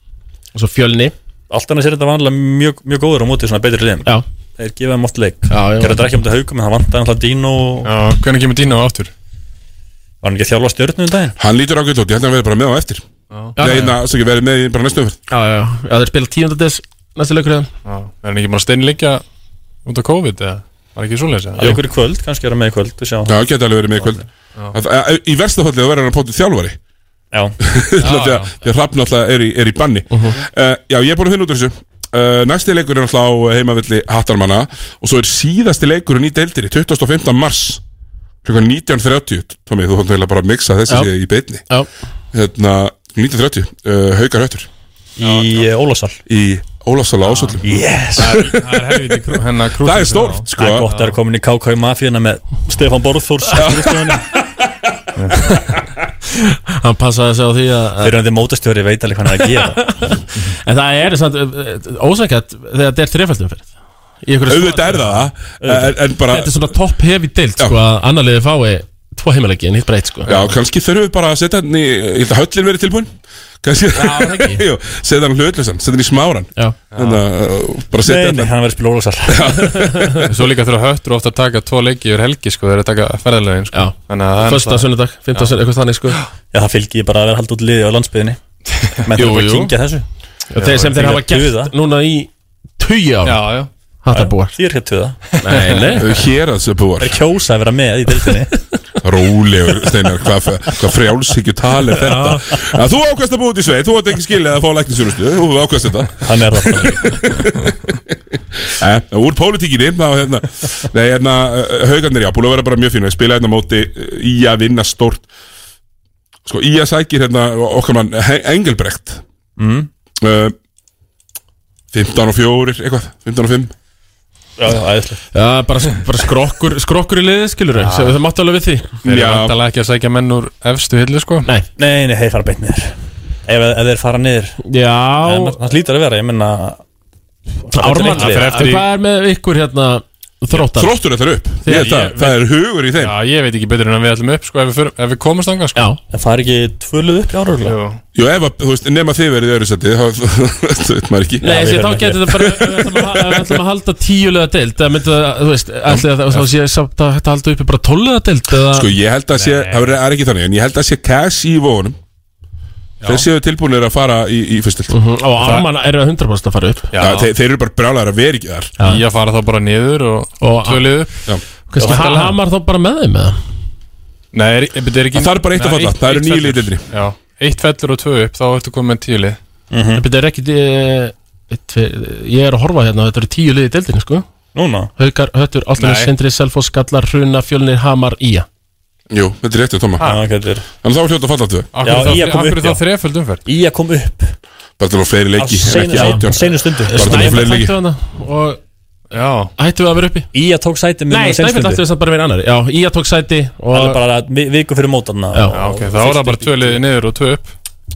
Speaker 2: og svo fjölni
Speaker 6: Allt annars er þetta vanlega mjög, mjög góður á móti svona betri liðum
Speaker 2: Já.
Speaker 6: Þeir gefa þeim oft leik
Speaker 2: Já, já.
Speaker 6: Gerða þetta ekki um þetta hauka menn það vantaði alltaf Dino
Speaker 9: Já, hvernig kemur Dino aftur?
Speaker 6: Var hann ekki að þjálfa stjörnum um daginn?
Speaker 1: Hann lítur ágætt út, ég held að hann verði bara með á eftir
Speaker 2: Já.
Speaker 1: Nei, na, svo ekki verði með í bara næstu umferð
Speaker 2: Já, já, já, þeir spila tíundadis næstu leikur þeim
Speaker 9: Já, er hann ekki bara steinleikja út á COVID eða? Var ekki svo leysa?
Speaker 6: Í okkur í kvöld, kannski vera með í kvöld við sjáum
Speaker 1: Já,
Speaker 6: það.
Speaker 1: hann geti alveg verið með í kvöld Að- að- að- Í versta fallið þá verður hann að pótið þjálfari
Speaker 6: Já
Speaker 1: Því að því að Hrafn alltaf er í, er í banni
Speaker 9: Mhm.
Speaker 1: uh, Já, ég er búin að finna út úr þessu uh, Næsti leikur er alltaf á heimavilli Hattarmanna Og svo er síðasti leikurinn í deildinni 25. mars Klukkan 19.30 Tómi, þú hóttum eiginlega bara að mixa þessi
Speaker 6: Já.
Speaker 1: sé í beinni
Speaker 2: Já.
Speaker 1: Hérna, 19.30 uh, Haukar höttur
Speaker 6: Í eh, Ólafsal
Speaker 1: Í Ólafsal á Ásvöllum
Speaker 6: Yes
Speaker 9: Það er helviti krú- hennar krúsið
Speaker 1: Það er stórt, sko
Speaker 6: Það er gott að vera komin í KK Mafíuna með Stefán Borðfórs
Speaker 2: Hann passaði sig á því að
Speaker 6: Fyrir hann þið mótastjóri veit alveg hvað hann er að gera
Speaker 2: En það er samt ósækjætt þegar þetta er þrefaldum fyrir Í einhverju svo-
Speaker 1: Auðvitað er það en, en bara,
Speaker 2: Þetta er svona topp hefi dild sko að annar liði fái tvo heimilegi en hitt breytt sko
Speaker 1: Já, kannski þurfum við bara að setja hann í Ég held að höllin verið tilbúin Kannski, já, setja hann hlutlausan, setja hann í smáran
Speaker 2: Já.
Speaker 1: Þannig að uh, bara setja
Speaker 6: Nei, nei, hann verður spila Ólafsal
Speaker 9: En Svo líka þurfa höttur ofta að taka tvo leiki yfir helgi sko, þeir eru að taka ferðarlegin sko.
Speaker 2: Já.
Speaker 9: Þannig að það er
Speaker 2: Fösta,
Speaker 9: náttúrulega-
Speaker 2: sunnudag, fymta, sunnudag, eitthvað þannig sko
Speaker 6: Já, það fylgir bara að vera haldið út liði á landsbyðinni Menn það
Speaker 2: Jú,
Speaker 6: er bara að
Speaker 2: jú.
Speaker 6: kynkja þessu
Speaker 2: Já, þeir sem þeir hafa gert núna í tugi ára
Speaker 9: Já, já
Speaker 2: Hattabúar
Speaker 6: Því er hér tuða
Speaker 2: Nei, nei
Speaker 1: Hér að þessu búar
Speaker 6: Er kjósa að vera með í dildinni
Speaker 1: Rólegur, Steinar, hvað hva frjálsíkju tal er þetta að Þú ákvæmst að búa út í sveit, þú átt ekki skilið að fá læknisjónustu Þú ákvæmst þetta
Speaker 6: Hann er það
Speaker 1: Eh, Úr pólitíkinni, þá hérna Nei, hérna, haugarnir, já, búin að vera bara mjög fínu Ég spila hérna á móti eh, í að vinna stórt Sko, í að sækir hérna okkar mann He- Engelbrekt
Speaker 6: mm.
Speaker 1: uh, 15 og 4, eitthvað 15 og 5
Speaker 6: Já, já, æðislega
Speaker 2: Já, bara, bara skrokkur, skrokkur í liðið skilur við Við þum alveg við því
Speaker 9: Þeir eru
Speaker 1: Já.
Speaker 9: vantalega ekki að sækja menn úr efstu hillu sko.
Speaker 2: Nei,
Speaker 6: Nei, nei, þeir fara beint niður Ef, ef þeir fara niður En
Speaker 2: já
Speaker 6: það lítur að vera, ég menna
Speaker 2: Ármann,
Speaker 6: Það fer eftir
Speaker 9: í-
Speaker 2: hvað er með ykkur hérna þróttar?
Speaker 1: Þróttur ætlar upp,
Speaker 2: Þegar-
Speaker 1: ég, ég, það, það er hugur í þeim
Speaker 9: Já, ég veit ekki betur en að við ætlum upp sko, ef, við förum, ef við komast anga sko.
Speaker 2: Já,
Speaker 6: Það fara ekki tvöluð upp í áruglega
Speaker 9: Jú.
Speaker 1: Jú, ef að, þú veist, nema þið verið í öðru seti þá, þú veit maður ekki
Speaker 2: nei,
Speaker 6: við
Speaker 2: þessi, þá
Speaker 6: förum ekki.
Speaker 2: getur þetta bara ef Við ætlum að- ef við ætlum að halda tíulega deild Það myndi að, þú veist, ætli að þá sé samt að þetta halda uppi bara tólulega deild eða
Speaker 1: Sko, ég held að sé, það verið- það er ekki þannig en ég held að sé cash í vonum þeir séu tilbúinir að fara í, í fyrstilt uh
Speaker 2: Og armana eru 100% að fara upp
Speaker 1: Já, þeir, þeir eru bara brjálæðar að vera ekki þar
Speaker 2: Já. Í
Speaker 1: að fara þá bara niður og,
Speaker 2: Og- tvö
Speaker 1: liðu
Speaker 2: Kannski ha- hamar þá bara með þeim eða?
Speaker 9: Nei, er, er, er ekki,
Speaker 1: Það er bara eitt að
Speaker 9: Nei,
Speaker 1: falla, það eru
Speaker 9: eitt
Speaker 1: níu
Speaker 9: fellur.
Speaker 1: lið deildinni.
Speaker 9: Já, eitt fellur og tvö upp, þá ertu komið með tíu lið
Speaker 2: En Þetta er ekki eh, eitt, tve- Ég er að horfa hérna, þetta eru tíu liði deildin sko.
Speaker 6: Núna?
Speaker 2: Haukar, Höttur, Altinu,
Speaker 1: Nei.
Speaker 2: Sindri, Selfoss, Skallar, Hruna, Fjölnir, Hamar, Ía
Speaker 1: Jú, þetta er réttið, Tóma
Speaker 6: Ha. Já, þetta er-
Speaker 1: En þá er hljóta að falla tvö
Speaker 6: Af hverju Já, þá- Ía kom af hverju upp, þá já.
Speaker 9: þreföld umferð?
Speaker 6: Í að koma upp
Speaker 1: Bara til að fá fleiri leiki,
Speaker 6: Á
Speaker 1: en ekki
Speaker 6: seinu-
Speaker 1: átján
Speaker 6: á seinu stundu.
Speaker 1: Bara til að fá fleiri leiki
Speaker 2: hana og
Speaker 9: Já
Speaker 2: Hættu við að vera uppi
Speaker 6: Ía tók sæti með
Speaker 2: Nei,
Speaker 6: á seinustu
Speaker 2: Snæfell
Speaker 6: stundu.
Speaker 2: ættu þess að bara vera annar Já, Ía tók sæti og
Speaker 6: Það er bara vi- viku fyrir mótarna
Speaker 2: Já.
Speaker 6: og-
Speaker 2: ok,
Speaker 9: þá er það bara tvö liði niður og tvö upp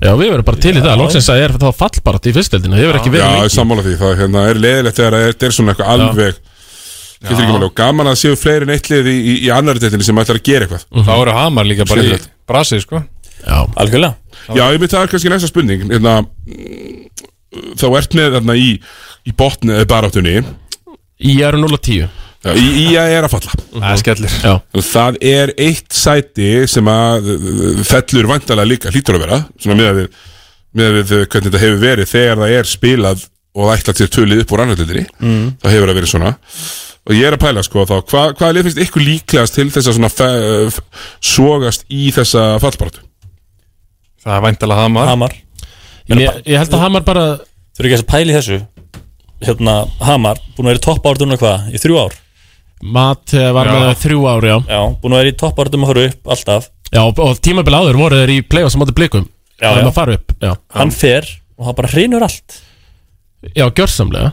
Speaker 2: Já, við verðum bara til í það Lóksins að er þá fallbarat í fyrstildinu Þið verður ekki verið
Speaker 1: Já, ég
Speaker 2: lengi
Speaker 1: er sammála því, það hérna, er leiðilegt þegar það er- þetta er svona eitthvað
Speaker 2: Já.
Speaker 1: alveg Skilur ekki máli og gaman að séu fleiri en eitt lið í, í, í annar deildinni sem ætlar að gera eitthvað
Speaker 2: Mm.
Speaker 9: Þá eru hamar líka bara í brasi, sko
Speaker 2: Já,
Speaker 6: algjörlega
Speaker 1: Já, ég myndi það er kannski næsta spurning hérna, Þá ert með þarna í, í botni, eh, baráttunni
Speaker 2: Í eru 0 og 10
Speaker 1: Í, í að er að falla
Speaker 9: Það er skellir
Speaker 2: Já.
Speaker 1: Það er eitt sæti sem að uh, fellur vandalega líka hlýtur að vera Svona með við, með við uh, hvernig þetta hefur verið Þegar það er spilað og það ætla til tölið upp úr annarlindri mm. Það hefur að verið svona Og ég er að pæla sko þá Hva, Hvað lið finnst ykkur líklegast til þess að svona fe, uh, f, Sogast í þessa fallbaráttu?
Speaker 9: Það er væntalega hamar
Speaker 6: Hamar
Speaker 2: ég, ég held að Hamar bara
Speaker 6: Þú eru ekki að pæli þessu Hérna, Hamar, búin að vera í toppártum hvað, í þrjú ár
Speaker 2: Mat eh, var
Speaker 6: Já.
Speaker 2: með þau þrjú ári, já
Speaker 6: Já, búin að vera í toppártum að fara upp, alltaf
Speaker 2: Já, og og tímabil áður voru þeir í play-offs á móti blikum
Speaker 6: Já,
Speaker 2: Það er
Speaker 6: já.
Speaker 2: að fara upp Já,
Speaker 6: Hann fer og hann bara hrinur allt
Speaker 2: já gjörsamlega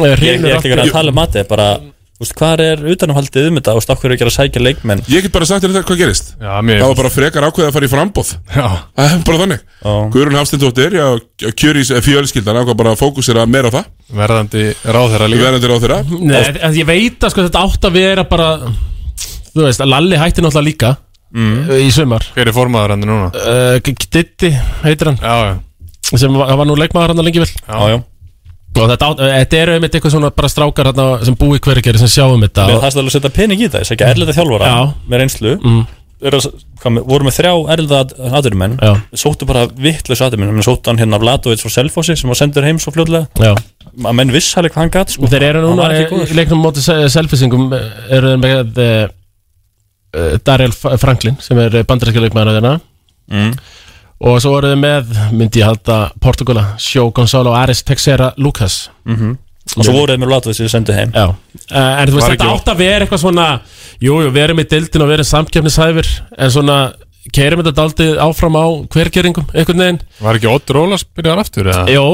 Speaker 6: Ég er
Speaker 2: Hrynur
Speaker 6: ég er ekki
Speaker 2: allt
Speaker 6: verið
Speaker 2: í-
Speaker 6: að tala um matið, bara Þú veist, hvað er utanumhaldið um þetta Þú veist, okkur er ekki að sækja leikmenn
Speaker 1: Ég get bara sagt þér þetta hvað gerist
Speaker 9: Já,
Speaker 6: mér-
Speaker 1: Það var bara frekar ákveðið að fara í frambóð
Speaker 9: Já
Speaker 1: Það er bara þannig Guðrún Hafstindóttir, já, kjörís eh, fjölskyldan ákvað bara að fókusera meira á það
Speaker 9: Verðandi ráðherra líka
Speaker 1: Verðandi ráðherra
Speaker 2: Nei, að, að ég veit að sko, þetta átt að vera bara Þú veist, að Lalli hætti náttúrulega líka mm. Í sumar
Speaker 9: Hver er formaður henni núna?
Speaker 2: uh, Ditti heitir hann
Speaker 9: Já,
Speaker 2: já Sem var, hann var nú leikmaður hann lengi vel
Speaker 6: Já, já
Speaker 2: Og þetta, átt, þetta eru einmitt eitthvað svona bara strákar hérna sem búi hvergeri sem sjáum þetta
Speaker 6: Mér
Speaker 2: og,
Speaker 6: fannst alveg að setja pening í það, ég segja erlita þjálfara
Speaker 2: Já.
Speaker 6: með reynslu
Speaker 2: Mm.
Speaker 6: er að, hvað, með- voru með þrjá erlita aðurumenn
Speaker 2: Já.
Speaker 6: sóttu bara vittlaus aðurumenn menn sóttu hann hérna Vladovits og Selfossi sem var sendur heim svo fljóðlega
Speaker 2: Já.
Speaker 6: að menn viss hann hann gat sko.
Speaker 2: Þeir eru núna
Speaker 6: hann var
Speaker 2: í
Speaker 6: ekki góður
Speaker 2: í leiknum móti selfisingum eru þeir með uh, Dariel F- Franklin sem er bandarinska leikmaður þeirna
Speaker 6: mm.
Speaker 2: og svo eru þeir með, myndi ég halda Portugala, Sjó Gonzalo Aris Texera Lucas
Speaker 6: Mhm. og svo voru þeir með Vladovits sem sendu heim
Speaker 2: Já. Uh, en þú veist, þetta
Speaker 6: Var ekki-
Speaker 2: átt að vera eitthvað svona Jú, jú, við erum í dildin og við erum samkjöfnishæfir En svona, keirum þetta daldið áfram á hvergeringum, einhvern veginn
Speaker 9: Var ekki Odd Rólas byrjar aftur? Eða?
Speaker 2: Jó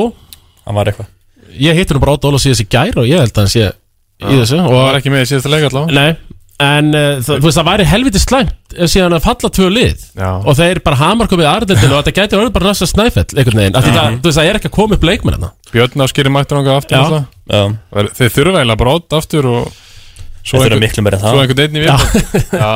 Speaker 6: Hann var eitthvað
Speaker 2: Ég hittir nú bara Ótt Ólafs í þessi gær og ég held að hann sé í þessu og
Speaker 9: Hann var ekki með í síðasta leik allavega
Speaker 2: Nei, en uh, það, þú veist, það væri helviti slæmt ef síðan að falla tvö lið
Speaker 9: Já.
Speaker 2: og þeir bara hamar komið aðröndinu og þetta gæti orðið bara næsta snæfell einhvern veginn, af því
Speaker 9: Já.
Speaker 2: það, þú veist, það er ekki að koma upp leikmenn hérna
Speaker 9: Björn áskýri mættur ánga aftur
Speaker 2: Já.
Speaker 9: náttúrulega. Þeir þeir þurfa eiginlega bara Odd aftur og
Speaker 6: Þeir þurfa miklu meira en það.
Speaker 9: Svo einhvern einn í viðbót Já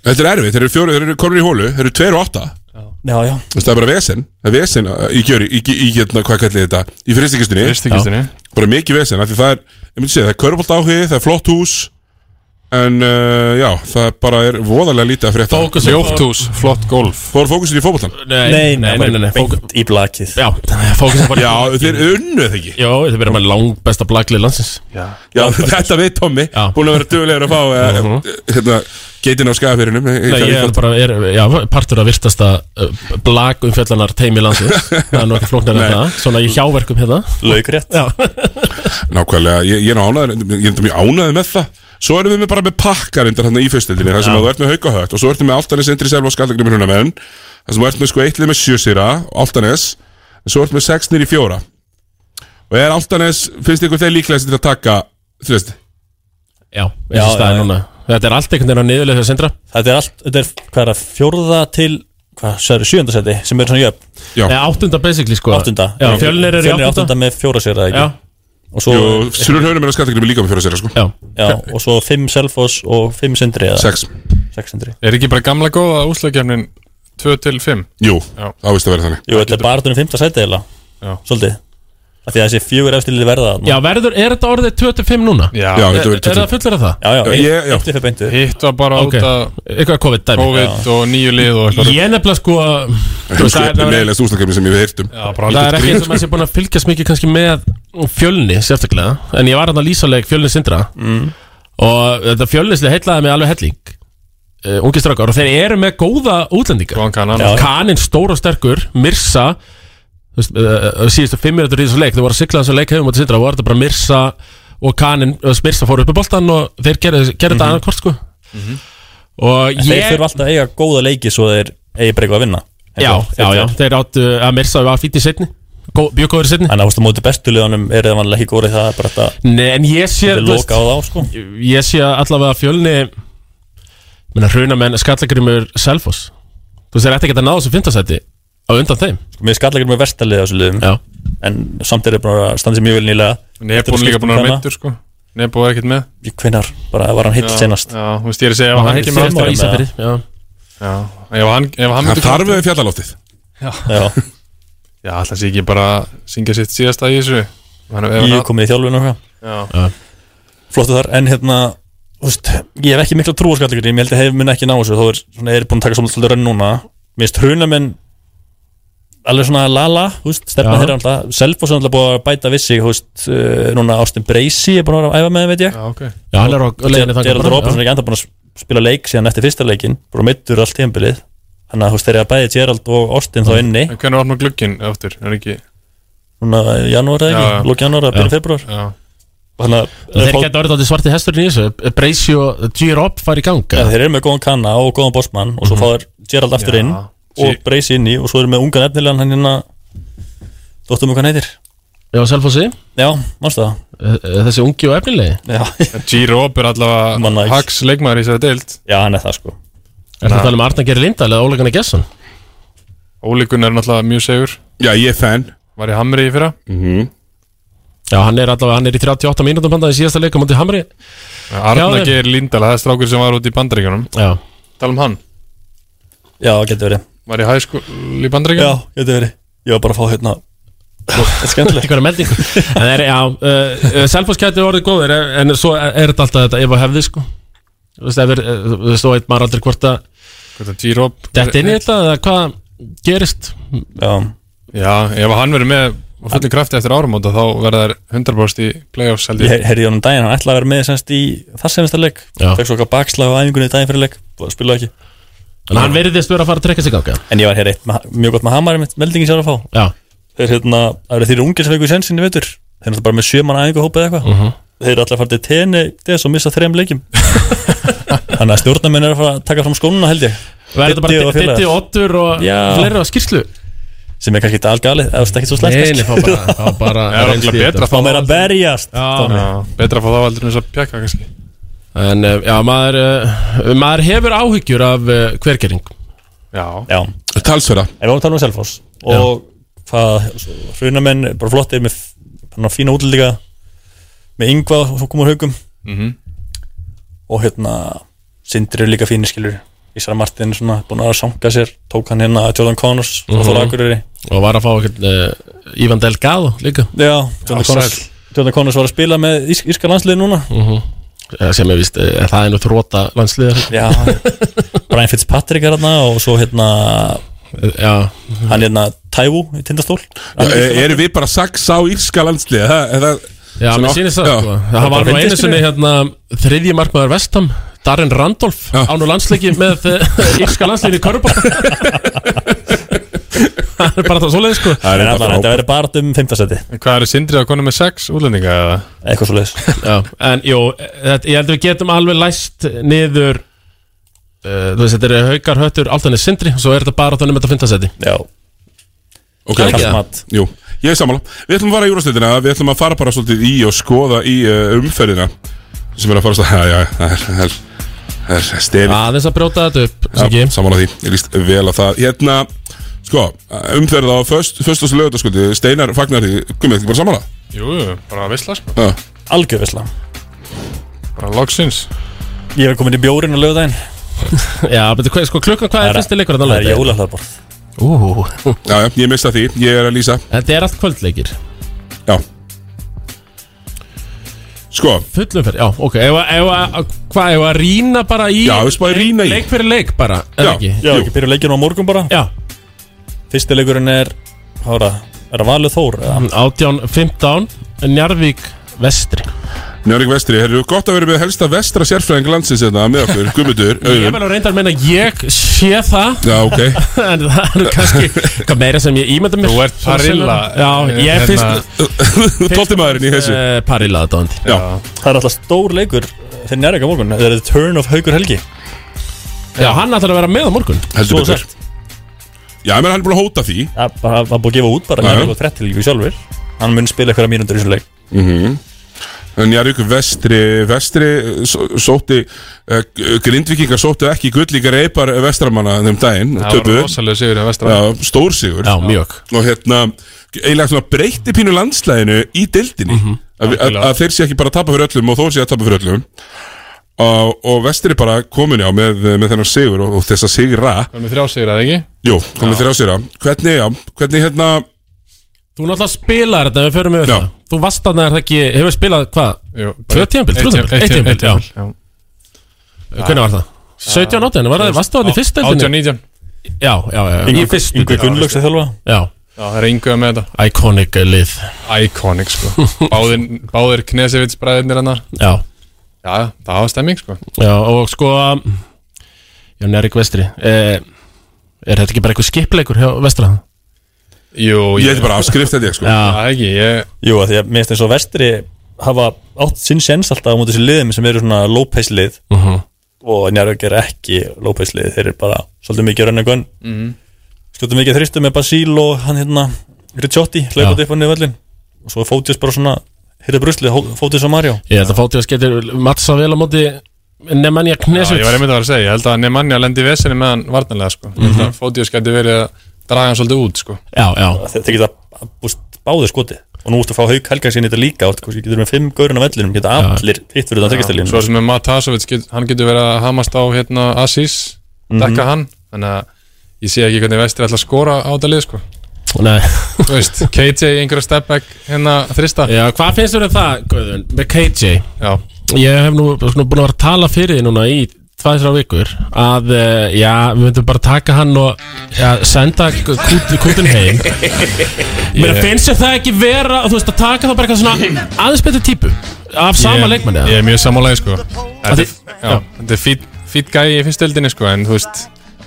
Speaker 1: Þetta er erfið, þeir eru fjóri, þeir eru komin í hólu Þeir eru tveir og átta
Speaker 6: Já, já
Speaker 1: Þú veist, Það er bara vesen, það er vesen uh, í kjöri, í, í, í hérna, hvað kallið þetta Í fristikistunni
Speaker 9: Frystikistunni.
Speaker 1: Bara mikið vesen, af því það er, ég myndi segja, það er körbólt áhugi, það er flott hús En uh, já, það er bara er voðalega lítið að frétta
Speaker 2: Fókus- Ljótt hús,
Speaker 9: flott golf
Speaker 1: Fór fókusin í fótboltan?
Speaker 2: Nei, nei, nei, nei, nei, nei, fókus-
Speaker 6: Í blakið
Speaker 2: Já, fókusin bara
Speaker 1: Já, þeir unnuð það ekki
Speaker 2: Jó, þeir verða með langbesta blaglið landsins
Speaker 9: Já,
Speaker 1: Já, þetta veit Tommi Búin að vera duglegur að fá uh, hérna, geitin á skafirinnum
Speaker 2: Uh-huh. Nei, ég er bara, er, já, partur af virtasta uh, blagumfjallanar teimi landsins Það er nú ekki flóknar en
Speaker 1: Nei.
Speaker 2: það, svona í hjáverkum hérna
Speaker 6: Laukrétt
Speaker 2: Já
Speaker 1: Nákvæmlega, ég, ég er nú ánæður Ég er þetta mjög ánæður með það Svo erum við með bara með pakkar Endar þarna í fyrstöldinni Það sem að þú ert með haukahött Og svo ertu með Altanes Endri Selva og Skallagrimur Hunamenn Það sem þú ert með sko eittlið með sjösýra Altanes En svo ertu með sex nýri fjóra Og er Altanes Finnst ykkur þeir líklega til að taka Þrjösti
Speaker 2: Já,
Speaker 6: Já,
Speaker 2: eins og staðið
Speaker 6: já, já.
Speaker 2: núna Þetta er allt einhvern veginn á niðurlega þegar sindra
Speaker 6: þetta er allt, þetta er hvað er að fjórða til hvað, sagði, sjönda seti sem er svona jöfn
Speaker 1: Já.
Speaker 2: Nei, áttunda basically sko
Speaker 6: áttunda
Speaker 2: Já, fjölnir eru í
Speaker 6: Fjölnir
Speaker 2: áttunda.
Speaker 6: með fjóra sér eða ekki
Speaker 2: Já.
Speaker 6: og svo,
Speaker 1: Jú, Sölur Hönum er að Skallagrimur líka með fjóra sér sko.
Speaker 2: Já
Speaker 6: já, og svo fimm Selfoss og fimm Sindri eða
Speaker 1: Sex.
Speaker 6: sex Sindri
Speaker 9: Er ekki bara gamla góða úslagkefnin 2 til 5?
Speaker 1: Jú,
Speaker 9: Já.
Speaker 1: það vist að vera þannig
Speaker 6: Jú, þetta er bara átunum fimmta seti eða
Speaker 9: Já.
Speaker 6: svolítið af því að þessi fjögur efstilið verða þarna.
Speaker 2: Já, verður, er þetta orðið 25 núna?
Speaker 6: Já. Já, þetta
Speaker 2: Er-
Speaker 6: verður
Speaker 2: Er það
Speaker 6: 25.
Speaker 2: fullur af það?
Speaker 6: Já, já, Já, ég- já. eitt upp beintu.
Speaker 9: Hitt var bara
Speaker 2: okay.
Speaker 9: út af-
Speaker 2: Eitthvað COVID-dæmi
Speaker 9: COVID og nýju lið og
Speaker 2: Ég nefnilega sko þú veist, það er- það er-
Speaker 1: Leðilegast úslakefni sem ég hef heyrt um
Speaker 2: Það er ekki eins og maður sé búin að fylgjast mikið kannski með fjölni sérstaklega En ég var hann að lýsaleg fjölni sindra
Speaker 6: Mm.
Speaker 2: Og þetta fjölnislega heitlaði mig alveg helling uh, Ungi strákar og þeir eru með góða útlendingar
Speaker 9: kanan
Speaker 6: Já.
Speaker 2: Kanin stór og sterkur, Mirsa þú veist, uh, uh, Síðustu fimm minútur í þessu leik Þau voru að sigla þessu leik hefum átti sindra Og var þetta bara Mirsa og Kanin uh, Mirsa fóru upp í boltan og þeir gerðu gerðu þetta mm
Speaker 6: Mhm.
Speaker 2: annarkort sko Og
Speaker 6: En Þeir
Speaker 2: ég-
Speaker 6: þurfa alltaf að eiga góða leiki svo þeir eigi bara eitthvað að vinna
Speaker 2: Já, já, já, þeir áttu að Mirsa var fýtt í setni Bjögóður setni
Speaker 6: Þannig að þú veist, á móti bestu liðanum er það vanlega ekki góri það er bara þetta
Speaker 2: Nei, en ég sé
Speaker 6: Þetta er
Speaker 2: þú veist,
Speaker 6: loka á þá, sko.
Speaker 2: Ég sé allavega að fjölni Menna hrunamenn Skallagrimur Selfoss Þú veist, þeir ætti ekki að ná þessu fintasæti Á undan þeim
Speaker 6: sko, Mér skallakir með vestalið á þessu liðum
Speaker 2: já.
Speaker 6: En samt er þeir búin að standa sér mjög vel nýlega
Speaker 9: Nebo er líka búin að vera meittur sko Nebo er ekkert með
Speaker 6: Hvinnar, bara var hann heill
Speaker 9: Já,
Speaker 6: senast
Speaker 9: Já, þú veist ég er að segja ef
Speaker 6: Var
Speaker 9: hann
Speaker 6: hann
Speaker 9: ekki
Speaker 6: heill
Speaker 9: með
Speaker 6: senast á
Speaker 9: aftur-
Speaker 6: Ísafirði,
Speaker 2: já.
Speaker 9: Já, ef hann, ef hann
Speaker 1: Hann
Speaker 9: myndi
Speaker 1: þarf við fjallaláttið
Speaker 9: Já
Speaker 6: Já
Speaker 9: Já, alltaf sé ekki bara að syngja sitt síðasta í þessu Hann- ef hann-
Speaker 6: Ég kom í þjálfun og
Speaker 9: Já.
Speaker 6: hvað Flottu þar, en hérna þú veist, Ég hef ekki mikla trú á skallakir Ég held að hefur mun ekki ná þessu Þá er, svona, er búin að taka svolítið rönn núna Mist hrunamenn alveg svona lala, þú veist, stefna
Speaker 2: Já.
Speaker 6: þeirra alltaf Selfoss er alltaf búið að bæta vissi, þú veist uh, núna Ástin Breysi er búin að vera að æfa með þeim, veit ég
Speaker 9: Já, ok
Speaker 2: Já, hann er á leiðinni þangað
Speaker 6: Gerald
Speaker 2: bara,
Speaker 6: Robinson
Speaker 2: já.
Speaker 6: er ekki enda búin að spila leik síðan eftir fyrsta leikin, bara mittur allt tímabilið þannig að þú veist, þeir eru að bæði Gerald og Ástin þá inni
Speaker 9: En hvernig opnar glugginn aftur, er ekki
Speaker 6: núna í janúar eða
Speaker 9: Já, já.
Speaker 6: ekki, lók janúar eða byrjun
Speaker 9: Já.
Speaker 6: februar
Speaker 9: Já.
Speaker 6: þannig að
Speaker 2: Og Þeir geta orðið átti svarti hesturinn í þessu Breysi og G-Rob fari í ganga
Speaker 6: ja, þeir eru með góðan kanna og góðan bossmann og svo
Speaker 2: Mhm.
Speaker 6: fá þeir Gerald aftur
Speaker 2: Já.
Speaker 6: inn
Speaker 2: Sí.
Speaker 6: og Breysi inn í og svo eru með ungan efnilegan hann hérna dóttum hvað hann heitir
Speaker 2: Já, Selfossi
Speaker 6: Já, mannstu það
Speaker 2: Þessi ungi og efnilegi
Speaker 9: G-Rob er allavega Hax leikmaður í þessari deild
Speaker 6: Já, hann er það sko
Speaker 2: Er það að tala um Arna Geri Lindahl eða Ólegan Gesson?
Speaker 9: Óleikun er náttúrulega mjög segur
Speaker 1: Já, ég er fan
Speaker 9: Var í Hamri í fyrra
Speaker 1: Mhm.
Speaker 2: Já, hann er allavega, hann er í 38 mínútum bandaði síðasta leikum Mátti Hamri
Speaker 9: Arna
Speaker 2: Já,
Speaker 9: Geir Lindahl, það er strákur sem var út í bandaríkjunum
Speaker 2: Já
Speaker 9: Tala um hann
Speaker 6: Já, getur verið
Speaker 9: Var í hæskúl í
Speaker 6: Já,
Speaker 9: bandaríkjunum
Speaker 6: getur verið Ég var bara að fá hérna Það er skemmtilegt
Speaker 2: Einhverja meldingu En það er, já, uh, Selfoss gæti orðið góðir en- En svo er þetta alltaf þetta ef að hefði sko Þú veist, ef er, eh, þú veist, þó veit maður aldrei hvort að
Speaker 9: Hvort að G-Rob
Speaker 2: Þetta inn í þetta, eða hvað gerist
Speaker 6: Já
Speaker 9: Já, ef hann verið með á fullu krafti eftir árumóta þá verða þær 100% í playoffs held
Speaker 6: Ég heyrði honum daginn, hann ætlaði að vera með semst í það semesta leik
Speaker 2: Já.
Speaker 6: Fekk svo eitthvað bakslag á æfingunni daginn fyrir leik og spilaði ekki
Speaker 2: En hann veriðist vera að fara að trekka sig ganga
Speaker 6: En ég var hér eitt með- mjög gott með hamari með meldingi sem ég var að fá
Speaker 2: Já.
Speaker 6: Þeir hérna, það eru þeir ungir sem fengu sensinni veitur Þeir eru náttúrulega bara með sjöman æfingu hópa eða eitthvað
Speaker 2: Mhm.
Speaker 6: Þeir eru allir að fara til tenni þess og missa þrem leikjum Þannig að stjórnarmenn eru að fara að taka fram skónuna held ég
Speaker 2: Verður þetta
Speaker 6: Diddi og
Speaker 2: bara
Speaker 6: félagar.
Speaker 2: Ditti og Ottur og
Speaker 6: Já.
Speaker 2: fleiri á skýrslu
Speaker 6: Sem er kannski ekki algalið, eða ekki svo slæmt
Speaker 2: Nei,
Speaker 6: kannski.
Speaker 2: nei, fá bara- fá bara
Speaker 9: Það er alltaf betra
Speaker 6: Fá meira að berjast Tommi.
Speaker 9: Já, betra að fá þá aldrei eins að pjaka kannski
Speaker 2: En eh, já, maður, eh, maður hefur áhyggjur af eh, hvergering
Speaker 9: Já,
Speaker 6: Já.
Speaker 1: Talsverða
Speaker 6: En við varum að tala um Selfoss og hvað, hrunamenn er bara flottir með f- bara fína útlýtinga með yngva og kom úr haugum
Speaker 9: Mhm.
Speaker 6: og hérna Sindri er líka fínir skilur Ísra Martin er svona búin að sanga sér tók hann hérna að Jordan Connors frá
Speaker 2: Mhm.
Speaker 6: Þóra Akureyri
Speaker 2: Og var að fá ekkert uh, Ívan Delgado líka
Speaker 6: Já, Jordan Connors Jordan Connors var að spila með ís Írska landsliði núna
Speaker 2: mm Sem er vist, eh, það er nú þróta landsliðar
Speaker 6: Já, Brian Fitzpatrick er hérna og svo hérna
Speaker 2: Eh, Já.
Speaker 6: hann hérna Taiwu í tindastól
Speaker 1: Já, e- Erum við bara sax á írska landsliði það- er það-
Speaker 2: Já,
Speaker 1: svona-
Speaker 2: mér sýnist það
Speaker 1: Já.
Speaker 2: sko Það var nú einu sinni hérna þriðji markmaður vestam Darren Randolph án og landsleiki með eh, írska landsleiki í Körbók Það er bara það svoleið sko
Speaker 6: En allan, þetta verður bara um 5. seti
Speaker 9: En hvað eru sindrið að konu með 6 útlendinga eða?
Speaker 6: Eitthvað svo leiðis
Speaker 2: Já, en jú, þetta, ég held að við getum alveg læst niður uh, Þú veist, þetta eru haukar höttur allt henni sindri Svo er þetta bara þannig með þetta fintasæti
Speaker 6: Já
Speaker 1: Ok,
Speaker 2: Það er ekki það.
Speaker 1: Jú, ég er sammála Við ætlum að fara í júrastildina Við ætlum að fara bara svolítið í og skoða í uh, umferðina sem er að fara að stað Já, já, það er, það er, það er stefi
Speaker 2: Aðeins að brjóta þetta upp Siggi.
Speaker 1: Sammála því, ég líst vel á það Hérna, sko, umferð á föst, föst og lögutaskvöldi Steinar fagnar því, komið ekki bara sammála
Speaker 9: Jú, jú, bara að visla sko
Speaker 1: Já.
Speaker 6: Algjörvisla
Speaker 9: Bara loksins
Speaker 6: Ég er komin í bjórin og lögðaðinn
Speaker 2: Já, betur hvað, sko, klukkan hvað er fyrsti leikur þarna á
Speaker 6: Það er
Speaker 2: laugardaginn?
Speaker 6: jólahlaðborð
Speaker 2: Ú,
Speaker 1: Já, já, ég mista því, ég er að lýsa
Speaker 2: Þetta er allt kvöldleikir
Speaker 1: Já Sko
Speaker 2: Fullumferð, já, ok Ef að- ef að, hvað, ef að rýna bara í
Speaker 9: Já, við spáðum rýna í.
Speaker 2: Leik fyrir leik bara,
Speaker 9: Já,
Speaker 2: eða ekki
Speaker 9: já, ekki byrja leikinu á morgun bara
Speaker 2: Já
Speaker 9: Fyrsti leikurinn er, hvað er það, er það Valur Þór eða?
Speaker 2: Mm, 18-15 Njarvík Vestri
Speaker 1: Njörg Vestri, herru, gott að vera með helsta vestra sérfræðing landsins þetta með okkur, Guðmundur,
Speaker 2: Ég
Speaker 1: auðvun
Speaker 2: verður að reynda að menna ég sé það
Speaker 1: Já, ok.
Speaker 2: En það eru kannski Hvað meira sem ég ímynda mér
Speaker 1: Þú ert
Speaker 2: Svo sem-
Speaker 1: Parilla,
Speaker 2: Já, ég
Speaker 1: hérna-
Speaker 2: er fyrst Eh,
Speaker 1: Tóltimaðurinn í þessu
Speaker 2: Parilla aðdáandi
Speaker 1: Já
Speaker 9: Það er alltaf stór leikur fyrir njárvík á morgun Það er The Turn of Haugur Helgi
Speaker 2: Já, hann ætlar að vera með á morgun
Speaker 1: Heldur betur Já, menn hann er búin að hóta því
Speaker 9: Það bara- það er búin að gefa út bara
Speaker 1: Já, já.
Speaker 9: Njárvík og 30 líku sjálfur Hann mun spila eitthvað mínundur í þessum leik
Speaker 1: Mhm. En Jarvík vestri, vestri só- sótti, eh, grindvíkingar sóttu ekki gullíkar eipar vestramanna þeim daginn,
Speaker 6: Það var
Speaker 1: töpuðu.
Speaker 6: rosalega sigur hjá Vestra.
Speaker 1: Já, stór sigur.
Speaker 2: Já, mjög.
Speaker 1: Og hérna, eiginlega svona breytti pínu landslæðinu í dildinni, mm að þeir sé ekki bara að tapa fyrir öllum og þó sé að tapa fyrir öllum. Og, og vestri bara komin já með, með þennan sigur og, og þessa sigra.
Speaker 6: Það er með þrjá sigur, eða ekki?
Speaker 1: Jú, komið þrjá sigra. Hvernig, já, hvernig hérna,
Speaker 2: Þú náttúrulega spilar þetta, við förum við
Speaker 1: Já.
Speaker 2: það Þú varst þarna er það ekki, hefur spilað hvað?
Speaker 6: Jú,
Speaker 2: Tvö tímabil,
Speaker 6: eitt
Speaker 2: þrjú
Speaker 6: tímabil,
Speaker 2: tímabil,
Speaker 6: eitt
Speaker 2: eitt
Speaker 6: tímabil,
Speaker 2: tímabil,
Speaker 6: eitt
Speaker 2: já Hvernig var það? 17 átján, var það, varst það í fyrst deildinni?
Speaker 6: 18-19
Speaker 2: Já, já, já, já, í fyrst Já,
Speaker 6: Já, það er yngu með þetta
Speaker 2: Iconic lið
Speaker 6: Iconic sko Báðir, báðir Knesevits bræðirnir hana
Speaker 2: Já.
Speaker 6: Já, það var stemming sko
Speaker 2: Já, og sko Jón Erik Vestri eh, Er þetta ekki bara eitthvað skipleikur hjá Vestraðan?
Speaker 6: Jú,
Speaker 1: ég heiti bara afskrift þetta ég sko
Speaker 2: Já,
Speaker 6: ekki, ég
Speaker 9: Jú, að því að mér finnst eins og vestri hafa átt sinn sens alltaf á móti þessi liðum sem eru svona lópeis lið
Speaker 2: Mhm.
Speaker 9: og Njárvík er ekki lópeis lið þeir eru bara svolítið mikið rönn og gönn
Speaker 6: Mhm.
Speaker 9: skjóttum mikið þristum með Basíl og hann hérna Ricciotti, hlaupat upp á niður vellin og svo er Fótius bara svona hirra bruslið, Hó- Fótius og Mario
Speaker 2: Ég held að fátíðast getur matsa vel á móti Nemanja
Speaker 6: Já,
Speaker 2: Knesut
Speaker 6: ég var einmitt að vera að segja Ég held að Nemanja lendi í vesinni með hann varnarlega sko mm -hmm. Fótius gæti verið að draga hann svolítið út sko
Speaker 2: Já, já
Speaker 9: þeir þeir geta búst báðir skoti og nú ertu að fá haug helga sinni þetta líka og þú getur með fimm gaurinn á vellinum geta allir hitt fyrir það
Speaker 6: Já,
Speaker 9: tekjastelinu
Speaker 6: Svo sem með Matasovits, get, hann getur verið að hamast á hérna Asís
Speaker 9: Mhm.
Speaker 6: Dekka hann Þannig að ég sé ekki hvernig vestri ætla að skora á þetta lið sko
Speaker 2: Nei
Speaker 6: Þú veist, KJ í einhverja step back hérna þrista
Speaker 2: Já, hvað finnst þér um það, Guðun, með KJ?
Speaker 6: Já
Speaker 2: Ég hef nú svona, búin að vera að tala fyrir því núna í tvær, þrjá vikur að, eh, já, við myndum bara taka hann og já, senda kút, kútin heim Mér
Speaker 6: Ég-
Speaker 2: finnst þér það ekki vera, þú veist, að taka þá bara eitthvað svona aðeins betur típu af sama
Speaker 6: Ég-
Speaker 2: leikmanni
Speaker 6: Ég er mjög sammálaði sko Þetta
Speaker 2: þið-
Speaker 6: er- já, þetta er fít, fít gæi í fyrstöldinni sko En þú veist,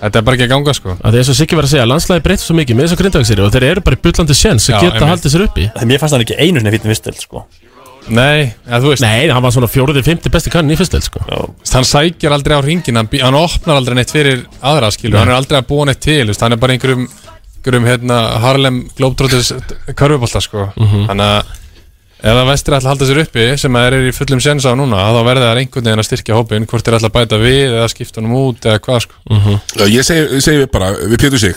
Speaker 6: þetta er bara ekki að ganga sko
Speaker 2: að því eins og Siggi var að segja, landslæði breytist svo mikið með þess að grindagsýri og þeir eru bara í bullandi séns
Speaker 6: Já,
Speaker 2: að geta
Speaker 6: einmitt.
Speaker 2: haldið sér uppi
Speaker 9: Mér fannst hann ekki einu sinni fítið vistöld sko.
Speaker 6: Nei, eða þú veist
Speaker 2: Nei, hann var svona fjóruði, fymti besti kannin í fyrstöld sko
Speaker 9: Já,
Speaker 6: Þú veist, Hann sækir aldrei á ringin, hann, bí- hann opnar aldrei neitt fyrir aðra skilur Hann er aldrei að búa neitt til, þú veist, hann er bara í einhverjum, einhverjum hérna, Harlem Globetrotters körfubólta sko
Speaker 2: Mhm.
Speaker 6: Þannig að ef að vestri ætla að halda sér uppi sem að þeir eru í fullum séns á núna þá verða það einhvern veginn að styrkja hópin hvort þeir ætla að bæta við eða skipta honum út eða hvað sko
Speaker 1: Já, ég segi, segi við bara, við pétum sig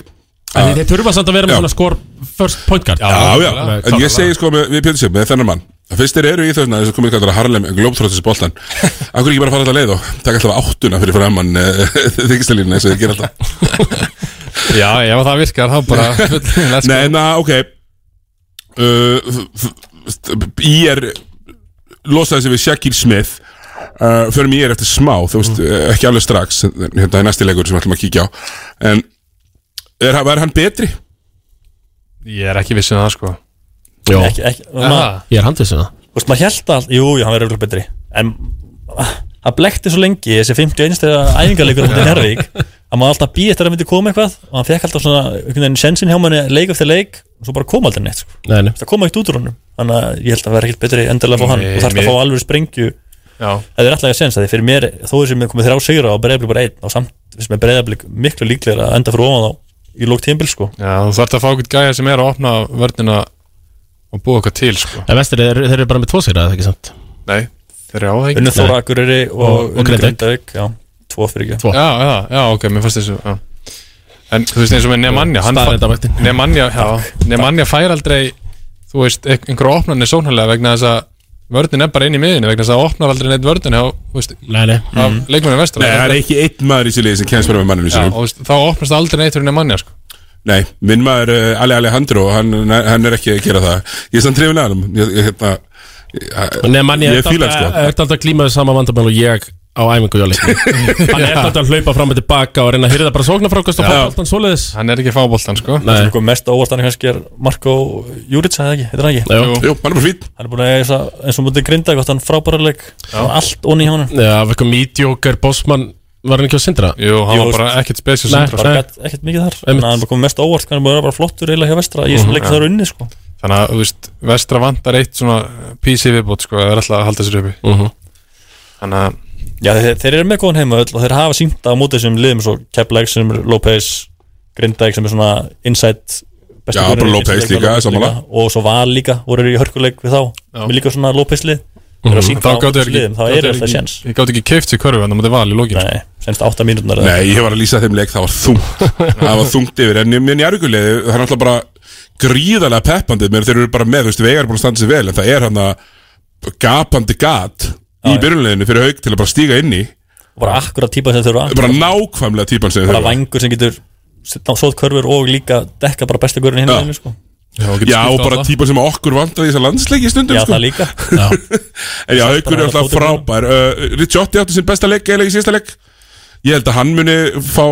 Speaker 2: En þeir þurfa samt að vera með
Speaker 1: Já.
Speaker 2: svona skor first point guard
Speaker 1: Já, já, en ég segi sko með, við Pétur Sjöfn, með þennan mann að Fyrst þeir eru í þessna, þess að komið kallar að Harlem Globetrotters boltan Akkur ekki bara fara alltaf leið og taka alltaf áttuna fyrir fyrir amman þykistalínu eins og þið gerir alltaf
Speaker 6: Já, ef það virkar, þá bara sko. full- let's go.
Speaker 1: Nei, na, ok uh, f- f- IR losaði sig við Shakir Smith uh, Förum í IR eftir smá, þú veist, eh, ekki alveg strax en Hérna er næsti leikur sem við ætlum að kíkja á En er, var hann betri?
Speaker 6: Ég er ekki vissin að það sko
Speaker 2: Jó.
Speaker 9: Ekki- ekki- maður-
Speaker 2: Ég er handvissin það
Speaker 9: Þú veist, maður held að, jú, jú, hann verður örugglega betri En ah, það blekti svo lengi Þessi 51 stegar æfingarleikur á móti Njarðvík Að maður alltaf býð eftir að það myndi koma eitthvað Og hann fekk alltaf svona, einhvern veginn sensin hjá manni Leik eftir leik, og svo bara koma aldrei neitt sko.
Speaker 2: Nei, nei.
Speaker 9: Það koma ekkert út úr honum Þannig að ég held að vera ekkert betri endilega að fá hann
Speaker 6: Nei,
Speaker 9: Og þarf að
Speaker 6: mér-
Speaker 9: fá alveg sprengju
Speaker 6: Já.
Speaker 9: Það er alltaf að sens að því fyrir mér Þó þessum er komið þrjá sigra á breyðablik bara einn Og samt, þessum er breyðablik miklu líklega að enda fyrir ofan þá Í lók tímbil sko
Speaker 6: Já, þú þarf að fá eitthvað gæja sem er að opna vörnina og búa eitthvað til sko
Speaker 2: En vestir, þeir, þeir eru bara með tvo sigra, eða ekki sant?
Speaker 6: Nei, þeir eru á það ekki
Speaker 9: Unnu Þóra Akureyri og,
Speaker 2: Og- og
Speaker 9: og, og
Speaker 2: Grindavík.
Speaker 9: Grindavík Já, tvo fyrir ekki
Speaker 2: Tvo.
Speaker 6: Já, já, já, ok, mér fannst þessu já. En þú veist eins og með Nemanja hann fa-
Speaker 2: Staðreyndavaktin.
Speaker 6: Nemanja, já Nemanja fær aldrei, þú veist, ein- einhverja opnarnir sónarlega vegna þess að vörnin er bara inn í miðinu vegna þess að það opnar aldrei neitt vörnin hjá, þú veist,
Speaker 2: Nei, nei
Speaker 6: af mm. leikmennu vestur
Speaker 1: Nei, það er ekki einn maður í sér liði sem kemst bara með manninu
Speaker 6: Já,
Speaker 1: sínum
Speaker 6: og þú veist, þá opnast aldrei neitt fyrir Nemanja sko
Speaker 1: Nei, minn maður uh, Ali Alejandro hann, hann er ekki að gera það Ég er samt hrifin að hann Ég, ég, hérna, ég,
Speaker 2: Nei, mann, ég
Speaker 1: ég fíla hann,
Speaker 6: sko.
Speaker 2: er alltaf að glíma við sama vandamál og ég á æfingu hjá leikni Hann er alltaf að hlaupa fram og tilbaka og reyna að hyrða bara sóknarfrákast og fólk
Speaker 6: boltan
Speaker 2: svoleiðis
Speaker 9: Hann er ekki að fá boltan sko
Speaker 6: Það er eitthvað mest óvart hann kannski er Marko Júrits eða ekki, heitir hann ekki?
Speaker 2: Jú. Jú,
Speaker 1: hann er bara fín
Speaker 6: Hann er búin að eiga þessa, eins og mútið grinda eitthvað, hann frábæra leik Hann var Allt onni hjá hann
Speaker 2: Já, af eitthvað mediocre bossmann var hann ekki á sindra?
Speaker 9: Jú, hann var
Speaker 6: Jú,
Speaker 9: bara
Speaker 6: veist,
Speaker 9: ekkert spesial
Speaker 2: Nei,
Speaker 9: Sindra.
Speaker 2: bara
Speaker 9: Nei.
Speaker 2: gat-
Speaker 6: Ekkert mikið þar
Speaker 2: Einmitt.
Speaker 6: Þannig að hann er búin mest óvart, hann er búin að vera flottur eiginlega hjá vestra Ég er svona leik
Speaker 9: Mhm.
Speaker 6: þar unni sko
Speaker 9: Þannig að, þú veist, vestra vantar eitt svona PC viðbót, sko, það er alltaf að halda sér uppi
Speaker 2: Mhm.
Speaker 9: Þannig að
Speaker 6: Já, þeir, þeir eru með góðan heima öll og þeir hafa sínt á móti þessum liðum svo Kepleik sem er López, Grindæk sem er svona Insight besti
Speaker 1: Já,
Speaker 6: gaurinn
Speaker 1: bara
Speaker 6: í
Speaker 1: López
Speaker 6: Insight,
Speaker 1: líka,
Speaker 6: López
Speaker 1: sammála.
Speaker 6: Og svo Val líka, voru í hörkuleik við þá
Speaker 9: Já.
Speaker 6: Með líka svona López lið Þeir eru að
Speaker 9: Þá
Speaker 6: sýnda á
Speaker 9: gáttu þeir ekki
Speaker 6: móti þessum liðum, Mhm. þá
Speaker 9: gátu þeir
Speaker 6: eru alltaf
Speaker 9: ekki-
Speaker 6: sér
Speaker 9: Ég gátt ekki keift sér körfu, þannig að það var í sko. lókin
Speaker 6: Nei, senst átta mínútur
Speaker 1: Nei, ég var að lýsa þeim leik, það var þungt Það var þungt yfir, en mjög njárguleg Það er alltaf bara gríðarlega peppandi menn þeir eru bara með, þú veist, vegar er búin að standa sér vel en það er hann að gapandi gat í byrjunleginu fyrir haug til að bara stíga inn í
Speaker 6: Bara akkurat típa sem þeir eru
Speaker 1: bara nákvæmlega típan sem
Speaker 6: Bara
Speaker 1: þeir eru
Speaker 6: vangur sem getur sitt á sóðkörfur og líka dekka bara besta görun hinn
Speaker 1: Já.
Speaker 6: liðinu sko
Speaker 1: Já, og bara típan sem okkur vantar í þessar landsleiki stundum
Speaker 6: Já,
Speaker 1: sko.
Speaker 6: það líka
Speaker 1: En já, haugur er alltaf frábær uh, Ricciotti átti sinn besta leik, eiginlega í síðasta leik Ég held að hann muni fá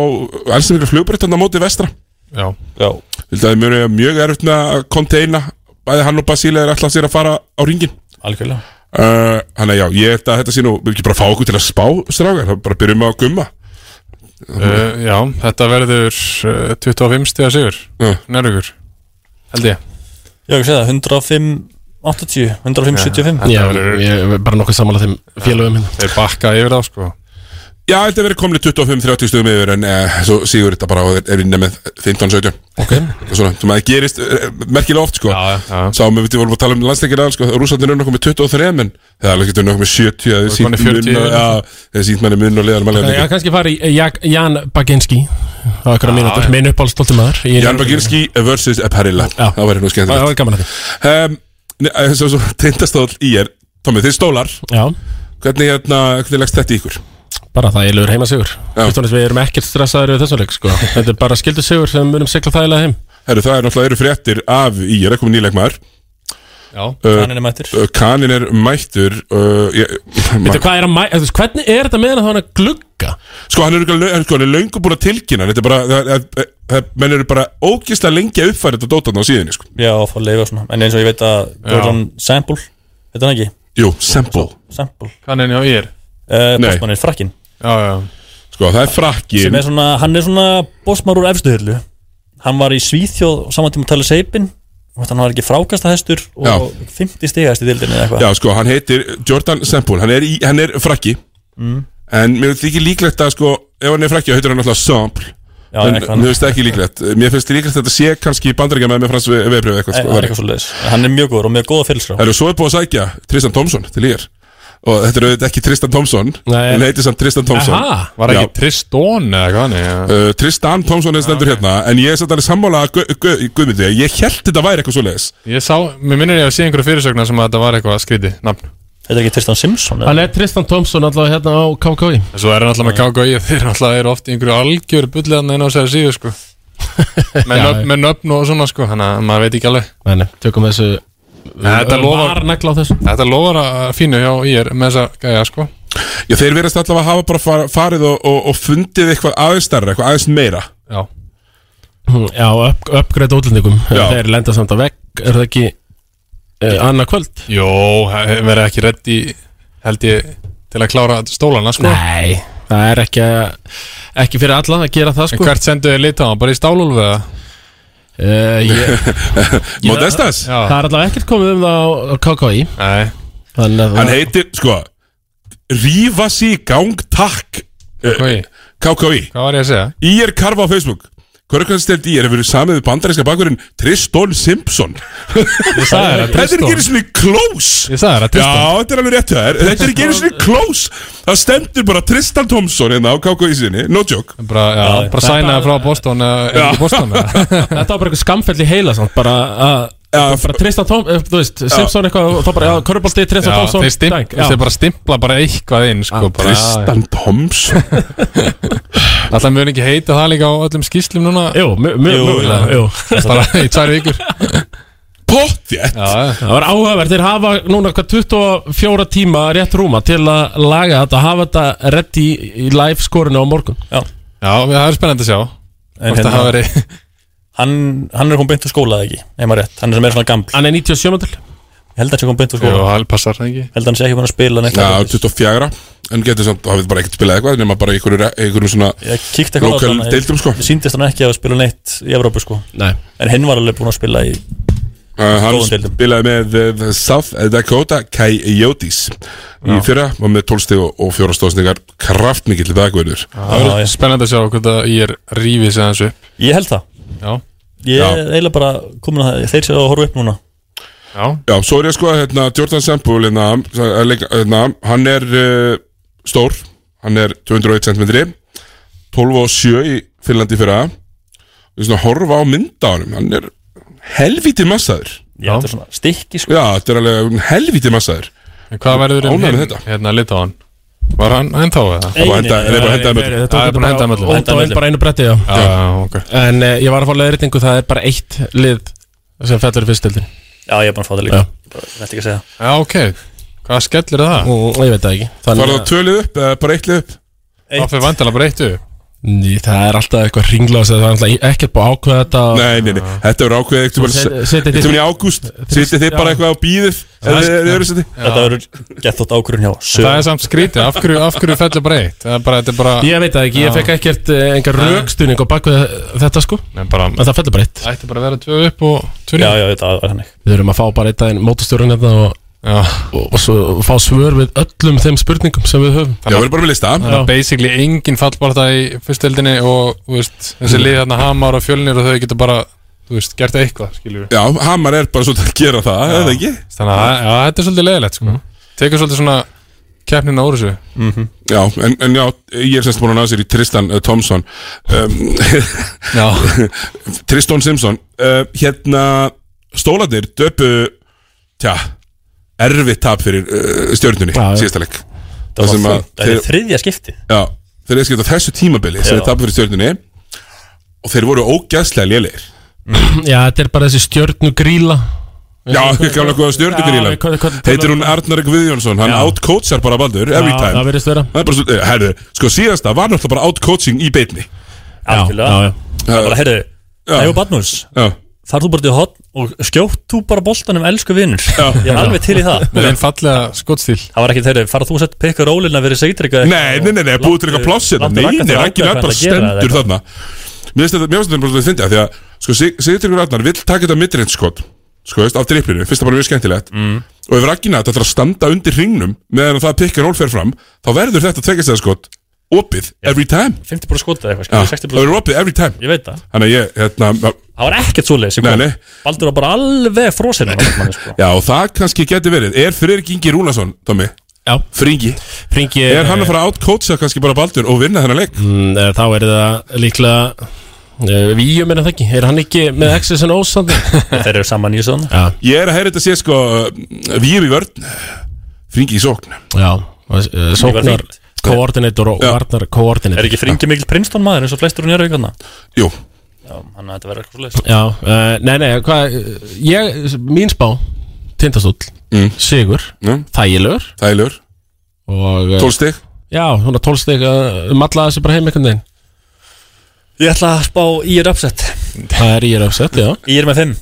Speaker 1: alls mikla flugbreytt hann á móti vestra
Speaker 9: Já,
Speaker 6: já
Speaker 1: Held að það muni eiga mjög erfitt með að konteina Bæði hann og Basíla er alltaf sér að fara á ringin
Speaker 6: Algjörlega
Speaker 1: uh, Þannig að já, ég held að þetta sé nú Við ekki bara fá okkur til að spá strákar Það bara byrjum á að gumma
Speaker 9: Uh,
Speaker 2: Eh,
Speaker 9: já, þetta verður uh, 25 stíða sigur
Speaker 1: uh.
Speaker 9: Nærvíkur Held ég
Speaker 6: Já, ég sé það, 105 80, 175
Speaker 2: Já, ég er bara nokkuð samanlega þeim félögum hérna
Speaker 9: Þeir bakka yfir þá sko
Speaker 1: Já, held að vera komni 25-30 stugum yfir En uh, svo sigur þetta bara og er- er vinna með 15-17
Speaker 2: Ok
Speaker 1: Svona, sem að það gerist uh, merkilega oft sko já, já. Sáum við, við vorum að tala um landsleikir aðal sko, Rúslandin er nokkuð með 23 en það er alveg getur nokkuð með 70 Það er
Speaker 9: komnir
Speaker 1: sýnt mun
Speaker 9: 40.
Speaker 1: og- já, það er sýnt manni mun og leðan
Speaker 2: Eh, Já,
Speaker 1: manni
Speaker 2: kannski fari í Jak- Jan Baginski Það var eitthvað mínútur, minn uppáhaldstolti maður Ég-
Speaker 1: Jan Baginski versus Perilla Það væri nú skemmt
Speaker 2: Það var gaman að
Speaker 1: um, Svo, svo tindastóll í er Tommi, þið stólar
Speaker 2: Já.
Speaker 1: Hvernig, hérna, hvernig leggst þetta í ykkur?
Speaker 2: Bara það ég lögur heima sigur Við erum ekkert stressaður við þessu leik sko. Þetta er bara skildu sigur sem munum sigla þægilega heim
Speaker 1: Herru, það er náttúrulega eru fréttir af í er Ekkum nýleik maður
Speaker 9: Já,
Speaker 6: Kaninn er mættur.
Speaker 1: Kanin er mættur uh, ég,
Speaker 2: Veitu, hvað er að mæ... eh, þú veist, Hvernig er þetta meðan þá hann að glugga?
Speaker 1: Sko hann er, örugglega- hann er, sko, hann er löngu búin að tilkynna Þetta er bara það, það, það, Menn eru bara ógislega lengi að uppfæra þetta dótan á síðinni sko.
Speaker 6: Já, og fá að leifa svona En eins og ég veit að Gordon Sample Þetta hann ekki?
Speaker 1: Jú, Sample
Speaker 6: Sample
Speaker 9: Kaninn hjá ég er?
Speaker 6: uh,
Speaker 1: Nei.
Speaker 6: Bosman er frakkin
Speaker 9: Já, já
Speaker 1: Sko það er frakkin
Speaker 6: Sem er svona, hann er svona Bosman úr efstu hyllu Hann var í Svíþjóð saman tíma talið seipin Hann var ekki frákasta hestur Og 50 stigast í dildinni eða eitthvað
Speaker 1: Já sko hann heitir Jordan Sample Hann er, í, hann er frakki
Speaker 6: Mm.
Speaker 1: En mér finnst ekki líklegt að sko Ef hann er frakki þá heitir hann alltaf Sample
Speaker 6: Já,
Speaker 1: En
Speaker 6: eitthvað.
Speaker 1: mér finnst það ekki líklegt Mér finnst líklegt að þetta sé kannski bandaríkja með með frans veðbrif
Speaker 9: sko,
Speaker 1: eitthvað
Speaker 6: Það er eitthvað svo leiðis Hann er mjög góður og með góða fylskrá
Speaker 1: Það eru svo er búið að sækja Tristan Thompson til ég Og þetta er auðvitað ekki Tristan Thompson
Speaker 9: Nei.
Speaker 1: Hún heitir samt Tristan Thompson
Speaker 9: Aha. Var ekki
Speaker 1: Tristan eða hvað hann uh, Tristan Thompson er stendur hérna En ég er samt alveg sammála að Gu- Gu- Guðmundi Ég held þetta væri eitthvað svo leiðis
Speaker 9: Ég sá, mér minnir ég að sé einhverju fyrirsögnar sem að þetta var eitthvað skrítið nafn
Speaker 6: Þetta er ekki Tristan Simpson
Speaker 2: Hann er Tristan Thompson allavega hérna á KKI
Speaker 9: En Svo er hann alltaf með KKI Þeir alltaf eru oft í einhverju algjör bulliðan inn á sér síðu sko Með
Speaker 2: Já,
Speaker 9: nöfn- með nöfn og svona sko Þannig að maður veit ekki alveg
Speaker 2: Nei, nei, tökum þessu
Speaker 9: Þetta lofar
Speaker 2: Varnagla á þessu
Speaker 9: Þetta lofar að fínu hjá ég með þessa gæja sko
Speaker 1: Já þeir verðast allavega að hafa bara far- farið og, og, og fundið eitthvað aðeins starra Eitthvað aðeins meira
Speaker 9: Já
Speaker 2: Hm, Já, upp, uppgreita útlendingum
Speaker 1: Já.
Speaker 2: Þeir lenda samt að vegg Er það ekki uh, annað kvöld?
Speaker 9: Jó, he- verið ekki redd í held ég til að klára stólana sko
Speaker 2: Nei, það er ekki ekki fyrir alla að gera það sko
Speaker 9: En hvert sendu þið lita á, hann? bara í stálúlfu eða?
Speaker 2: Uh,
Speaker 1: Modestas?
Speaker 2: Það er allavega ekkert komið um það á- á KKI
Speaker 9: Nei
Speaker 2: Þannig að
Speaker 1: Hann heitir sko Rífa sig í gang takk KKI KKI
Speaker 9: Hvað var ég að segja?
Speaker 1: Ír Karfa á Facebook Körkvæðstelt Ír hefur verið samið við bandaríska bakurinn Tristan Simpson
Speaker 9: Ég sagði þér
Speaker 1: Þetta
Speaker 9: að
Speaker 1: er
Speaker 9: Tristan-
Speaker 1: ekki einu sinni close
Speaker 9: Ég sagði þér að Tristan.
Speaker 1: Já, þetta er alveg rétt hjá þér Þetta er ekki einu sinni close Það stendur bara Tristan Thompson hérna á KKI sinni No joke
Speaker 9: Bara, já,
Speaker 1: Já,
Speaker 9: bara
Speaker 1: þetta-
Speaker 9: sænaði frá Boston eða eða
Speaker 1: Já.
Speaker 9: ekki Boston eða?
Speaker 2: Þetta var bara eitthvað skamfell í heila samt Bara að bara Tristan Tom, eh, þú veist, Simpson eitthvað og þá bara, já, Körbólti, Tristan
Speaker 9: Já,
Speaker 2: Thompson
Speaker 9: þeir, stim,
Speaker 2: dang, já. Ah,
Speaker 1: Sko,
Speaker 9: þeir bara stimpla bara eitthvað inn sko, bara,
Speaker 1: Tristan Thompson
Speaker 9: Alltaf mun ekki heita það líka á öllum skýslum núna
Speaker 2: Jú, mjög, mögulega, jú.
Speaker 9: Bara í tvær vikur
Speaker 1: Pottjett
Speaker 2: Það var áhugavert, þeir hafa núna hvað 24 tíma rétt rúma til að laga þetta, hafa þetta reddi í, í live skorinu á morgun
Speaker 6: Já,
Speaker 9: Já það er spennandi að sjá
Speaker 6: En
Speaker 9: Hvort það hafi
Speaker 6: hérna, hann, hann er kom beint úr skóla eða ekki, ef maður rétt, hann er sem er svona gaml
Speaker 2: Hann er 97 til
Speaker 6: Ég held að hann sé kom beint úr skóla
Speaker 9: Jú, hann passar það ekki
Speaker 6: Held að hann sé ekki búin að spila neitt
Speaker 1: Já, 24 En getur samt, hafið bara ekkert spilað eitthvað Nefna bara í einhverju- einhverjum svona
Speaker 6: Kíkti eitthvað á
Speaker 1: Lokal
Speaker 6: þetta,
Speaker 1: deildum sko
Speaker 6: ég- Sýndist hann ekki að spila neitt í Evrópu sko
Speaker 2: Nei
Speaker 6: En hinn var alveg búin að spila í
Speaker 1: Uh, hann
Speaker 6: Góðum deildum.
Speaker 1: spilaði með uh, the South Dakota Coyotes í
Speaker 6: Já.
Speaker 1: fyrra og með 12 stig og, og fjóra stóðsningar kraftmikill dagverður
Speaker 9: Það verður spennandi að sjá hvort að ég er rífið sér þessu upp
Speaker 6: Ég held það
Speaker 9: Já
Speaker 6: Ég er eiginlega bara komin að það, þeir séu að horfa upp núna
Speaker 9: Já.
Speaker 1: Já, svo er ég að skoða hérna Jordan Sempul hérna, að leika- hérna, hann er uh, stór, hann er 201 cm 12 og 7 í Finnlandi fyrra Við svona horfa á mynda á hann hann er helvítið massaður
Speaker 6: Já, þetta er svona stikki
Speaker 1: sko Já, þetta er alveg helvítið massaður
Speaker 9: En hvað verður um
Speaker 1: Ánægður
Speaker 9: hinn,
Speaker 1: með þetta
Speaker 9: hérna lita á hann? Var hann henda á það?
Speaker 1: Nei, Bara henda- nei, nei, nei, bara henda þeim öllum.
Speaker 2: Þetta
Speaker 9: Það er bara henda
Speaker 2: var
Speaker 9: með
Speaker 2: bara út á einn bara einu bretti, já
Speaker 9: Já, ok
Speaker 2: En eh, ég var að fá leðritingu, það er bara eitt lið sem fellur í fyrstildin
Speaker 6: Já, ég er bara að fá það líka Bara, Þetta ekki að segja
Speaker 9: Já, ok Hvað skellir það?
Speaker 2: Ég veit það ekki
Speaker 1: Var það tölið upp eða bara eitt lið upp?
Speaker 9: Það fyrir vandala bara eitt upp
Speaker 2: Ný, það er alltaf eitthvað ringláð það er alltaf ekkert búið að ákveða þetta og-
Speaker 1: Nei, nei, nei, þetta verður ákveðið um
Speaker 2: Svo
Speaker 1: eitthvað
Speaker 2: set- setið
Speaker 1: Þetta verður í
Speaker 2: þið-
Speaker 1: ágúst,
Speaker 2: þið-
Speaker 1: setið þið bara
Speaker 2: já.
Speaker 1: eitthvað á bíðið
Speaker 2: Það er-
Speaker 6: Þetta verður gett þótt ákvörun hjá
Speaker 9: Það er samt skrítið, af hverju, af hverju fellur bara eitt? Það er bara, þetta er bara
Speaker 2: Ég veit það ekki, ég fekk ekkert eh, engar
Speaker 9: Nei.
Speaker 2: raukstuðning og bakvið þetta sko
Speaker 9: Nei, bara
Speaker 2: En það fellur bara eitt
Speaker 9: Ætti bara að vera tvö upp og tvö
Speaker 6: Já, já, þetta var þannig
Speaker 2: Við þurfum að fá bara eitt daginn mótustjórun hérna og, og, og svo fá svör við öllum þeim spurningum sem við höfum
Speaker 1: Já, við erum bara með lista
Speaker 9: Þannig að basically engin fallbarta í fyrsteldinni og þú veist, þessi lið hérna hamar og fjölnir og þau geta bara, þú veist, gert eitthvað, skiljum
Speaker 1: Já, Hamar er bara svolítið að gera það, eða ekki?
Speaker 9: Þannig að já, þetta er svolítið leðilegt, sko Tekur svolítið svona keppnina úr þessu
Speaker 1: Já, en, en já, ég er semst búin að ná sér í Tristan uh, Thompson um,
Speaker 9: Já
Speaker 1: Tristan Simpson uh, Hérna, stólarnir döpu, tja, erfitt tap fyrir uh, stjórnunni,
Speaker 6: Já, já.
Speaker 1: síðasta leik
Speaker 6: Það
Speaker 1: sem
Speaker 6: var
Speaker 1: að
Speaker 6: það er
Speaker 1: þeir-
Speaker 6: í þriðja skipti
Speaker 1: Já, þeir eru skipt á þessu tímabili sem
Speaker 6: Já.
Speaker 1: þeir tapu fyrir stjórnunni og þeir voru ógæðslega lélegir
Speaker 2: Já, þetta er bara þessi stjórnugríla
Speaker 1: Já, gamla góða stjórnugrílan Heitir hún Arnar Guðjónsson, hann outcoachar bara Baldur, every
Speaker 2: Já,
Speaker 1: time
Speaker 2: það virðist vera.
Speaker 1: Það er bara svo, herru, sko síðasta var náttúrulega bara outcoaching í beinni
Speaker 6: Algjörlega
Speaker 2: já, já.
Speaker 6: Það er bara, heyrðu, það er barnús Þar þú bara til hotn og skjótt þú bara boltanum elsku vinnur Ég er alveg til í það
Speaker 9: Með einn fallega skottstíl
Speaker 6: Það var ekki þeirri, fara þú að setja pikka rólina fyrir Seitrik
Speaker 1: Nei, nei, nei, nei, búið til eitthvað pláss hérna Nei, nei, Raggi Nær bara stendur þarna Mér finnst þetta mér finnst þetta bara svolítið fyndið af Því að, sko, Sigurður Ragnar vill taka þetta midrindskot Sko, veist, af driplinu, finnst það bara mjög skemmtilegt
Speaker 6: Mm.
Speaker 1: Og ef Raggi Nær ætlar að standa undir hringnum Meðan það pikkar ról fer fram Þá verður þetta tveggjastæðaskot opið every time
Speaker 6: 50% skotið eitthvað,
Speaker 1: Já,
Speaker 6: skilur,
Speaker 1: Það verður
Speaker 6: 60%
Speaker 1: opið every time
Speaker 6: Ég veit það
Speaker 1: Þannig að ég, hérna
Speaker 6: Það var ekkert svoleiðis ég
Speaker 1: Nei,
Speaker 6: kom.
Speaker 1: nei.
Speaker 6: Baldur var bara alveg frosinn á markmanni, sko.
Speaker 1: Já, og það kannski geti verið Er Friðrik Ingi Rúnason, Tommi?
Speaker 2: Já
Speaker 1: Fringi
Speaker 2: Fringi
Speaker 1: Er hann að fara að outcoacha kannski bara Baldur og vinna þennan leik?
Speaker 2: Mm, eh, þá er það líklega uh, Víum er það ekki, er hann ekki með X's and O's þannig?
Speaker 6: Þeir eru saman í þessu þannig
Speaker 2: Já,
Speaker 1: Ég er að heyra þetta sé sko Víum í vörn Fringi í sókn
Speaker 2: já, og, eh, sóknar
Speaker 6: fínt.
Speaker 2: koordinator og varnar koordinator
Speaker 6: Er ekki fringi mikil Princeton maður eins og flestur hún er aukana?
Speaker 1: Jú
Speaker 6: Já, hann að þetta verður eitthvað svoleiðis
Speaker 2: Já, uh, nei, nei, hvað ég, mín spá, tindastóll sigur,
Speaker 1: Mm.
Speaker 2: þægilegur
Speaker 1: Þægilegur
Speaker 2: og eh,
Speaker 1: 12 stig
Speaker 2: Já, hún er tólstig að matla eh, um þessi bara heim einhvern veginn
Speaker 6: Ég ætla að spá í er uppsett
Speaker 2: Það er ég rafsett, já
Speaker 6: Í er með þeim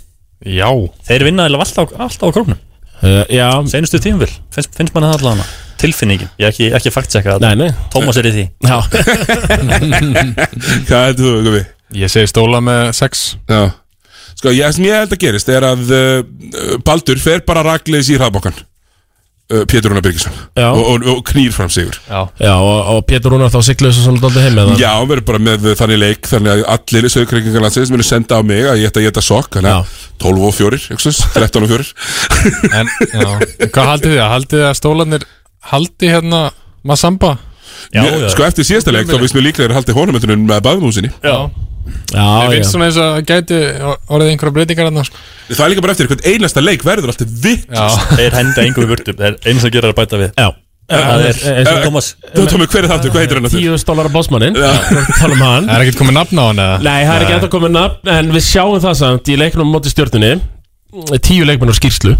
Speaker 9: Já
Speaker 6: Þeir vinna eiginlega alltaf, alltaf á krónum
Speaker 2: uh, Já,
Speaker 6: Seinustu tíumvil, finnst, finnst manna það allavega hana Tilfinningin, ég er ekki, ekki faktseka
Speaker 2: Nei, nei.
Speaker 6: Tómas er í því
Speaker 2: já
Speaker 1: Hvað heldur þú, Guði?
Speaker 9: Ég segi stóla með sex
Speaker 1: Já Sko, ég, sem ég held að gerist er að uh, Baldur fer bara ragleis í hraðbókan uh, Pétur Rúnar Birgisson
Speaker 2: Já.
Speaker 1: og, og, og knýr fram sigur
Speaker 9: Já,
Speaker 2: Já, og, og Pétur Rúnar þá siglaði þessu svolítið aldrei heim með það
Speaker 1: Já, hann verður bara með þannig leik Þannig að allir sögurkringingarlandsins Munu senda á mig að ég ætta að geta sokk Þannig að 12 og 4, yksus, 13 og 4
Speaker 9: En, já Hvað haldið þið? Haldið þið að stólanir haldi hérna Masamba?
Speaker 1: Já, já. Sko eftir síðasta leik þá finnst mér líklega að haldi honumöndunum með baðmúsinni
Speaker 6: Já,
Speaker 9: Ég
Speaker 2: Já, já,
Speaker 9: finnst svona eins að gæti orðið einhverja breytingar hérna sko.
Speaker 1: Það er líka bara eftir hvern einasta leik verður alltaf vitt
Speaker 9: Já
Speaker 6: Þeir henda engum í burtu Þeir eins að gera er að bæta við
Speaker 2: já
Speaker 6: Það er eins og Thomas
Speaker 1: Tómi, Eh, hver er það aftur? Hvað heitir hann aftur?
Speaker 2: 10.000 dólar á bossmannin Tala um hann
Speaker 9: Það er ekkert komið nafn á hann eða?
Speaker 2: Nei, það er ekki enda komið nafn En við sjáum það samt í leiknum á móti stjórnunni Tíu leikmenn á skýrslu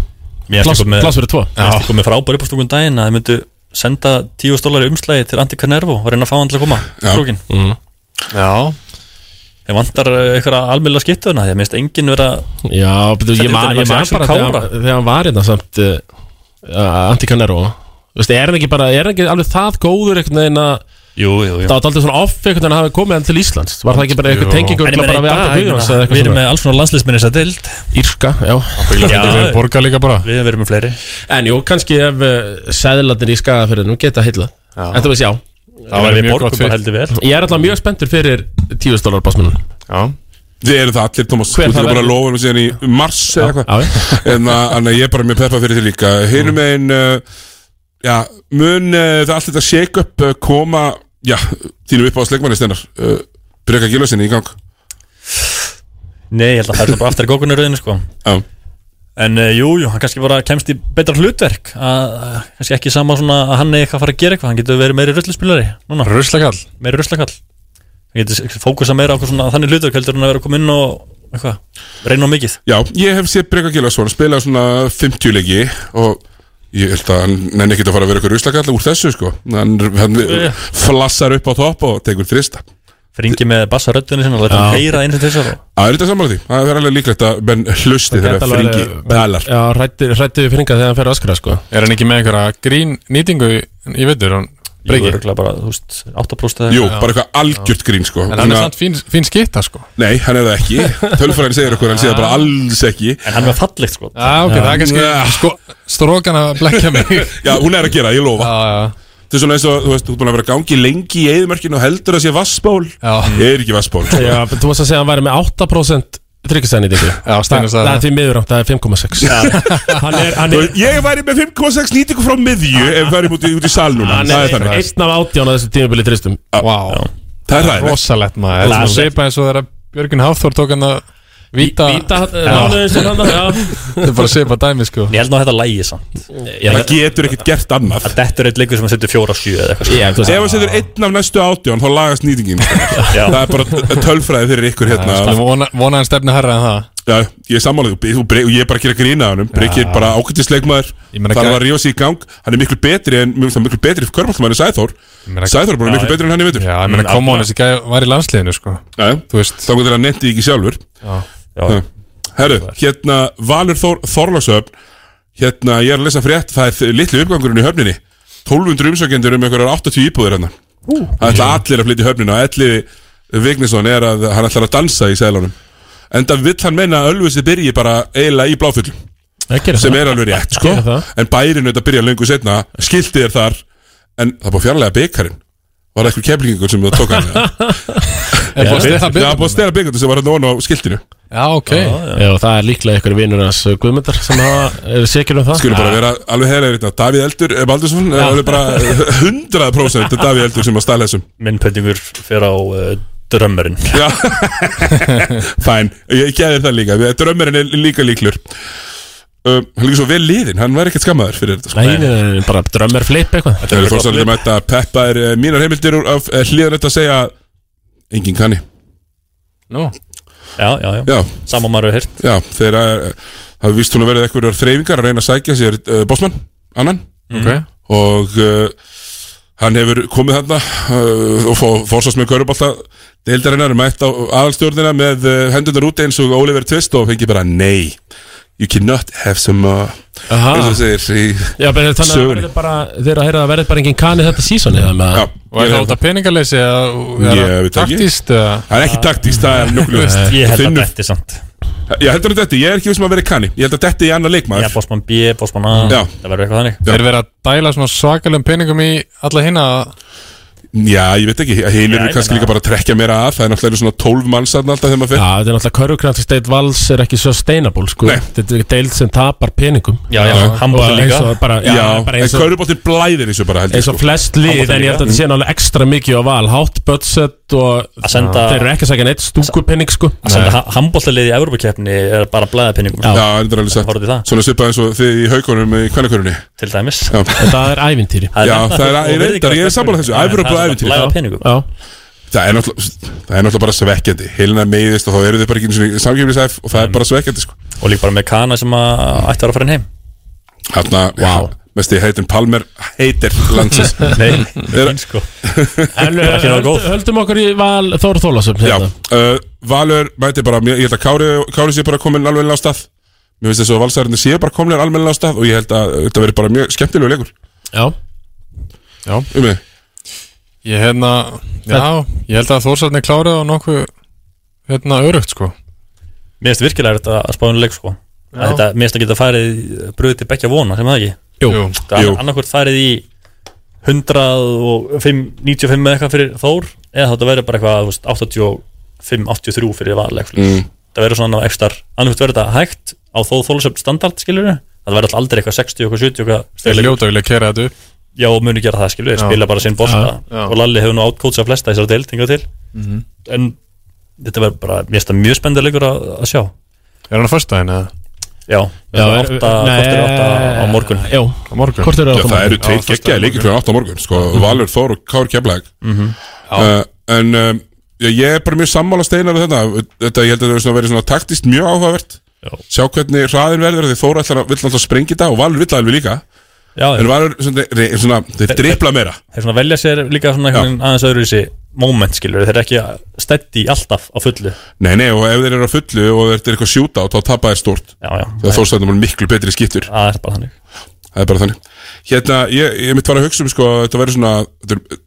Speaker 2: Pláss pláss fyrir tvo
Speaker 6: Ég eftir komið frábæri upp á stúkun daginn að þið myndu senda 10 stólari umslægi til Andy Canervo og reyna að fá hann til að koma
Speaker 1: Já.
Speaker 6: Krúkin
Speaker 2: Mhm.
Speaker 6: Já Ég vantar eh, einhverja almilla skiptuna Því að minnst enginn vera
Speaker 2: Já, betur, ég,
Speaker 6: Sendir
Speaker 2: ma ég
Speaker 6: þetta Max
Speaker 2: man
Speaker 6: Axel
Speaker 2: bara þegar,
Speaker 6: Kára.
Speaker 2: þegar hann var hérna samt uh, Antti Canero Veistu, er hann ekki bara, er hann ekki alveg það góður einhvern veginn að
Speaker 6: Jú, jú, jú
Speaker 2: Það var aldrei svona off einhvern veginn að hafa komið hann til Íslands Var það ekki bara einhver
Speaker 6: Jú.
Speaker 2: tenging
Speaker 6: En ég
Speaker 2: örugglega
Speaker 6: meina,
Speaker 2: bara
Speaker 6: í
Speaker 2: við
Speaker 6: dag,
Speaker 2: Arda
Speaker 6: ég
Speaker 2: Guðjóns eða eitthvað
Speaker 6: meina, Við erum
Speaker 2: svona?
Speaker 6: með alls svona landslisminni þess að dild
Speaker 2: Írska, já
Speaker 6: Já,
Speaker 9: borgar líka bara
Speaker 6: Við erum með fleiri
Speaker 2: En jú, kannski ef uh, sæðilatnir í skagaferðinu geta heilla En þú veist, já
Speaker 6: Það væri mjög gott fyrir heldur vel
Speaker 2: Ég er alltaf mjög spenntur fyrir 10 stólar básmunum
Speaker 1: Já Þið eru það allir, Thomas
Speaker 2: Hver
Speaker 1: Þú
Speaker 2: það
Speaker 1: ert bara að
Speaker 2: verður?
Speaker 1: lofa mér síðan í mars eða eitthvað En að- en að ég er bara mjög peppa fyrir því líka
Speaker 6: Mm.
Speaker 1: Hinum einn uh, Já, mun uh, það allt þetta shake-up uh, koma Já, þínum upp á slegmanni stennar uh, Breka Gilvasinni í gang
Speaker 6: Nei, ég held að það er bara aftur í gókunaröðinu sko
Speaker 1: Já
Speaker 6: En uh, jú, jú, hann kannski bara kemst í betra hlutverk að, að, kannski ekki sama svona að hann eigi eitthvað að fara að gera eitthvað, hann getur verið meiri rullaspilari núna.
Speaker 9: Ruslakall
Speaker 6: Meiri ruslakall Hann getur fókusa meira á eitthvað svona þannig hlutverk heldur en að vera að koma inn og eitthvað, reyna á mikið
Speaker 1: Já, ég hef séð Breka Gilvason spila svona 50 leiki Og ég held að hann nenni ekkert að fara að vera eitthvað ruslakall úr þessu sko Hann, hann
Speaker 6: Já.
Speaker 1: flassar upp á topp og tekur þrista
Speaker 6: Fringi með bassa röddunni sinna og læta hann heyra eins og þessar og
Speaker 1: Það er þetta sammála því, það er alveg líklegt að menn hlusti
Speaker 2: Það
Speaker 1: þegar
Speaker 2: gæti alveg
Speaker 1: fringi
Speaker 2: verið-
Speaker 1: talar
Speaker 2: Já, rættu við fringa þegar hann fer að öskra sko
Speaker 9: Er hann ekki með einhverja grín nýtingu í- í vettur?
Speaker 6: Jú, örugglega bara, þú veist, 8%
Speaker 1: Jú, bara eitthvað algjört grín sko
Speaker 9: En hann
Speaker 1: Svona-
Speaker 9: er samt fín, fín skitta sko
Speaker 1: Nei, hann er það ekki Tölfræðin segir okkur, hann sé það bara alls ekki En
Speaker 6: hann var fallegt sko
Speaker 9: Já, Ah, ok, það er kannski sko, Strókan að blekja mig
Speaker 1: Já, hún er að gera, ég lofa Þetta er svona eins og, þú veist, þú er búin að vera að gangi lengi í eðumörkinu og heldur að sé vassból Ég er ekki vassból sko.
Speaker 2: Já, þú varst að segja að hann væri með 8% tryggisæðnýtingu
Speaker 9: Já, Steinar sagði
Speaker 2: það
Speaker 9: það.
Speaker 2: er því miður átt, það er 5,6 Hann er, hann
Speaker 1: Þú
Speaker 2: er
Speaker 1: veist, Ég væri með 5,6 nýtingu frá miðju ef við værum út í, út í sal
Speaker 9: Ah,
Speaker 1: núna
Speaker 2: Hann
Speaker 1: Það
Speaker 2: er
Speaker 1: er þannig
Speaker 2: einn af átján á þessu tímabili tristum
Speaker 9: Vá
Speaker 1: Það er ræðilegt.
Speaker 9: Rosalett maður Það er svona
Speaker 2: Rosalegt.
Speaker 9: sveipa eins og þegar Björgun Háþór tók hann að Víta
Speaker 2: Víta,
Speaker 9: Já.
Speaker 2: mánuðin eh, sem hann, já.
Speaker 9: Það er bara sveipa dæmi sko
Speaker 6: Ég held nú að þetta lægi samt
Speaker 1: Það getur ekkert gert annað
Speaker 6: Að þetta er eitt leikur sem hann setur 4-7 eða eitthvað
Speaker 2: Já,
Speaker 1: Ef hann setur einn af næstu átján, þá lagast nýtingin
Speaker 6: Já.
Speaker 1: Það er bara tölfræði fyrir ykkur hérna
Speaker 9: Skulum vona- Vona hann stefni herra en það
Speaker 1: Já, ég er sammálaður og bre- og ég er bara að gera grína hann Breki er bara ákvæmtisleikmaður
Speaker 9: meina,
Speaker 1: Það er
Speaker 9: gæ-
Speaker 1: að rífa sig í gang Hann er miklu betri en mjög, miklu betri fyrir körpallmann en Sæþór Sæþór er bara miklu betri en hann í veitur
Speaker 9: Já, ég meina, koma hann þessi gæði var í landsliðinu sko
Speaker 1: Já, þú veist Þá getur hann nefndi ekki sjálfur
Speaker 9: Já.
Speaker 1: Já. Herru, hérna Valur Þór, Þorlásöfn Hérna, ég er að lesa frétt Það er litlu uppgangurinn í höfninni 1200 umsökjendur um einhverjar 80 íbúðir hérna Það ætla allir að flytja í höfnina Elli Vignisson er að hann ætlar að dansa í sælunum Enda vill hann meina að Ölfusi byrji bara eiginlega í bláfullum
Speaker 2: gerir
Speaker 1: Sem
Speaker 2: það.
Speaker 1: er alveg rétt, sko
Speaker 2: Gerir það.
Speaker 1: En bærin auðvitað byrja lengur setna Skiltið er þar En það er búið að fjarlæga byggarinn Var það eitthvað keflingur sem það tók hann
Speaker 9: Er búið að stela
Speaker 1: Það er búið að stela byggarinn sem var hérna ofan á skiltinu
Speaker 9: Já, ok
Speaker 2: Já, og það er líklega ykkur vinnur hans uh, Guðmundar sem hafa- eru sikir um það
Speaker 1: Skulum bara
Speaker 2: Já.
Speaker 1: vera alveg heilir hérna Davíð Eldur, eh, Baldursson er alveg bara 100% þetta er Davíð Eldur sem að stæla þessum
Speaker 6: Minn pöndingur fyrir á uh, drömmerinn
Speaker 1: Já Fæn, ég gæði það líka Við- Drömmurinn er líka líklur Uh, hann er líka svo vel liðin, hann var ekkert skammaður fyrir þetta sko.
Speaker 2: Nei, nei, nei, bara drömmar flip eitthvað
Speaker 1: Það er fórstæðan að mæta Peppa er eh, mínar heimildir úr af eh, hliðan þetta að segja Engin kanni
Speaker 9: Nú
Speaker 6: Já, já, já,
Speaker 1: Já.
Speaker 6: Sama maður hefur heyrt
Speaker 1: Já, þegar eh, það er vist hún að verið eitthvað þreifingar að reyna að sækja sér uh, bossmann, annan
Speaker 9: Ok.
Speaker 1: og uh, hann hefur komið þarna uh, og fó- fórsast með körubálta deildarinnar mætt á aðalstjórnina með uh, hendunar út eins og Oliver Twist og fengi bara nei, you cannot have some uh,
Speaker 2: Aha.
Speaker 1: eins og segir í
Speaker 2: Já, bara þannig að það
Speaker 1: sögunni
Speaker 2: verður bara, þeir eru að heyra að það verður bara engin kani þetta sísoni Já,
Speaker 9: Og er það út af peningaleysi eða-
Speaker 1: Ég veit
Speaker 9: eða
Speaker 1: það ekki.
Speaker 9: Taktíst eða-
Speaker 1: Það er ekki taktíst, það er nokkuð
Speaker 6: Ég held að þetta er samt
Speaker 1: Ég heldur að þetta, ég er ekki vissum að vera kanni Ég held að þetta er annar leikmaður
Speaker 6: Já, bossmann B, bossmann A
Speaker 1: Já.
Speaker 6: Það verður eitthvað þannig
Speaker 9: Er verið að dæla svona svakalum peningum í alla hinna
Speaker 1: Já, ég veit ekki, hinn
Speaker 2: Já,
Speaker 1: eru
Speaker 2: ég
Speaker 1: kannski
Speaker 2: meina-
Speaker 1: líka bara að trekja meira að Það er náttúrulega eru svona 12 manns þarna alltaf þegar maður
Speaker 2: Já, þetta er náttúrulega körfukraftsdeild vals er ekki sustainable sko. Þetta er deild sem tapar peningum
Speaker 1: Já, já,
Speaker 2: Og
Speaker 1: handbolti
Speaker 2: eins
Speaker 1: líka.
Speaker 2: og bara, já,
Speaker 1: Já,
Speaker 2: bara
Speaker 1: en körfuboltinn blæðir eins og bara held ég,
Speaker 2: Eins og
Speaker 1: sko.
Speaker 2: flest lið,
Speaker 1: Handbolti
Speaker 2: en ég
Speaker 1: líka.
Speaker 2: held að þetta sé náttúrulega ekstra mikið á val Hátt budget og
Speaker 6: Að senda-
Speaker 2: Þeir eru ekki að segja neitt stúkupenning sko
Speaker 6: Að senda handbóltalið í Evrópakeppni er bara blæða penningum
Speaker 1: Já, þetta er alveg satt
Speaker 6: Horfðu í það.
Speaker 1: Svona svipað eins og þið í haukunum í kvennakörunni
Speaker 6: Til dæmis
Speaker 1: Já,
Speaker 2: Þetta er ævintýri
Speaker 1: já það er ég reyndar, ég er sammála þessu Æfröp og ævintýri
Speaker 2: Já.
Speaker 1: Það er náttúrulega það er náttúrulega bara svekkjandi Helena meiðist og þá eru þið bara ekki samkjöfnisæf og það er bara svekkjandi sko.
Speaker 6: Og líka bara með Kana sem að ætti að vera að fara inn heim
Speaker 1: Þarna, wow. mest ég heitin Palmer heitir landsins
Speaker 6: Nei,
Speaker 1: fín
Speaker 6: sko
Speaker 2: En uh, höld- höldum okkur í val Þór hérna. Þólasum
Speaker 1: Já,
Speaker 6: hérna.
Speaker 1: uh, Valur mæti bara, mér- ég held að Kári, Kári sé bara komin alveg á stað Mér finnst þess að valsærinni sé bara komin alveg á stað og ég held að þetta verður bara mjög skemmtilegu leikur
Speaker 2: Já
Speaker 9: Já
Speaker 1: Um mig
Speaker 9: Ég hérna, já, ég held að Þórsarni klárið á nokkuð hérna örugt sko
Speaker 6: Mér finnst virkilega þetta að spáinu leik sko
Speaker 9: Já.
Speaker 6: Að Þetta, Mér finnst að geta farið bröðið til bekkja vona sem það ekki
Speaker 2: Jú. Jú.
Speaker 6: Það
Speaker 2: Jú.
Speaker 6: er annarkvort farið í 195 eða eitthvað fyrir Þór eða þetta verður bara eitthvað þú veist, 85, 83 fyrir valleg
Speaker 1: Mm.
Speaker 6: Það verður svona ekstra annarkvort verður þetta hægt á þó þólusöfn standard skilur það verður alltaf aldrei eitthvað 60, eitthvað 70 eitthvað
Speaker 9: Þeir ljóta vilja kera þetta upp
Speaker 6: Já, og muni gera það skilur,
Speaker 9: Já.
Speaker 6: spila bara sinn bolta
Speaker 9: Já, já.
Speaker 6: og Lalli hefur nú átkótsað flesta þessar deild hingað til
Speaker 9: Mhm.
Speaker 6: en þetta verður bara, mér finnst það mjög spendilegur að, að sjá
Speaker 9: Er hann að fyrsta henni eða?
Speaker 6: Já, já er, átta, nei, kortir átta á morgun
Speaker 2: Já,
Speaker 9: á morgun
Speaker 2: Korter
Speaker 1: Já, það eru tveir geggjaði leikir kljóðan 8 á morgun sko, Valur, Þór og Kár Keflæk
Speaker 6: Mhm.
Speaker 1: uh, En um, já, ég er bara mjög sammála steinar við þetta Þetta ég held að þetta verður svona- verður svona taktist mjög áhugavert Sjá hvernig hraðin verður því Þór ætlar að vill alltaf springi þetta og Valur vill alveg líka
Speaker 6: Já, já.
Speaker 1: En Valur, svona, re- svona, þeir dripla meira
Speaker 6: Þeir svona velja sér líka svona einhvern veginn aðeins öðru þessi moment skilur, þeir eru ekki steddi alltaf á fullu
Speaker 1: Nei, nei, og ef þeir eru að fullu og þetta er eitthvað sjúta þá tapa þeir stort
Speaker 6: Já, já
Speaker 1: Þegar Þórstæðnum er miklu betri skittur
Speaker 6: Það er bara þannig
Speaker 1: Það er bara þannig Hérna, ég, ég mitt var að hugsa um sko að Þetta verður svona þetta er,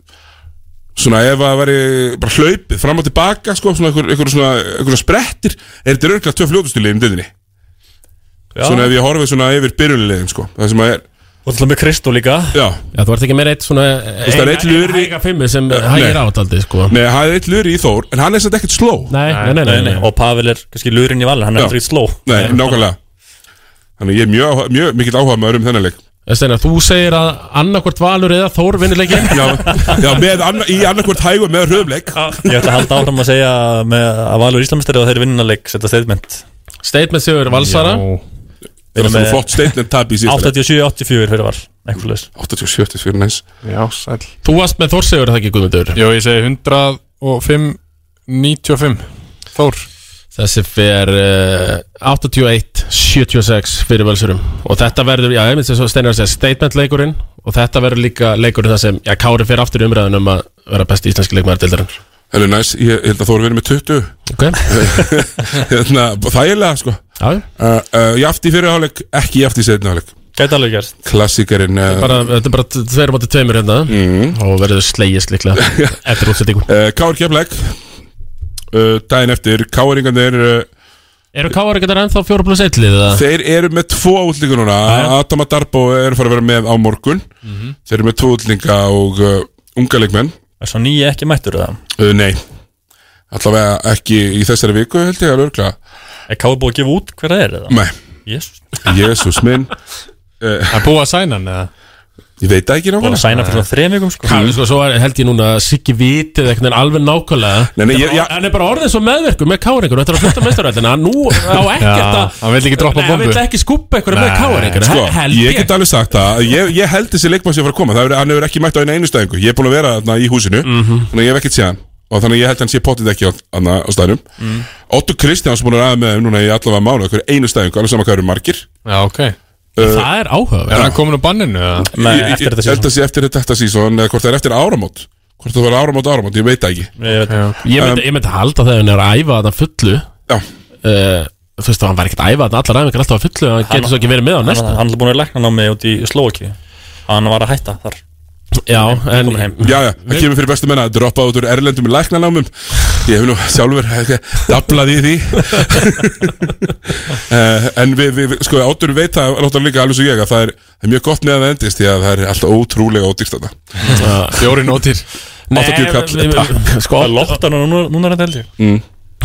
Speaker 1: Svona ef að veri bara hlaupið Fram og tilbaka sko Svona einhver, einhver svona einhver sprettir Er þetta örgulega tvö fljótustu liðin í dildinni Svona ef ég horfið svona yfir byrjulegin sko Það sem að er
Speaker 6: Og alltaf með Kristó líka
Speaker 1: Já
Speaker 2: Já, þú ert ekki meira eitt svona eh,
Speaker 1: veist, það er einn luri-
Speaker 2: Hæga fimmu sem hægir á
Speaker 1: átaldi
Speaker 2: sko
Speaker 1: Nei, hann er eitt luri í Þór En hann er samt ekkert sló
Speaker 2: Nei, nei, nei, nei, nei.
Speaker 6: Og Pavel er kannski lurinn í valin, hann er
Speaker 1: Já.
Speaker 6: aldrei sló
Speaker 1: Nei, nákvæmlega Þannig ég er mjög, áhuga- mjög mikill áhuga maður um þennan leik
Speaker 2: En Steinar, þú segir að annarkvort Valur eða Þór vinnur leikinn
Speaker 1: Já, já með anna, í annarkvort hægum með röfleik
Speaker 6: Ég ætla að halda áfram að segja með að Valur Íslamisteri og þeir vinnanleik setja statement
Speaker 2: Statement sigur Valsara
Speaker 1: Það er alltaf flott statement tap í síðasta
Speaker 6: 87-84 fyrir Val Eitthvað leis
Speaker 1: 87-84 næs
Speaker 9: Já, sæl
Speaker 2: Þú varst með Þór sigur það ekki Guðmundur
Speaker 9: Jó, ég segi 105, 95 Þór
Speaker 2: Þessi fer uh, 81-76 fyrir Valsurum Og þetta verður, já, ég minnst þess að Steinar segja statement leikurinn Og þetta verður líka leikurinn það sem, já, Kári fer aftur í umræðan um að vera besti íslenski leikmaður dildarinn
Speaker 1: Það er næst, ég held að Þór verið með 20
Speaker 2: Ok
Speaker 1: Þannig að þægilega sko
Speaker 2: Já uh,
Speaker 1: uh, Jaft í fyrirháleik, ekki jaft í setniháleik
Speaker 6: Gæti alveg gerst
Speaker 1: Klassikerinn uh,
Speaker 2: bara, Þetta er bara tveir mátu tveimur hérna
Speaker 9: Mhm.
Speaker 2: Og verður slegist líklega Eftir útsettingu
Speaker 1: uh, Kár Keflæk uh, Dæin eftir, Káringarnir uh,
Speaker 2: Eru Kári getur ennþá 4 plus 1 lið eða?
Speaker 1: Þeir eru með tvo útlíka núna Atama Darbo er farið að vera með á morgun
Speaker 2: Mhm.
Speaker 1: Þeir eru með tvo útlíka og uh, unga leikmenn
Speaker 6: Er svo nýja ekki mættur það?
Speaker 1: uh, Nei, allavega ekki í þessari viku held ég alveg örgla
Speaker 6: Er Kári búið að gefa út hver það er eða?
Speaker 1: Nei
Speaker 6: Jésus
Speaker 1: Jésús minn Það
Speaker 9: er búið að sæna hann eða?
Speaker 1: Ég veit það ekki nákvæmlega
Speaker 6: Búið að sæna fyrir svona þrem vikum sko
Speaker 2: Kári, sko, svo er, held ég núna að Siggi vitið eitthvað alveg nákvæmlega
Speaker 1: Nei, nei, ég-
Speaker 2: Þetta er- Hann er bara orðin svo meðverkur með káringur Þetta er að flutta meistaröldina Nú á ekkert að
Speaker 9: hann vill ekki droppa
Speaker 2: Nei, Hann
Speaker 9: bombu.
Speaker 2: vill ekki skúpa eitthvað með káringur
Speaker 1: sko,
Speaker 2: Held
Speaker 1: Ég
Speaker 2: ég
Speaker 1: get alveg sagt það að Ég, ég held þessi leikmann sem fara að koma Það er, Hann hefur ekki mætt á einu einu stæðingu Ég er búin að vera þarna í húsinu Þannig að ég hef ekkert séð hann Og þannig að ég held hann sé pottið ekki á, þarna á stæðnum
Speaker 9: Mm.
Speaker 1: Otto Kristjáns búin að ræða með þeim núna í allavega mánu Hver einu stæðingu, alveg saman hvað eru margir
Speaker 9: Já, ok
Speaker 2: Það er áhugaverð
Speaker 9: Er hann komin á banninu eða?
Speaker 1: Ég- ég- ég held að sé eftir þetta sísón Hvort það er eftir áramót Hvort það var áramót, áramót, ég veit það ekki
Speaker 2: Ég myndi, ég myndi halda þegar hann er að æfa þetta fullu eh,
Speaker 1: Já
Speaker 2: Þú veist að hann var ekkert að æfa þetta allar æfingar alltaf að fullu Hann getur svo ekki verið með á
Speaker 6: Hann-
Speaker 2: næsta
Speaker 6: Hann er búin að lækna námi út í Slovaki Hann var að hætta þar
Speaker 2: Já, en
Speaker 1: Já, já, það kemur fyrir bestu menna að droppa út úr erlendum í læknanámum Ég hef nú sjálfur eh, dablað í því Eh, En við, við, við- sko, áttur veit það Láttan líka alveg svo ég að það er, það er mjög gott með að það endist Því að það er alltaf ótrúlega ódýrt þarna
Speaker 9: Fjórin ótir
Speaker 13: Nei,
Speaker 1: 80
Speaker 13: við-
Speaker 1: kall
Speaker 13: Sko,
Speaker 6: Það loftar hann núna, núna er þetta held ég
Speaker 1: Mm.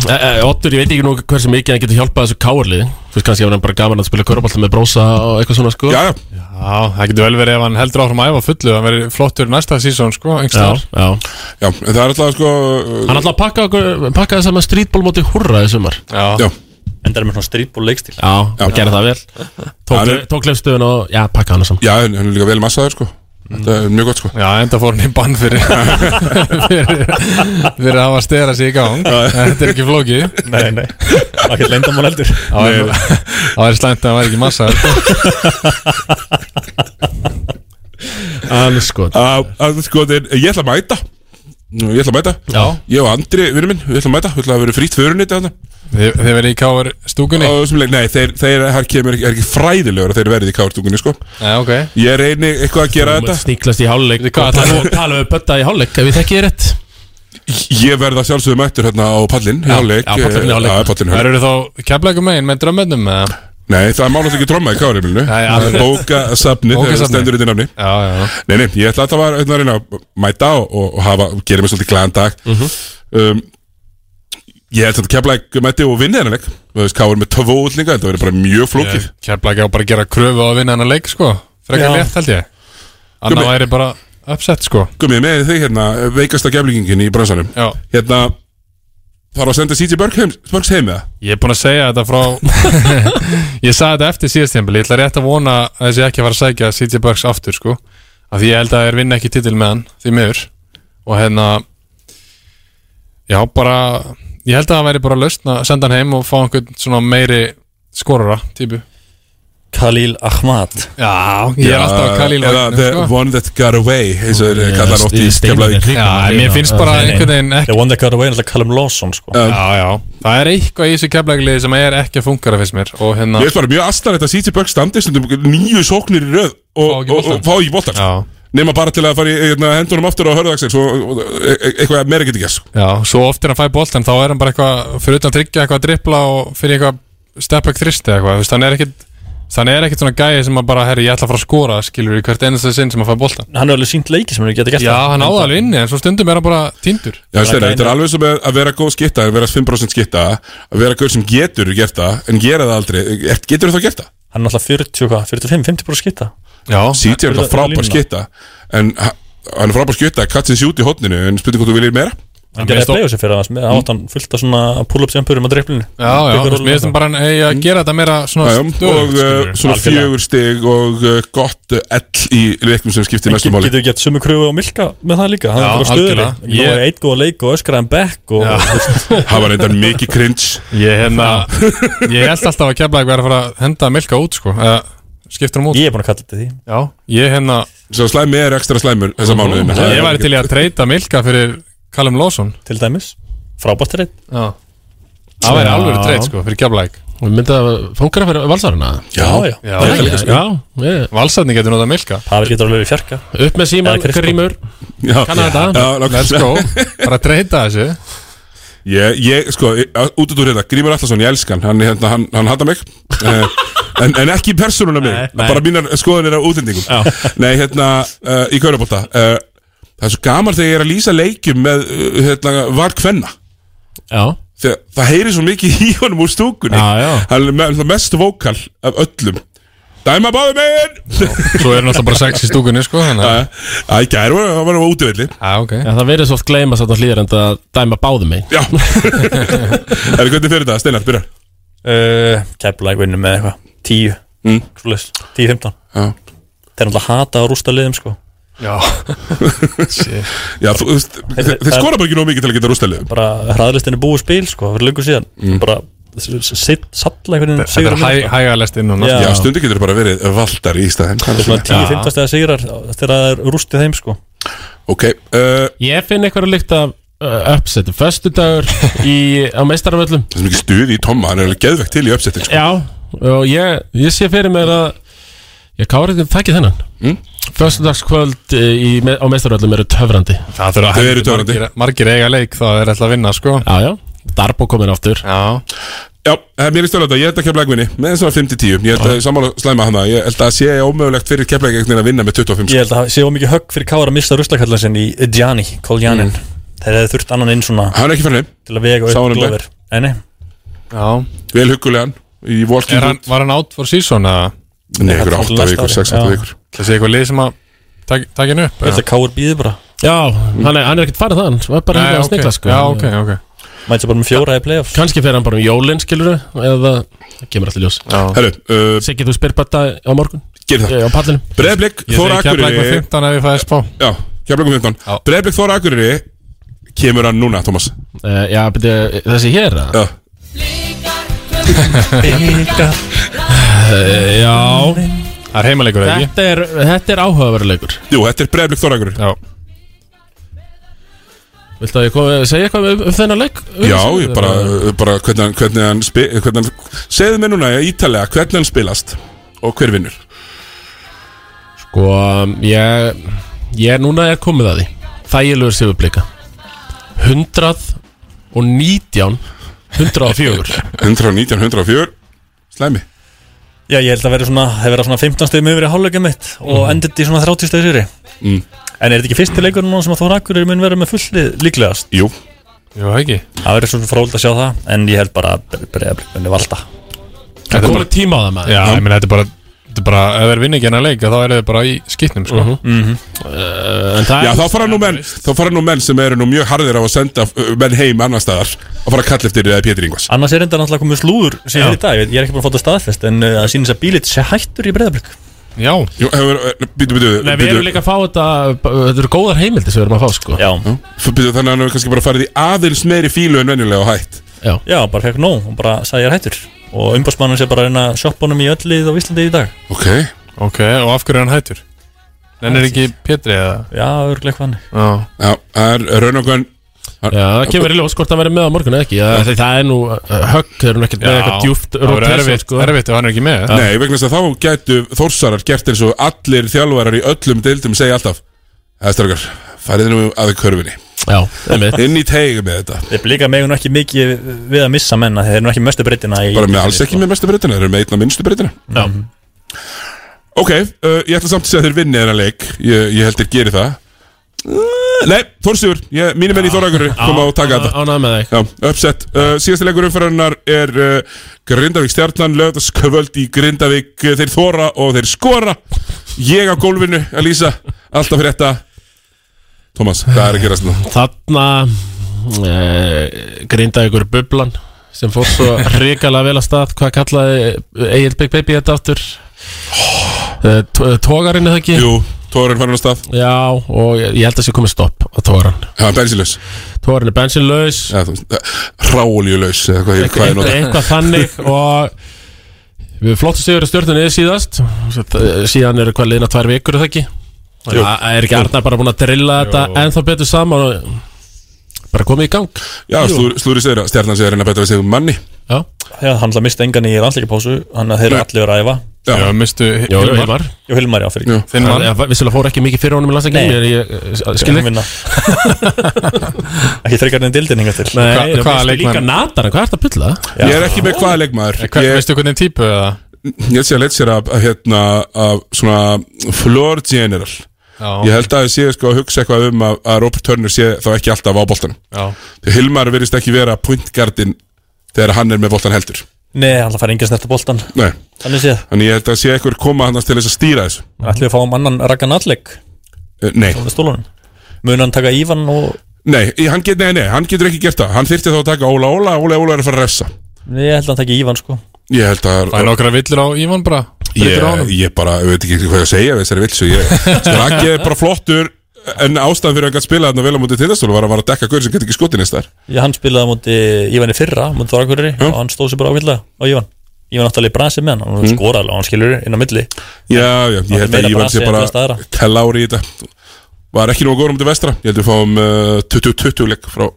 Speaker 13: Eh, eh, Oddur, ég veit ekki nú hversu mikið hann getur hjálpað þessu káarliði Þú veist kannski ef hann bara gaman að spila körbólta með brósa og eitthvað svona sko
Speaker 1: Já,
Speaker 2: já það getur vel verið ef hann heldur áfram að æfa fullu Hann verið flottur næsta sísón, sko,
Speaker 13: Já,
Speaker 2: einhverstaðar
Speaker 13: já.
Speaker 1: já, en það er alltaf sko
Speaker 13: Hann ætlaði að pakka, okkur, pakka þess að með strítból móti hurra í sumar
Speaker 1: Já.
Speaker 6: Endar með svona strítból leikstil
Speaker 13: Já, hann gerði það vel Tók,
Speaker 1: Hann er-
Speaker 13: tók lefstöðun og, já, pakka hann saman
Speaker 1: Já, en hann er líka vel massaður sko Þetta er mjög gott sko
Speaker 2: Já, enda fór hann í bann fyrir fyrir, fyrir að hafa að stera sig í gang Þetta er ekki flókið
Speaker 6: Nei, nei, það er ekki lendamál heldur
Speaker 2: Það væri nú- það væri slæmt að það væri ekki massa
Speaker 13: Anskot
Speaker 1: Anskot, ég ætla að mæta Ég ætla að mæta
Speaker 13: Já.
Speaker 1: Ég og Andri, vinnu minn, við ætla að mæta Við ætla að vera frýtt förunni þetta
Speaker 2: Þeir, þeir verið í káar stúkunni?
Speaker 1: Nei, þeir, þeir hann kemur, ekki- er ekki fræðilegur að þeir verið í káar stúkunni sko
Speaker 2: Já, ok
Speaker 1: Ég reyni eitthvað að gera
Speaker 13: Þú
Speaker 1: þetta
Speaker 13: mátt Sníklast í hálfleik og tala- og tala við bötta í hálfleik ef ég þekki ég rétt
Speaker 1: Ég verða sjálfsögum mættur hérna á pallin
Speaker 13: Já, já,
Speaker 1: hjáleik,
Speaker 13: pallinn í hálfleik.
Speaker 2: Það eru þá keflækum megin með drömmennum eða?
Speaker 1: Nei, það má náttúrulega ekki tromma í kárimilinu
Speaker 2: Nei, alveg.
Speaker 1: Bókasafni,
Speaker 2: Bókasafnið.
Speaker 1: þegar stendur þetta nafni
Speaker 2: Já, já
Speaker 1: Nei, nei, ég ætla alltaf að hérna, reyna að mæta og, og, og hafa, gera mér svolítið glæðan dag
Speaker 2: Mhm.
Speaker 1: um, Ég held að kemla ekki mæti og vinna þennan leik Þú veist, Káur með töfu útlinga, þetta verður bara mjög flókið
Speaker 2: Keflæk á bara að gera kröfu á að vinna hennar leik sko Frekar
Speaker 1: Já.
Speaker 2: létt held ég Anna
Speaker 1: Gummi.
Speaker 2: væri bara upset sko
Speaker 1: Gummið með þig hérna, veikasta kemlingin í bransanum
Speaker 2: Já.
Speaker 1: Hérna, þarf að senda CJ Börg heim, Börgs heim með það
Speaker 2: Ég er búin að segja þetta frá Ég sagði þetta eftir síðast tímpil Ég ætla rétt að vona að þessi ekki að fara að sækja CJ Bucks aftur sko Af því ég held að þeir vinna ekki titil með hann Því miður Og hérna Já bara Ég held að það væri bara lausn að senda hann heim og fá einhvern svona meiri skorara típu
Speaker 6: Khalil Ahmad
Speaker 2: Já, ég er alltaf að Khalil
Speaker 1: Eða
Speaker 2: Magnús,
Speaker 1: the
Speaker 2: sko.
Speaker 1: one that got away eins og þeir kallar hann oft í Keflavík
Speaker 2: Já, mér finnst bara einhvern veginn ekki
Speaker 6: The one that got away, náttúrulega Callum Lawson sko
Speaker 2: Já, já, það er eitthvað í þessu keflækliði sem er ekki að fungara fyrst mér og hérna
Speaker 1: Ég veist bara mjög astanlegt að CJ Börg standi stundum nýju sóknir í röð og, og, og fá ekki boltar
Speaker 2: Já.
Speaker 1: Nefna bara til að fara í hérna, hendunum aftur á hörðaksel Svo og- og- e- eitthvað meira getur gæst
Speaker 2: Já, svo oft er hann fæ boltan þá er hann bara eitthvað fyrir utan tryggja eitthvað að drippla og fyrir eitthvað step back þristi eitthvað, þú veist, hann er ekkit þannig er ekkit svona gæði sem að bara, herri, ég ætla að fara að skora skilur í hvert einasta sinn sem að fæ boltan
Speaker 6: Hann er alveg sínt leiki sem hann getur gert
Speaker 2: Já, hann áða alveg inni, en svo stundum er hann bara týndur
Speaker 1: Já, stæra, þetta er alveg sem er að vera góð skitta að vera 5% skitta, að vera gaur sem getur gert það, en gera það aldrei Eh, getur þá gert það?
Speaker 6: Hann er alltaf 40, hvað, 45, 50 brúið skitta
Speaker 1: Sítið er alltaf frábær skitta en ha- hann er frábær skitta, katsin sjút í hotninu en spurning hvort þú viljir meira
Speaker 6: Hann gerði að sig fyrir það, hann átt hann fullt af svona pull-ups jampurum á driplinu
Speaker 2: Já, já, þú veist, mér finnst hann bara að eiga að gera þetta meira svona
Speaker 1: Já, já, og
Speaker 2: stöðugt,
Speaker 1: uh,
Speaker 2: skilurðu.
Speaker 1: svona
Speaker 2: Algjörlega.
Speaker 1: fjögur stig og uh, gott uh, ell í leikum sem skiptir næstum máli
Speaker 6: Getur gett sumu kröfu á Milka með það líka Hann
Speaker 1: Já,
Speaker 6: er bara stöðri,
Speaker 1: algjörlega.
Speaker 6: hann er eitt góða leik og öskraðan back og
Speaker 1: Það var reyndar mikið cringe
Speaker 2: Ég hérna Ég held alltaf að kefla eitthvað að fara að henda Milka út sko, eða skipta hann út
Speaker 6: Ég er búin að kalla þetta því
Speaker 2: Já, ég hérna
Speaker 1: Svo slæmi er ekstra slæmur þessa mánuðina
Speaker 2: Ég væri til í að treyta Milka fyrir Callum Lawson
Speaker 6: Til dæmis, frábært reitt
Speaker 2: Já Það væri alveg treyt sko, fyrir keflæk
Speaker 13: Við myndið að fangara fyrir valsarana
Speaker 2: Já, já.
Speaker 13: já,
Speaker 2: Það er
Speaker 13: já,
Speaker 2: líka sko.
Speaker 13: já, já.
Speaker 2: Valsarni getur notað milka
Speaker 6: Pavel getur alveg við fjarka
Speaker 13: Upp með síman,
Speaker 6: Eða Kristó.
Speaker 13: grímur Kannar þetta
Speaker 2: Let's go Bara treyta þessu
Speaker 1: Ég, ég sko, ég- á- út út úr hérna Grímur Allarsson, ég elskan, hann, hérna, hann, hann hattar mig Eh, en, en ekki persónuna mig
Speaker 2: nei.
Speaker 1: bara mínar skoðanir á útlendingum Nei, hérna, uh, í Kaurabólta uh, Það er svo gaman þegar ég er að lýsa leikjum með, uh, hérna, var kvenna
Speaker 13: Já
Speaker 1: Þegar það heyri svo mikið í honum úr stúkunni
Speaker 13: Já, já.
Speaker 1: Hann er með, það mest vókal af öllum Dæma báðu megin Eh,
Speaker 2: Svo er náttúrulega bara sex í stúkunni sko Þannig
Speaker 1: að Það ekki, það var hann á útivilli
Speaker 2: Já, ok
Speaker 13: Já, það verið svo oft gleyma satt á hlýðar en það dæma báðum mig
Speaker 1: Já Er hvernig fyrir það, Steinar, byrjar
Speaker 6: uh, Keflæk vinnum með eitthvað 10,
Speaker 1: Mm.
Speaker 6: svoleiðis, 10-15
Speaker 1: Já.
Speaker 6: Þeir náttúrulega hata að rústa liðum sko
Speaker 2: Já
Speaker 1: Já, þú þú veist, þeir,
Speaker 6: Þeir-
Speaker 1: þeir skora bara ekki nóg mikið til að geta rústælið
Speaker 6: Bara hraðlistin er búið spil sko, fyrir löngu síðan mm. Bara salla einhvern veginn
Speaker 2: Þetta er
Speaker 6: sigrum
Speaker 2: hæ-
Speaker 6: hérna, sko.
Speaker 2: hægalest inn og
Speaker 6: Já.
Speaker 1: Já, stundi getur bara verið valdar í staðinn
Speaker 6: Þetta er svona 10-15 stegar sigrar þegar það er rústið þeim sko
Speaker 1: Ok, uh,
Speaker 13: Ég finn eitthvað að líkta uh, upset Föstudagur í, á meistaravöllum
Speaker 1: það er svo mikið stuði í Tomma, hann er alveg geðvegt til í uppsetting sko.
Speaker 13: Já, og ég, ég sé fyrir mér að Ég kári þetta þækki þennan
Speaker 1: Mm.
Speaker 13: Föstudagskvöld eh, í, me- á meistaravöllum eru töfrandi
Speaker 2: Það þurfa að
Speaker 1: Þau eru
Speaker 2: helviti
Speaker 1: törnandi.
Speaker 2: margir, margir eiga leik þá er alltaf að vinna sko
Speaker 13: Já, já, Darbo komin aftur
Speaker 2: Já
Speaker 1: Já, eh, mér er stöðlega þetta, ég held að kemla ekvinni með svona 5-10, ég held að sammála slæma hana ég held að það sé ómögulegt fyrir kemla ekvinni að vinna með 25
Speaker 6: Ég held að það sé ómikið högg fyrir Kára að mista ruslakallan sinn í Gianni, Kól Janin Mm. Þeir hefði þurft annan inn svona
Speaker 1: Hann er ekki fyrir
Speaker 6: Til að vega
Speaker 1: Sá
Speaker 6: upp
Speaker 1: hann um
Speaker 6: Glover Nei, nei
Speaker 9: Já
Speaker 1: Vel huggulegan í Walking
Speaker 9: Er hann,
Speaker 1: Dead.
Speaker 9: var hann out for season eða?
Speaker 1: Nei, einhver átta vikur, sex, átta vikur.
Speaker 9: Það sé eitthvað lið sem að tak- taki hann upp
Speaker 6: Ég held að Káur býði bara
Speaker 2: Já, hann er, hann er ekkert farið þaðan Það er bara
Speaker 9: Nei,
Speaker 13: hérna
Speaker 2: hingað að
Speaker 9: ok.
Speaker 2: snegla sko
Speaker 9: Já, ok, ok.
Speaker 6: Mætsa bara með fjóra í playoff
Speaker 2: Kanski fer hann bara um jólinn, skilur Eða, það kemur alltaf ljós
Speaker 1: Herru, uh,
Speaker 2: Siggi, þú spyr bara á morgun
Speaker 1: Gerð það
Speaker 2: Ég er á pallinum
Speaker 1: Breiðblik,
Speaker 9: Ég
Speaker 1: Þóra
Speaker 9: segi Keflavík með
Speaker 1: Akureyri
Speaker 9: 15 ef ég fæði spá
Speaker 1: Já, kemla ekvinni 15 Breiðblik, Þóra Akureyri Kemur hann núna, Thomas
Speaker 2: uh, Já, beti, þessi hér að?
Speaker 1: Já
Speaker 6: Byggar
Speaker 2: Eh, Já
Speaker 9: Það er heimalegur
Speaker 1: eða ekki?
Speaker 2: Þetta er, þetta er áhugaverulegur
Speaker 1: Jú, þetta er breyðblik þorragur
Speaker 9: Já
Speaker 2: Viltu að ég komi, segja eitthvað um, um þennan leik?
Speaker 1: Já, ég bara, eh, bara hvernig hann, hvernig hann, spi, hvernig hann segðu mér núna ítalega hvernig hann spilast og hver vinnur
Speaker 2: Sko, ég, ég er núna er komið að því Þægilegur sigurblika 100 og 19 104
Speaker 1: 119, 104 Slæmi
Speaker 6: Já, ég held að vera svona, það vera svona 15 stegum yfir í hálfleikum mitt og
Speaker 1: Mhm.
Speaker 6: endið þetta í svona 30 stegum yfir
Speaker 1: Mm.
Speaker 6: En er þetta ekki fyrsti leikur núna sem að Þóra Akureyri mun vera með fullið líklegast?
Speaker 1: Jú
Speaker 9: Jú, ekki
Speaker 6: Það verður svona fróld að sjá það, en ég held bara að breyðablið munni valda
Speaker 2: Það er komið tíma á það maður
Speaker 9: Já, ég meina þetta er bara Þetta er bara, ef þeir vinna ekki hennar leik þá eru þeir bara í skýtnum sko. Eh,
Speaker 2: Mhm.
Speaker 6: Mhm.
Speaker 1: Já, þá fara nú menn, þá fara nú menn sem eru nú mjög harðir á að senda uh, menn heim annar staðar og fara að kalla eftir því að Pétur Ingvars
Speaker 6: Annars er enda náttúrulega komið slúður
Speaker 1: Já.
Speaker 6: síðan í dag, ég veit- ég er ekki búin að fóta staðfest en uh, það sýnir að bílit sé hættur í breyðablið
Speaker 9: Já
Speaker 1: Jú, hefur, eh, býtu, býtu,
Speaker 2: Nei, við erum líka að fá þetta Þetta eru góðar heimildi sem við erum að fá sko
Speaker 6: Já
Speaker 1: Býtu, þannig að hann hefur kannski bara farið í aðils meiri fílu en venjulega og hætt
Speaker 2: Já,
Speaker 6: Já bara fekk nóg og bara sagði ég er hættur og umbásmannum sé bara að reyna að sjoppa honum í öll lið á Íslandi í dag
Speaker 1: Ok
Speaker 9: Ok, og af hverju er hann hættur? Nenn er ekki Pétri eða?
Speaker 6: Já, örgleik hann
Speaker 9: Já,
Speaker 1: Já, það er raun og gönn
Speaker 2: Já, það kemur í ljós hvort það verður með á morgun eða ekki Já, því Það er nú uh, högg, þeir eru nú ekkert með eitthvað djúft rotation, sko. Já.
Speaker 1: Nei, vegna þess að þá gætu Þórsarar gert eins og allir þjálfarar í öllum deildum segja alltaf Það er strákar, farið nú að körfinni
Speaker 2: Já,
Speaker 6: einmitt.
Speaker 1: Inn í teigum með þetta
Speaker 6: Þeir blíka megun ekki mikið við að missa menna Þeir eru nú ekki mestu breytina í
Speaker 1: Bara með alls ekki með mestu breytina, þeir eru með einna minnstu breytina
Speaker 2: Já
Speaker 1: Ok, uh, ég ætla samt að segja að þeir vinni þennan leik Ég, ég held þeir geri það Uh, Nei, Þórsjúr, mínum enn í Þórakuru koma og
Speaker 2: Ah,
Speaker 1: taka þetta
Speaker 2: Ánægð með þig
Speaker 1: Já, uppsett uh, Síðasti leikur umferðarnar er uh, Grindavík stjarnan Lögðaskvöld í Grindavík Uh, Þeir þóra og þeir skora Ég á gólfinu, Elísa Alltaf fyrir þetta Thomas, hvað er að gerast nú?
Speaker 2: Þarna uh, grinda ykkur bublan sem fór svo hrikalega vel að stað hvað kallaði Egil Big Baby þetta aftur uh, Tógarinn eða ekki?
Speaker 1: Jú, tógarinn fann hann að stað
Speaker 2: Já, og ég ég held að sé komið stopp á tógarann
Speaker 1: Já, bensinlaus
Speaker 2: Tógarinn er bensinlaus
Speaker 1: Já, þú veist, Ráoljulaus eða hvað ég, hvað ég
Speaker 2: eitthvað,
Speaker 1: nota
Speaker 2: eitthvað þannig og við flottum sigur að stjórnunni síðast eh, síðan eru hvað liðna tvær vikur er það ekki
Speaker 1: Jú.
Speaker 2: Þannig að er ekki Arnar bara búin að drilla þetta ennþá betur saman og bara komið í gang
Speaker 1: Já, slúri, slúri segir að stjarnan segir að reyna að bæta við sig um manni
Speaker 2: Já,
Speaker 6: Já, hann ætla að mista engan í rannleikapásu Þannig að þeir eru allir að æfa
Speaker 1: Já.
Speaker 9: Já, mistu
Speaker 2: Jó, Hilmar. Hilmar.
Speaker 6: Jó, Hilmar, já, fyrir
Speaker 2: Þinn mann Vissulega fór ekki mikið fyrir honum í landsleikinni en ég eh, skil
Speaker 6: Hann vinna.
Speaker 2: ekki
Speaker 6: Ekki þreikar enn dildin hinga til
Speaker 2: Nei, Hva, líka natar Hvað ert að pulla?
Speaker 1: Ég er ekki með hvaða leikmaður
Speaker 9: Hver,
Speaker 1: Ég-
Speaker 9: Veistu hvernig típu eða?
Speaker 1: Ég sé að leitt sér af, af, hérna, af svona floor general
Speaker 9: Já.
Speaker 1: Ég held að ég sé sko að hugsa eitthvað um að, að Robert Turner sé þá ekki alltaf á boltanum
Speaker 9: Já.
Speaker 1: Þegar Hilmar virðist ekki vera pointgardin þegar hann er með boltan heldur
Speaker 6: Nei, hann ætla að fara engan snerta boltan
Speaker 1: Nei,
Speaker 6: Þannig séð
Speaker 1: þannig ég held að sé eitthvað koma hann til þess að stýra þessu
Speaker 6: Ætlum við að fá um annan Ragnar Nallik
Speaker 1: Eh, Nei,
Speaker 6: Með stólanum Mun hann taka Ívan og
Speaker 1: nei, í- hann get, nei, nei, hann getur ekki gert það Hann þyrfti þá að taka Óla Óla, Óla Óla er að fara að refsa
Speaker 6: Nei, ég held að hann taka Ívan sko
Speaker 1: Ég held að
Speaker 9: Það er nokkra villur á Ívan bara Breytir á honum.
Speaker 1: Ég, ég bara, ég veit ekki hvað ég að segja við þessari vilsu ég, Strakki er bara flottur En ástæðan fyrir að hann gætt spila þarna vel á mútið tindastólu var að var að dekka gaur sem gæti ekki skotin eins þar
Speaker 6: Já, hann spilaði á móti Ívan í fyrra Móti Þorakurri Og hann stóð sér bara ákveðlega á Ívan Ívan átti alveg brasið með hann Hann
Speaker 1: Mm.
Speaker 6: mm. skoraði alveg og hann skilur inn á milli
Speaker 1: Já, já, ég held
Speaker 6: meira
Speaker 1: að Ívan sé
Speaker 6: brasi en flest
Speaker 1: bara
Speaker 6: aðra.
Speaker 1: Kellári í þetta Var ekki nógu góður um til vestra Ég held við fáum uh, 20-20 leik frá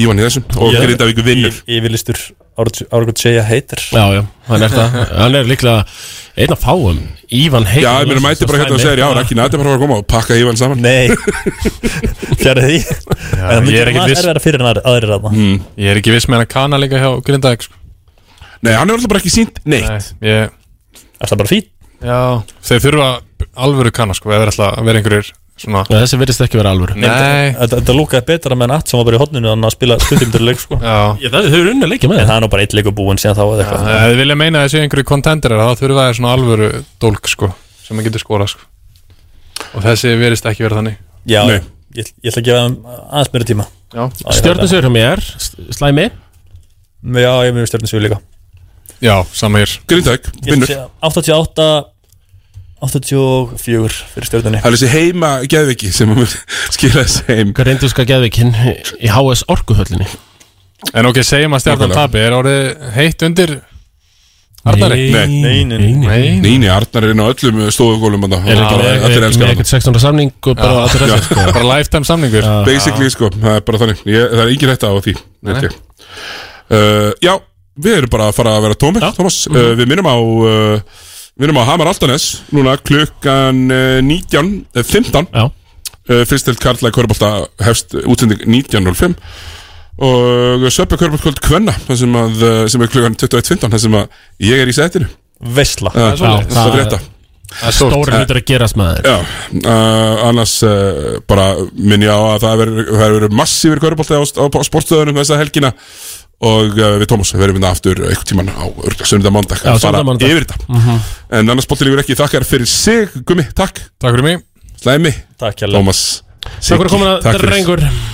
Speaker 1: Ívan í þessum Og
Speaker 6: Ég-
Speaker 1: Grindavík vinnur
Speaker 6: Í- Yfirlistur Árgut segja heitir
Speaker 2: Já, já, hann er það Hann er líklega einn af fáum Ívan Heikin
Speaker 1: Já, ég meina mæti bara hérna og segir Já, Raki Nati bara var að koma og pakka Ívan saman
Speaker 6: Nei, fjarið því En það
Speaker 9: ég
Speaker 6: myndi
Speaker 9: er ekkert
Speaker 6: vera
Speaker 9: viss.
Speaker 6: erfæra fyrir en aðrir aðra
Speaker 1: mm.
Speaker 9: Ég er ekki viss með hann að kana líka hjá Grindavík sko.
Speaker 1: Nei, hann er alltaf bara ekki sínt neitt
Speaker 9: Nei, ég...
Speaker 6: Það er bara fín
Speaker 9: Já, þeir þurfa alvöru kanna sko, eða ætla að vera einhverjir svona
Speaker 2: Já, þessi virðist ekki vera alvöru
Speaker 9: Nei,
Speaker 6: Þetta þetta lúkaði betra með natt sem var bara í hodninu þannig að spila stundumtur leik sko.
Speaker 9: Já,
Speaker 2: það er þau unna leikja með
Speaker 6: En það er nú bara eitt leikur búinn síðan þá eða
Speaker 9: ef
Speaker 6: eitthvað
Speaker 9: þið vilja meina að þessi einhverju kontenderar þá þurfa þeir svona alvöru dólk sko, sem maður getur skora sko. og þessi verist ekki vera þannig
Speaker 6: Já, ég, ég ætla að gefa þeim aðeins meira tíma
Speaker 9: Já.
Speaker 2: Stjörnusögur hjá mér, s- slæmi
Speaker 6: Já, ég mjög stjörnusögur líka
Speaker 9: Já, sama hér
Speaker 1: Grindæk,
Speaker 6: Ég ætla að segja 88 84 fyrir stjörnunni
Speaker 1: Það er þessi heima geðviki sem mun skila þessi heim
Speaker 2: Grindúska geðvikinn í HS Orkuhöllinni
Speaker 9: En ok, segjum að stjarnan
Speaker 1: Nákvæmlega.
Speaker 9: tapi, er orðið heitt undir Arnari?
Speaker 1: Nei,
Speaker 6: nei,
Speaker 9: nei.
Speaker 1: Neini, Arnar er inn á öllum uh, stofugólum Er
Speaker 2: Er ekki með- er ekki með eitthvað 600 samning og bara allir þessu sko.
Speaker 9: Bara lifetime samningur
Speaker 1: Basically, sko, það er bara þannig ég, Það er engin hægt á því
Speaker 9: Nei,
Speaker 1: held
Speaker 9: nei.
Speaker 1: ég. uh, Já, við erum bara að fara að vera tómir Thomas, uh, við minnum á uh, Við minnum á Hamar Altanes Núna klukkan uh, 19 eh, 15
Speaker 2: uh,
Speaker 1: Fyrst til Karla Körbólta hefst útsending 19.05 Og Söpja Körbóltkvöld Kvenna þar sem, að, eh, sem er klukkan 21.15 þar sem að ég er í sætinu
Speaker 6: Vesla
Speaker 1: Já, það er rétt
Speaker 2: Stóri hlutur að gerast maður
Speaker 1: Já, uh, annars uh, bara minn ég á að það verður- það hefur verið massífur kaurubólti á, á, á sportstöðunum þessa helgina og uh, við Tómas verðum hérna aftur einhvern tíman á söndag mándag
Speaker 2: Já,
Speaker 1: að fara
Speaker 2: sunnudag, mánudag.
Speaker 1: yfir þetta
Speaker 2: Mhm.
Speaker 1: en annars bóttilífur ekki þakkar fyrir sig Gumi, takk
Speaker 9: Takk fyrir mig
Speaker 1: Slæmi,
Speaker 6: Takk
Speaker 1: Tómas
Speaker 2: Takk fyrir komuna,
Speaker 1: Takk fyrir.
Speaker 2: drengur